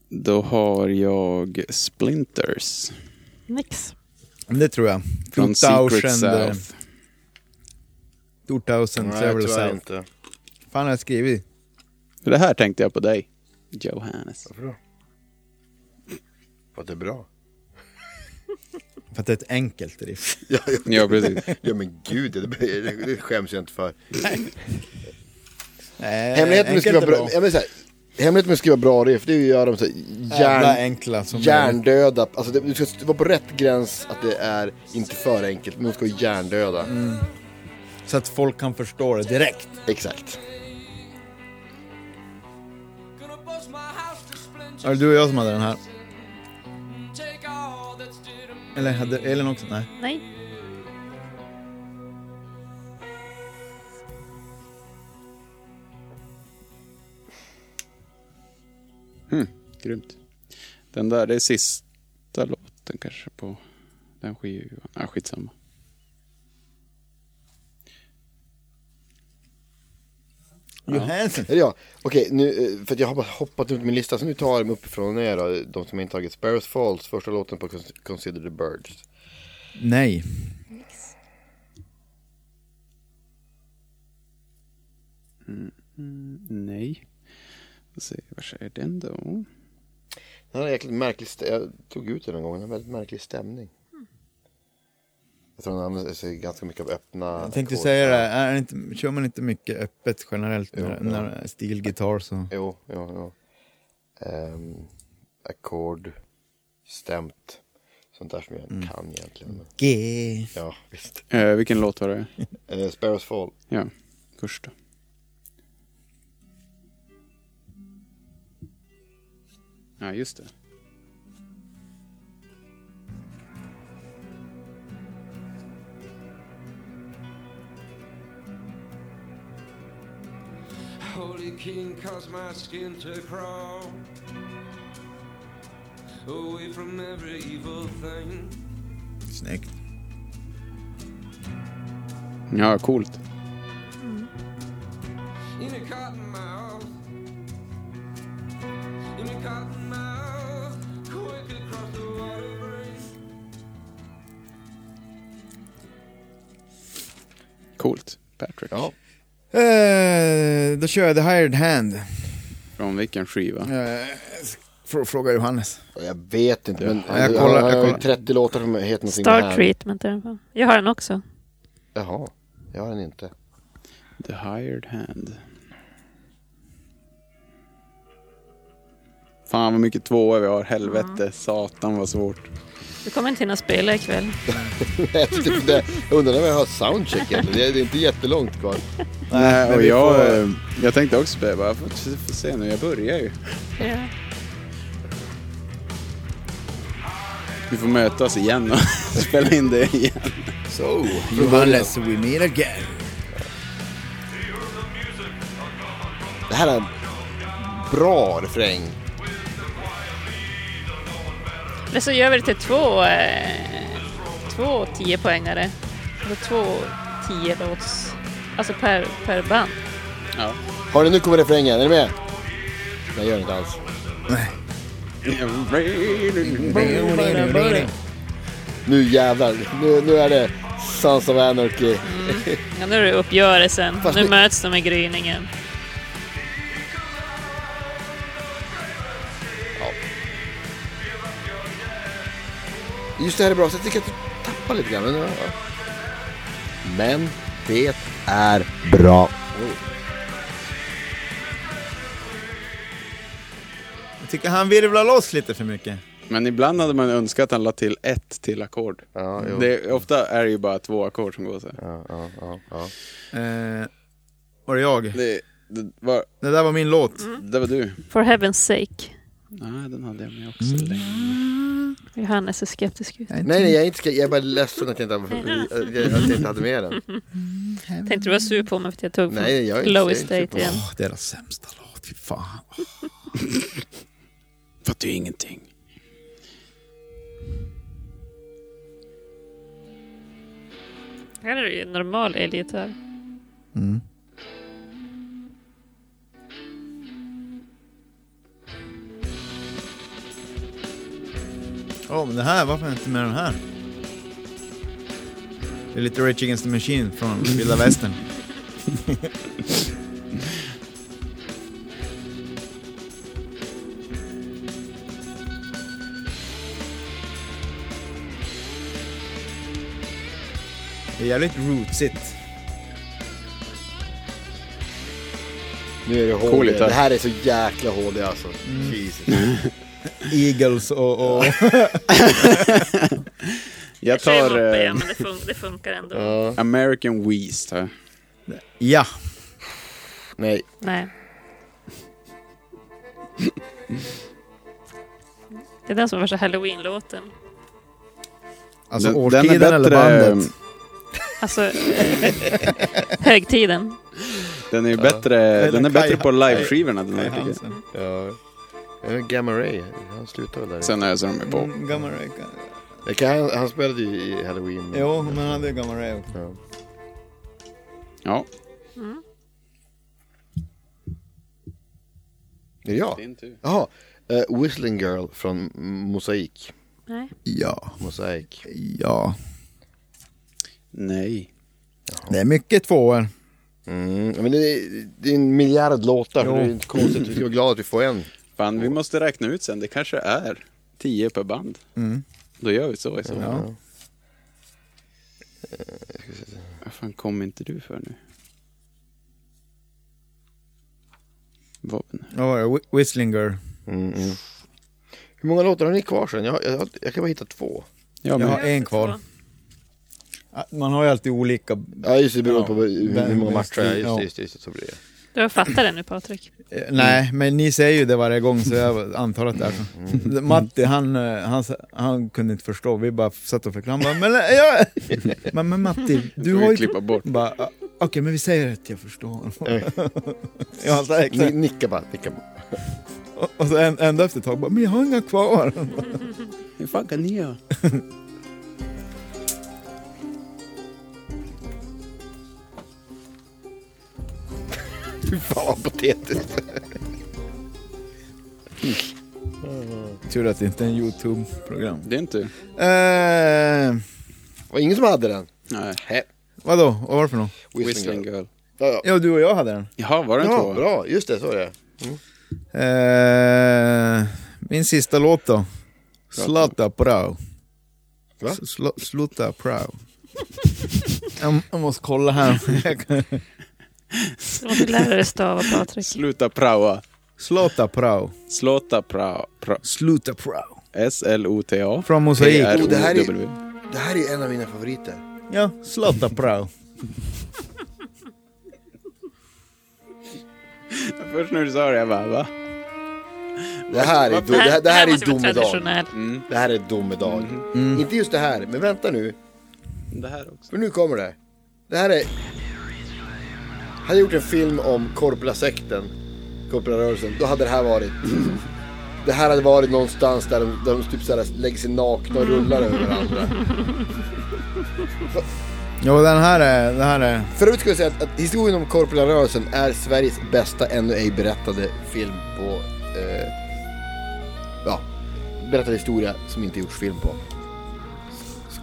[SPEAKER 1] Då har jag Splinters
[SPEAKER 3] Nix.
[SPEAKER 4] Det tror jag.
[SPEAKER 1] från
[SPEAKER 4] 2000,
[SPEAKER 1] Secret
[SPEAKER 4] eh,
[SPEAKER 1] South.
[SPEAKER 4] 2000
[SPEAKER 5] Nej,
[SPEAKER 4] Several
[SPEAKER 5] tyvärr
[SPEAKER 4] South.
[SPEAKER 5] inte.
[SPEAKER 4] Fan har jag skrivit?
[SPEAKER 1] Det här tänkte jag på dig, Johannes.
[SPEAKER 5] Varför då? För att det är bra.
[SPEAKER 4] För att det är ett enkelt riff.
[SPEAKER 5] Ja, ja.
[SPEAKER 1] Ja, precis.
[SPEAKER 5] ja men gud, det, det, det skäms jag inte för.
[SPEAKER 4] Nej,
[SPEAKER 5] Hemligheten med att
[SPEAKER 4] enkelt
[SPEAKER 5] skriva
[SPEAKER 4] är
[SPEAKER 5] bra, jag menar så här, hemligheten med att skriva bra riff, det är ju att göra dem så här,
[SPEAKER 4] Jävla
[SPEAKER 5] järn,
[SPEAKER 4] enkla som möjligt.
[SPEAKER 5] hjärndöda. Alltså det, du ska vara på rätt gräns att det är inte för enkelt, men de ska vara hjärndöda.
[SPEAKER 4] Mm. Så att folk kan förstå det direkt.
[SPEAKER 5] Exakt.
[SPEAKER 4] Var det du och jag som hade den här? Eller hade Elin också? Nej.
[SPEAKER 3] Nej.
[SPEAKER 1] Grymt. Den där, det är sista låten kanske på den skivan. Ah, skitsamma.
[SPEAKER 4] Johansson.
[SPEAKER 5] Eller ja, okej, nu, eh, för att jag har bara hoppat runt min lista, så nu tar jag dem uppifrån och ner då, de som jag inte tagit. Sparrows Falls, första låten på Cons- Consider the Birds.
[SPEAKER 4] Nej.
[SPEAKER 1] Nej. Då ser vi, vad är den då?
[SPEAKER 5] Den har en jäkligt märklig, stä- jag tog ut den en gång, den har en väldigt märklig stämning. Jag tror den använder sig ganska mycket av öppna
[SPEAKER 4] Jag tänkte
[SPEAKER 5] ackord.
[SPEAKER 4] säga det, är det inte, kör man inte mycket öppet generellt när,
[SPEAKER 5] Jo, ja.
[SPEAKER 4] när det är stilgitarr så...
[SPEAKER 5] Jo, jo, jo. Um, Ehm, Ackord. stämt. Sånt där som jag
[SPEAKER 4] Mm.
[SPEAKER 5] kan egentligen. Men,
[SPEAKER 4] G.
[SPEAKER 5] ja, visst.
[SPEAKER 1] Eh, vilken låt var det?
[SPEAKER 5] Eh, Sparrows Fall.
[SPEAKER 1] Ja, första. Ja, just det.
[SPEAKER 7] Holy King caused my skin to crawl away from every evil thing.
[SPEAKER 4] Snyggt.
[SPEAKER 1] Ja, coolt.
[SPEAKER 7] in a cotton mouth. In a cotton mouth, quick across the water breeze.
[SPEAKER 1] Coolt, Patrick.
[SPEAKER 5] Ja.
[SPEAKER 4] Eh, då kör jag The Hired Hand.
[SPEAKER 1] Från vilken skiva?
[SPEAKER 4] Eh, fr- fråga Johannes.
[SPEAKER 5] Och Jag vet inte, men
[SPEAKER 4] Ja, jag kollar-
[SPEAKER 5] han
[SPEAKER 4] jag
[SPEAKER 5] har ju
[SPEAKER 4] kollar.
[SPEAKER 5] 30 låtar som heter någonting
[SPEAKER 3] Star
[SPEAKER 5] här.
[SPEAKER 3] Treatment är den på. Jag har den också.
[SPEAKER 5] Jaha, jag har den inte.
[SPEAKER 1] The Hired Hand. Fan vad mycket tvåor vi har. Helvete, satan vad svårt.
[SPEAKER 3] Du kommer inte hinna spela ikväll.
[SPEAKER 5] Nej, typ det. jag undrar när vi har soundcheck egentligen. Det är det är inte jättelångt kvar.
[SPEAKER 1] Nej,
[SPEAKER 4] men
[SPEAKER 1] och
[SPEAKER 4] vi
[SPEAKER 1] jag,
[SPEAKER 4] får-
[SPEAKER 1] eh, jag tänkte också spela. bara, Jag får, får se nu, jag börjar ju.
[SPEAKER 3] Ja.
[SPEAKER 1] Vi får mötas igen och spela in det igen.
[SPEAKER 5] So,
[SPEAKER 4] Johannes, we meet again.
[SPEAKER 5] det här är en bra refräng.
[SPEAKER 3] Eller så gör vi det till två, eh, två tiopoängare. Alltså två tiolåts... Alltså per, per band.
[SPEAKER 1] Ja.
[SPEAKER 5] Har ni nu kommer refrängen, är ni med? Nej, gör inte alls. Nu jävlar, nu, nu är det Sons of Anarchy.
[SPEAKER 3] Ja, nu är det uppgörelsen.
[SPEAKER 5] Fast
[SPEAKER 3] nu
[SPEAKER 5] det-
[SPEAKER 3] möts de i gryningen.
[SPEAKER 5] Just det här är bra, så jag tycker att du tappar lite grann. Men, ja. men det är bra.
[SPEAKER 4] Jag tycker han virvlar loss lite för mycket.
[SPEAKER 1] Men ibland hade man önskat att han la till ett till ackord.
[SPEAKER 5] Ja, jo.
[SPEAKER 1] Det- Ofta är det ju bara två ackord som går så här.
[SPEAKER 5] Ja, ja, ja, ja.
[SPEAKER 4] Eh, var det jag?
[SPEAKER 1] Det, det, var,
[SPEAKER 4] Det där var min låt.
[SPEAKER 1] det var du.
[SPEAKER 3] For heaven's sake.
[SPEAKER 1] Nej, den hade jag med också länge.
[SPEAKER 3] Johannes är skeptisk ut.
[SPEAKER 5] Nej, nej, jag är, inte, jag är bara ledsen att jag inte, att jag inte hade med den.
[SPEAKER 3] Tänkte du var sur på mig för att jag tog
[SPEAKER 5] Nej, jag är
[SPEAKER 3] från
[SPEAKER 5] inte
[SPEAKER 3] Low
[SPEAKER 5] sur på
[SPEAKER 3] Estate
[SPEAKER 5] mig.
[SPEAKER 3] igen.
[SPEAKER 4] Åh, deras sämsta låt, fy fan.
[SPEAKER 1] Fattar ju ingenting.
[SPEAKER 3] Här är det ju en normal elgitarr.
[SPEAKER 4] Ja, men det här, varför inte med den här? Det är lite Rage Against the Machine från Vilda Västern. Det är jävligt rootsigt.
[SPEAKER 5] Nu är det HD.
[SPEAKER 1] Cool gitarr.
[SPEAKER 5] det här är så jäkla HD alltså. Jesus.
[SPEAKER 4] Eagles och... och
[SPEAKER 1] Jag
[SPEAKER 3] Jag
[SPEAKER 1] tar
[SPEAKER 3] moppe,
[SPEAKER 1] eh,
[SPEAKER 3] ja, men det, fun- det funkar ändå.
[SPEAKER 1] American Weast här.
[SPEAKER 4] ja.
[SPEAKER 5] Nej,
[SPEAKER 3] Nej. Det är den som var så halloween-låten.
[SPEAKER 4] Alltså
[SPEAKER 1] Den- den är
[SPEAKER 4] årtiden eller
[SPEAKER 1] bättre,
[SPEAKER 4] bandet.
[SPEAKER 3] Alltså, högtiden.
[SPEAKER 1] Den är ju bättre, den är bättre på liveskivorna den här tycker jag.
[SPEAKER 4] alltså,
[SPEAKER 5] ja. Eh, Gamma Ray, han slutade väl där.
[SPEAKER 1] Sen öser de ju på.
[SPEAKER 4] Mm, Gamma Ray. kan-
[SPEAKER 5] Det kan- Han, han spelade ju i Halloween.
[SPEAKER 4] Jo, men han hade ju Gamma Ray också.
[SPEAKER 5] Ja.
[SPEAKER 1] Ja.
[SPEAKER 5] Är det jag?
[SPEAKER 1] Din tur.
[SPEAKER 5] Jaha. Eh, Whistling Girl från Mosaic.
[SPEAKER 3] Nej.
[SPEAKER 4] Ja.
[SPEAKER 5] Mosaic.
[SPEAKER 4] Ja.
[SPEAKER 1] Nej.
[SPEAKER 4] Det är mycket tvåor.
[SPEAKER 5] Mm. Men det, är, det är en miljard låtar.
[SPEAKER 4] Jo.
[SPEAKER 5] Det är inte konstigt. Vi ska vara glada att vi får en.
[SPEAKER 1] Fan, vi måste räkna ut sen. Det kanske är tio per band.
[SPEAKER 4] Mm.
[SPEAKER 1] Då gör vi så i så fall.
[SPEAKER 4] Ja.
[SPEAKER 1] Eh, Vad fan kom inte du för nu? Vapen.
[SPEAKER 4] Ja, Whistling Girl.
[SPEAKER 5] Mm, mm. Hur många låtar har ni kvar sen? Jag, jag, jag kan bara hitta två.
[SPEAKER 1] Ja, men,
[SPEAKER 4] Ja. en kvar. Man har ju alltid olika...
[SPEAKER 5] Ja just det, beroende
[SPEAKER 4] Ja.
[SPEAKER 5] på hur, hur många
[SPEAKER 4] Vem-
[SPEAKER 5] matcher det är. Just
[SPEAKER 4] ja.
[SPEAKER 5] det, just det, just det, så blir det.
[SPEAKER 3] Du har fattat det nu Patrik.
[SPEAKER 4] Eh, Nej, men ni säger ju det varje gång så jag antar att det är så. Matti, han, eh, han, sa- han kunde inte förstå. Vi bara satt och förklarade. Han bara, Men, eh, jag... men, men Matti, du
[SPEAKER 1] du
[SPEAKER 4] har
[SPEAKER 1] vi
[SPEAKER 4] ju...
[SPEAKER 1] klippa bort.
[SPEAKER 4] Bara, "Ah, Okej, men vi säger att jag förstår.
[SPEAKER 5] Eh.
[SPEAKER 4] ja, så, här,
[SPEAKER 5] Ni,
[SPEAKER 4] exakt.
[SPEAKER 5] nicka bara, nicka bara.
[SPEAKER 4] Och- och så en- ända efter ett tag bara, men jag har inga kvar.
[SPEAKER 1] Hur fan kan ni göra?
[SPEAKER 5] Fy fan vad patetiskt.
[SPEAKER 4] Tur att det inte är en YouTube-program.
[SPEAKER 1] Det är inte...
[SPEAKER 4] Eh,
[SPEAKER 5] Var ingen som hade den?
[SPEAKER 1] Nej.
[SPEAKER 5] Nej.
[SPEAKER 4] vadå, vad var det för något?
[SPEAKER 1] Whistling Girl.
[SPEAKER 5] Ja, ja.
[SPEAKER 4] Ja, du och jag hade den.
[SPEAKER 1] Jaha, var det en
[SPEAKER 5] ja
[SPEAKER 1] tvåa?
[SPEAKER 5] bra, just det, så är det.
[SPEAKER 4] Eh, min sista låt då. Sluta prao.
[SPEAKER 5] Va?
[SPEAKER 4] S- slu- Sluta prao. jag, jag måste kolla här.
[SPEAKER 3] Du måste lära dig stava Patrik.
[SPEAKER 1] Sluta praoa.
[SPEAKER 4] Sluta prao.
[SPEAKER 1] Slåta prao. Pra,
[SPEAKER 4] Sluta prao.
[SPEAKER 1] S-L-O-T-A.
[SPEAKER 4] Från Mosaik.
[SPEAKER 5] Oh, det här är-
[SPEAKER 1] P-R-O-W.
[SPEAKER 5] Det här är en av mina favoriter.
[SPEAKER 4] Ja, sluta prao.
[SPEAKER 1] Först när du sa det, jag bara va?
[SPEAKER 5] Det här är, do, det här, det Alltså, här är
[SPEAKER 3] måste vara
[SPEAKER 5] domedag.
[SPEAKER 3] traditionell.
[SPEAKER 5] Det här är domedag. Inte just det här, men vänta nu.
[SPEAKER 1] Det här också.
[SPEAKER 5] För nu kommer det. Det här är... Jag hade gjort en film om korplasekten, korprarörelsen, då hade det här varit... Det här hade varit någonstans där de, där de typ så här lägger sig nakna och rullar över varandra.
[SPEAKER 4] Jo, den här är... Den här är
[SPEAKER 5] För övrigt ska jag säga att, att historien om korprarörelsen är Sveriges bästa ännu ej berättade film på... Eh, ja, berättad historia som inte gjorts film på.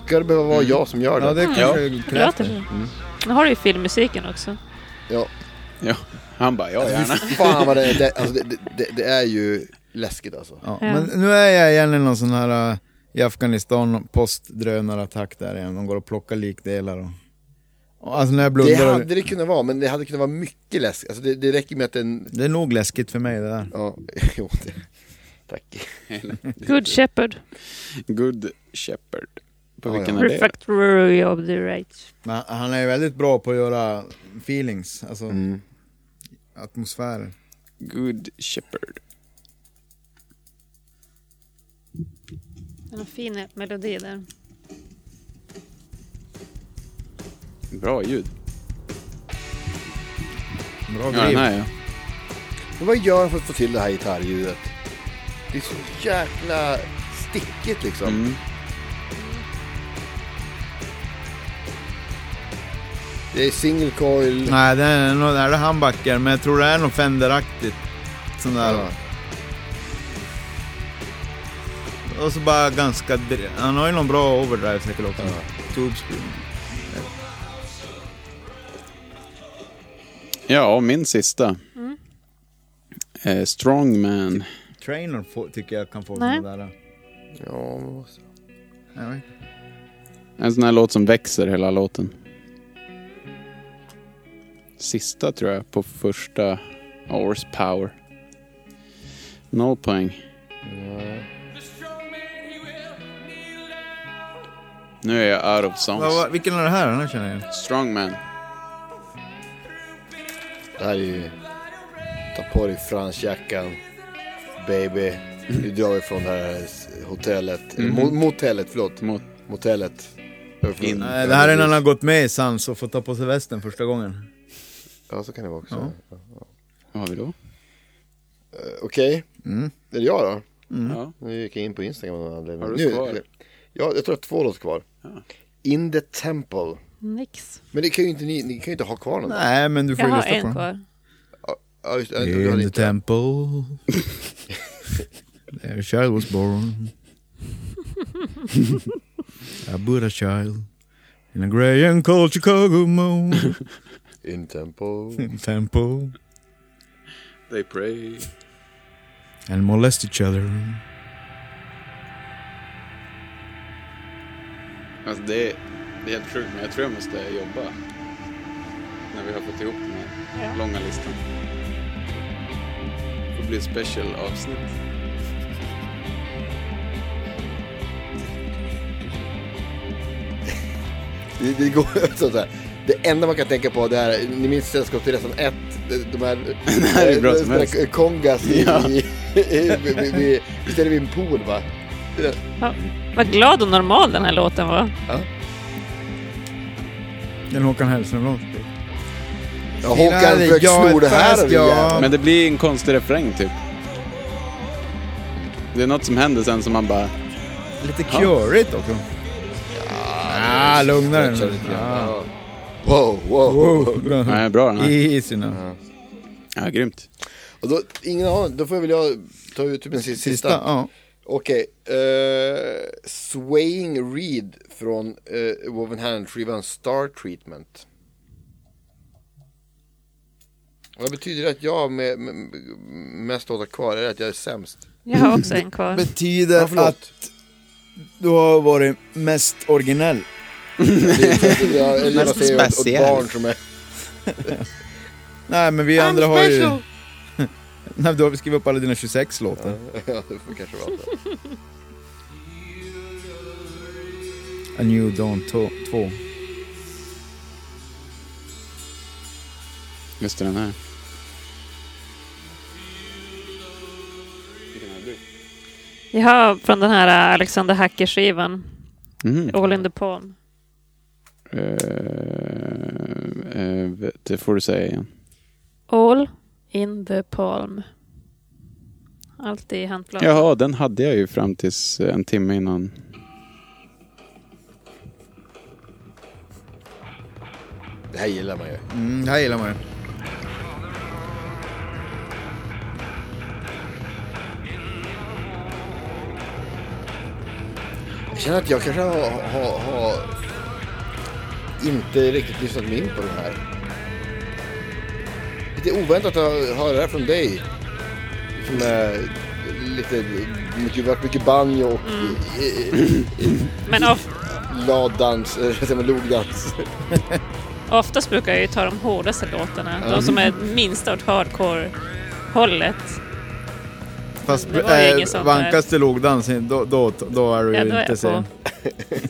[SPEAKER 5] Ska det behöva vara jag som gör det?
[SPEAKER 4] Mm. ja, det kanske
[SPEAKER 3] Det
[SPEAKER 4] krävs.
[SPEAKER 3] låter så. Nu har du ju filmmusiken också.
[SPEAKER 5] Ja.
[SPEAKER 1] Ja. Han bara ja, gärna.
[SPEAKER 5] Fan vad det, det, alltså det, det- det, det är ju läskigt alltså.
[SPEAKER 4] Ja,
[SPEAKER 3] Ja.
[SPEAKER 4] men nu är jag igen i någon sån här äh, i Afghanistan postdrönarattack där igen. De går och plockar likdelar och... och alltså när jag
[SPEAKER 5] Det
[SPEAKER 4] blundar...
[SPEAKER 5] hade det kunnat vara, men det hade kunnat vara mycket läskigt. Alltså det, det räcker med att en...
[SPEAKER 4] Det är nog läskigt för mig det där.
[SPEAKER 5] Ja, jo, det. Tack.
[SPEAKER 3] Good Shepherd.
[SPEAKER 1] Good Shepherd. På
[SPEAKER 5] Ja,
[SPEAKER 1] vilken
[SPEAKER 5] ja.
[SPEAKER 1] är det?
[SPEAKER 3] Refactory of the Right.
[SPEAKER 4] Men han är ju väldigt bra på att göra feelings, alltså
[SPEAKER 5] Mm.
[SPEAKER 4] atmosfärer.
[SPEAKER 1] Good Shepherd.
[SPEAKER 3] Det är någon fin melodi där.
[SPEAKER 1] Bra ljud.
[SPEAKER 4] Bra
[SPEAKER 1] Ja, den
[SPEAKER 4] driv.
[SPEAKER 1] här ja.
[SPEAKER 5] Men vad gör han för att få till det här gitarrljudet? Det är så jäkla stickigt liksom.
[SPEAKER 1] Mm.
[SPEAKER 5] Det är single coil.
[SPEAKER 4] Nej, det är nog det här är handbacker, men jag tror det är något Fenderaktigt. Sån där.
[SPEAKER 5] Ja.
[SPEAKER 4] Och så bara ganska... dr- Han har ju någon bra overdrive säkert också. Tube scream.
[SPEAKER 1] Ja, och min sista. Eh, Strongman.
[SPEAKER 4] Trainer får, tycker jag kan få
[SPEAKER 3] Nej.
[SPEAKER 4] sån där.
[SPEAKER 5] Ja, men vad-
[SPEAKER 4] Jag vet.
[SPEAKER 1] En sån här låt som växer hela låten. Sista tror jag på första Hours Power. Noll poäng. Nu är jag out of
[SPEAKER 4] Vad
[SPEAKER 1] songs.
[SPEAKER 4] var- vilken är det här? Den här känner jag igen.
[SPEAKER 1] Strongman.
[SPEAKER 5] det här är ju... Ta på dig fransjackan, baby. Nu drar vi från det här hotellet. Mo- motellet, förlåt.
[SPEAKER 1] Mot
[SPEAKER 5] Motellet.
[SPEAKER 1] In.
[SPEAKER 4] Nej, det här är när han har gått med i Sans och fått ta på sig västen första gången.
[SPEAKER 5] Ja, så kan det vara också.
[SPEAKER 1] Vad har vi då?
[SPEAKER 5] Eh, Okej,
[SPEAKER 4] Mm.
[SPEAKER 5] det är det jag då?
[SPEAKER 1] Ja.
[SPEAKER 5] Nu gick jag in på Instagram av någon anledning.
[SPEAKER 1] Har du
[SPEAKER 5] nu,
[SPEAKER 1] kvar?
[SPEAKER 5] Ja, jag tror att två låter kvar. In the temple.
[SPEAKER 3] Nix.
[SPEAKER 5] Men det kan ju inte ni, ni kan ju inte ha kvar någon.
[SPEAKER 4] Nej, men du får
[SPEAKER 3] Jag
[SPEAKER 4] ju
[SPEAKER 3] har
[SPEAKER 4] lyssna på
[SPEAKER 3] en
[SPEAKER 4] den.
[SPEAKER 3] kvar.
[SPEAKER 5] Ja, just, äh, du hade
[SPEAKER 4] In the
[SPEAKER 5] inte.
[SPEAKER 4] temple There a child was born A Buddha child In a grey and cold Chicago moon
[SPEAKER 5] In temple.
[SPEAKER 4] In the temple
[SPEAKER 1] They pray.
[SPEAKER 4] And molest each other
[SPEAKER 1] Alltså det, är, det är helt sjukt men jag tror jag måste jobba. När vi har fått ihop den här långa listan. Det får bli ett special avsnitt.
[SPEAKER 5] Det, det går så här. Det enda man kan tänka på det är, ni minns Sällskapsresan 1, de här,
[SPEAKER 1] här är bra som helst.
[SPEAKER 5] eh, kongas i,
[SPEAKER 1] Ja.
[SPEAKER 5] i, i, vid- vid- istället vid en pool va?
[SPEAKER 3] Vad glad och normal den här låten var.
[SPEAKER 4] En Håkan Hellström-låt.
[SPEAKER 5] Ja, Håkan
[SPEAKER 4] det,
[SPEAKER 5] försöker
[SPEAKER 4] jag är
[SPEAKER 5] sno det här
[SPEAKER 4] fast,
[SPEAKER 5] av
[SPEAKER 4] ja.
[SPEAKER 5] ja.
[SPEAKER 1] Men det blir en konstig refräng typ. Det är något som händer sen som man bara...
[SPEAKER 4] Lite curigt också. Ah, Ja, lugnare. än- Ja.
[SPEAKER 5] Wow, wow.
[SPEAKER 4] Wow.
[SPEAKER 1] Nej, bra den här.
[SPEAKER 4] Easy now.
[SPEAKER 1] Ja, grymt.
[SPEAKER 5] Och då, ingen aning, då får väl jag ta ut typ en sista.
[SPEAKER 4] Sista, ja.
[SPEAKER 5] Okej, eh, Swaying Reed från uh, Woven Hand-skivan Star Treatment. Vad betyder det att jag med, med mest låtar kvar? Är det att jag är sämst?
[SPEAKER 3] Jag har också en kvar.
[SPEAKER 5] Ja,
[SPEAKER 4] Betyder
[SPEAKER 5] förlåt.
[SPEAKER 4] att du har varit mest originell.
[SPEAKER 5] Mest
[SPEAKER 6] speciell.
[SPEAKER 5] Barn som är...
[SPEAKER 4] Nej, men vi andra har ju... Nej, då har vi skrivit upp alla dina 26 låtar.
[SPEAKER 5] ja, det får kanske vara så.
[SPEAKER 4] A New Dawn 2.
[SPEAKER 1] Just det, den här.
[SPEAKER 3] Jag har från den här äh, Alexander Hacker-skivan,
[SPEAKER 1] Mhm.
[SPEAKER 3] All in the Palm.
[SPEAKER 1] Eh, eh, det får du säga igen.
[SPEAKER 3] All in the Palm. Allt i handflatan.
[SPEAKER 1] Jaha, den hade jag ju fram tills eh, en timme innan.
[SPEAKER 5] Det här gillar man ju.
[SPEAKER 4] Mm, det här gillar man ju.
[SPEAKER 5] Jag känner att jag kanske har, har, har inte riktigt lyssnat mig in på den här. Lite oväntat att höra det här från dig. Som är lite, mycket, varit mycket banjo och mm.
[SPEAKER 3] Men of,
[SPEAKER 5] laddans, eh, säger man, logdans.
[SPEAKER 3] oftast brukar jag ju ta de hårdaste låtarna. De som är minst åt hardcore-hållet.
[SPEAKER 4] Fast
[SPEAKER 3] Det var ju
[SPEAKER 4] eh,
[SPEAKER 3] inget sånt där.
[SPEAKER 4] vankas till lågdans, då, då, då är du
[SPEAKER 3] Ja,
[SPEAKER 4] ju
[SPEAKER 3] då är
[SPEAKER 4] inte
[SPEAKER 3] jag på.
[SPEAKER 4] sen.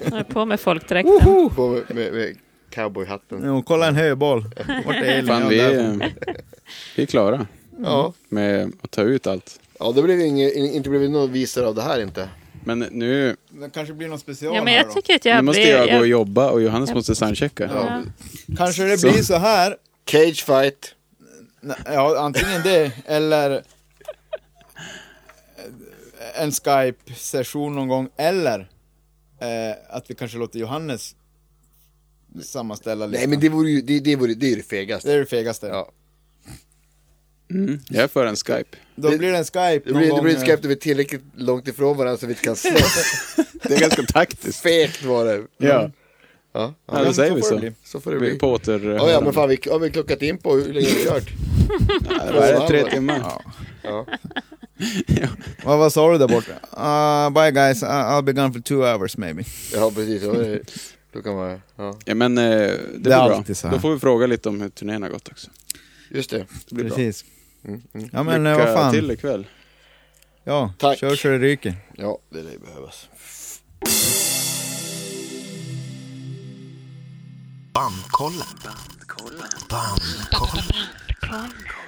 [SPEAKER 3] Då är jag på med folkdräkten.
[SPEAKER 5] På med, med, med cowboyhatten.
[SPEAKER 4] Jo, kolla en höboll. Vart är Elin?
[SPEAKER 1] Fan,
[SPEAKER 4] Ja,
[SPEAKER 1] vi,
[SPEAKER 4] där.
[SPEAKER 1] är- vi är klara
[SPEAKER 5] Ja.
[SPEAKER 1] med att ta ut allt.
[SPEAKER 5] ja, det blev inget, inte blev någon visare av det här inte.
[SPEAKER 1] Men nu,
[SPEAKER 4] Det kanske blir någon special
[SPEAKER 3] Ja, men
[SPEAKER 4] här
[SPEAKER 3] jag
[SPEAKER 4] då.
[SPEAKER 3] tycker att
[SPEAKER 1] nu
[SPEAKER 3] jag
[SPEAKER 1] måste
[SPEAKER 3] blir...
[SPEAKER 1] jag gå och jobba och Johannes måste soundchecka.
[SPEAKER 3] ja.
[SPEAKER 4] Kanske det blir så här.
[SPEAKER 5] Cage fight.
[SPEAKER 4] Nej, Ja, antingen det eller eh, en Skype-session någon gång. Eller eh, att vi kanske låter Johannes sammanställa
[SPEAKER 5] Nej
[SPEAKER 4] listan.
[SPEAKER 5] men det vore ju, det, det vore, det är ju det
[SPEAKER 4] Det
[SPEAKER 5] fegaste.
[SPEAKER 4] är det fegaste.
[SPEAKER 5] Ja.
[SPEAKER 1] Mm, jag är för en Skype.
[SPEAKER 4] Då blir det en Skype
[SPEAKER 5] Det
[SPEAKER 4] någon
[SPEAKER 5] blir,
[SPEAKER 4] gång.
[SPEAKER 5] det blir ett
[SPEAKER 4] eh,
[SPEAKER 5] skämt när vi är tillräckligt långt ifrån varandra så vi inte kan slåss.
[SPEAKER 1] Det är ganska taktiskt.
[SPEAKER 5] Fegt var det.
[SPEAKER 1] Ja,
[SPEAKER 5] Ja, ja,
[SPEAKER 1] ja då säger
[SPEAKER 4] så
[SPEAKER 1] vi
[SPEAKER 4] får det
[SPEAKER 1] så.
[SPEAKER 4] bli.
[SPEAKER 5] så får det
[SPEAKER 1] Vi är
[SPEAKER 5] bli.
[SPEAKER 1] på åter...
[SPEAKER 5] Ja, ja, men fan, vi, har vi klockat in på hur länge har vi kört?
[SPEAKER 1] Vad är det, tre timmar?
[SPEAKER 4] eh, Vad vad sa du där borta? Uh, bye guys, I- I'll be gone for two hours maybe.
[SPEAKER 5] Ja, precis. Då, är det, då kan man, ja.
[SPEAKER 1] Ja, men eh, det blir bra.
[SPEAKER 4] alltid så här.
[SPEAKER 1] Då får vi fråga lite om hur turnén har gått också.
[SPEAKER 5] Just det.
[SPEAKER 1] Det blir bra.
[SPEAKER 4] Precis. Ja men eh,
[SPEAKER 1] Lycka
[SPEAKER 4] vad fan.
[SPEAKER 1] till ikväll.
[SPEAKER 4] Ja,
[SPEAKER 5] Tack.
[SPEAKER 4] kör så det ryker.
[SPEAKER 5] Ja, det lär ju behövas.
[SPEAKER 8] Bandkollen. Bandkollen.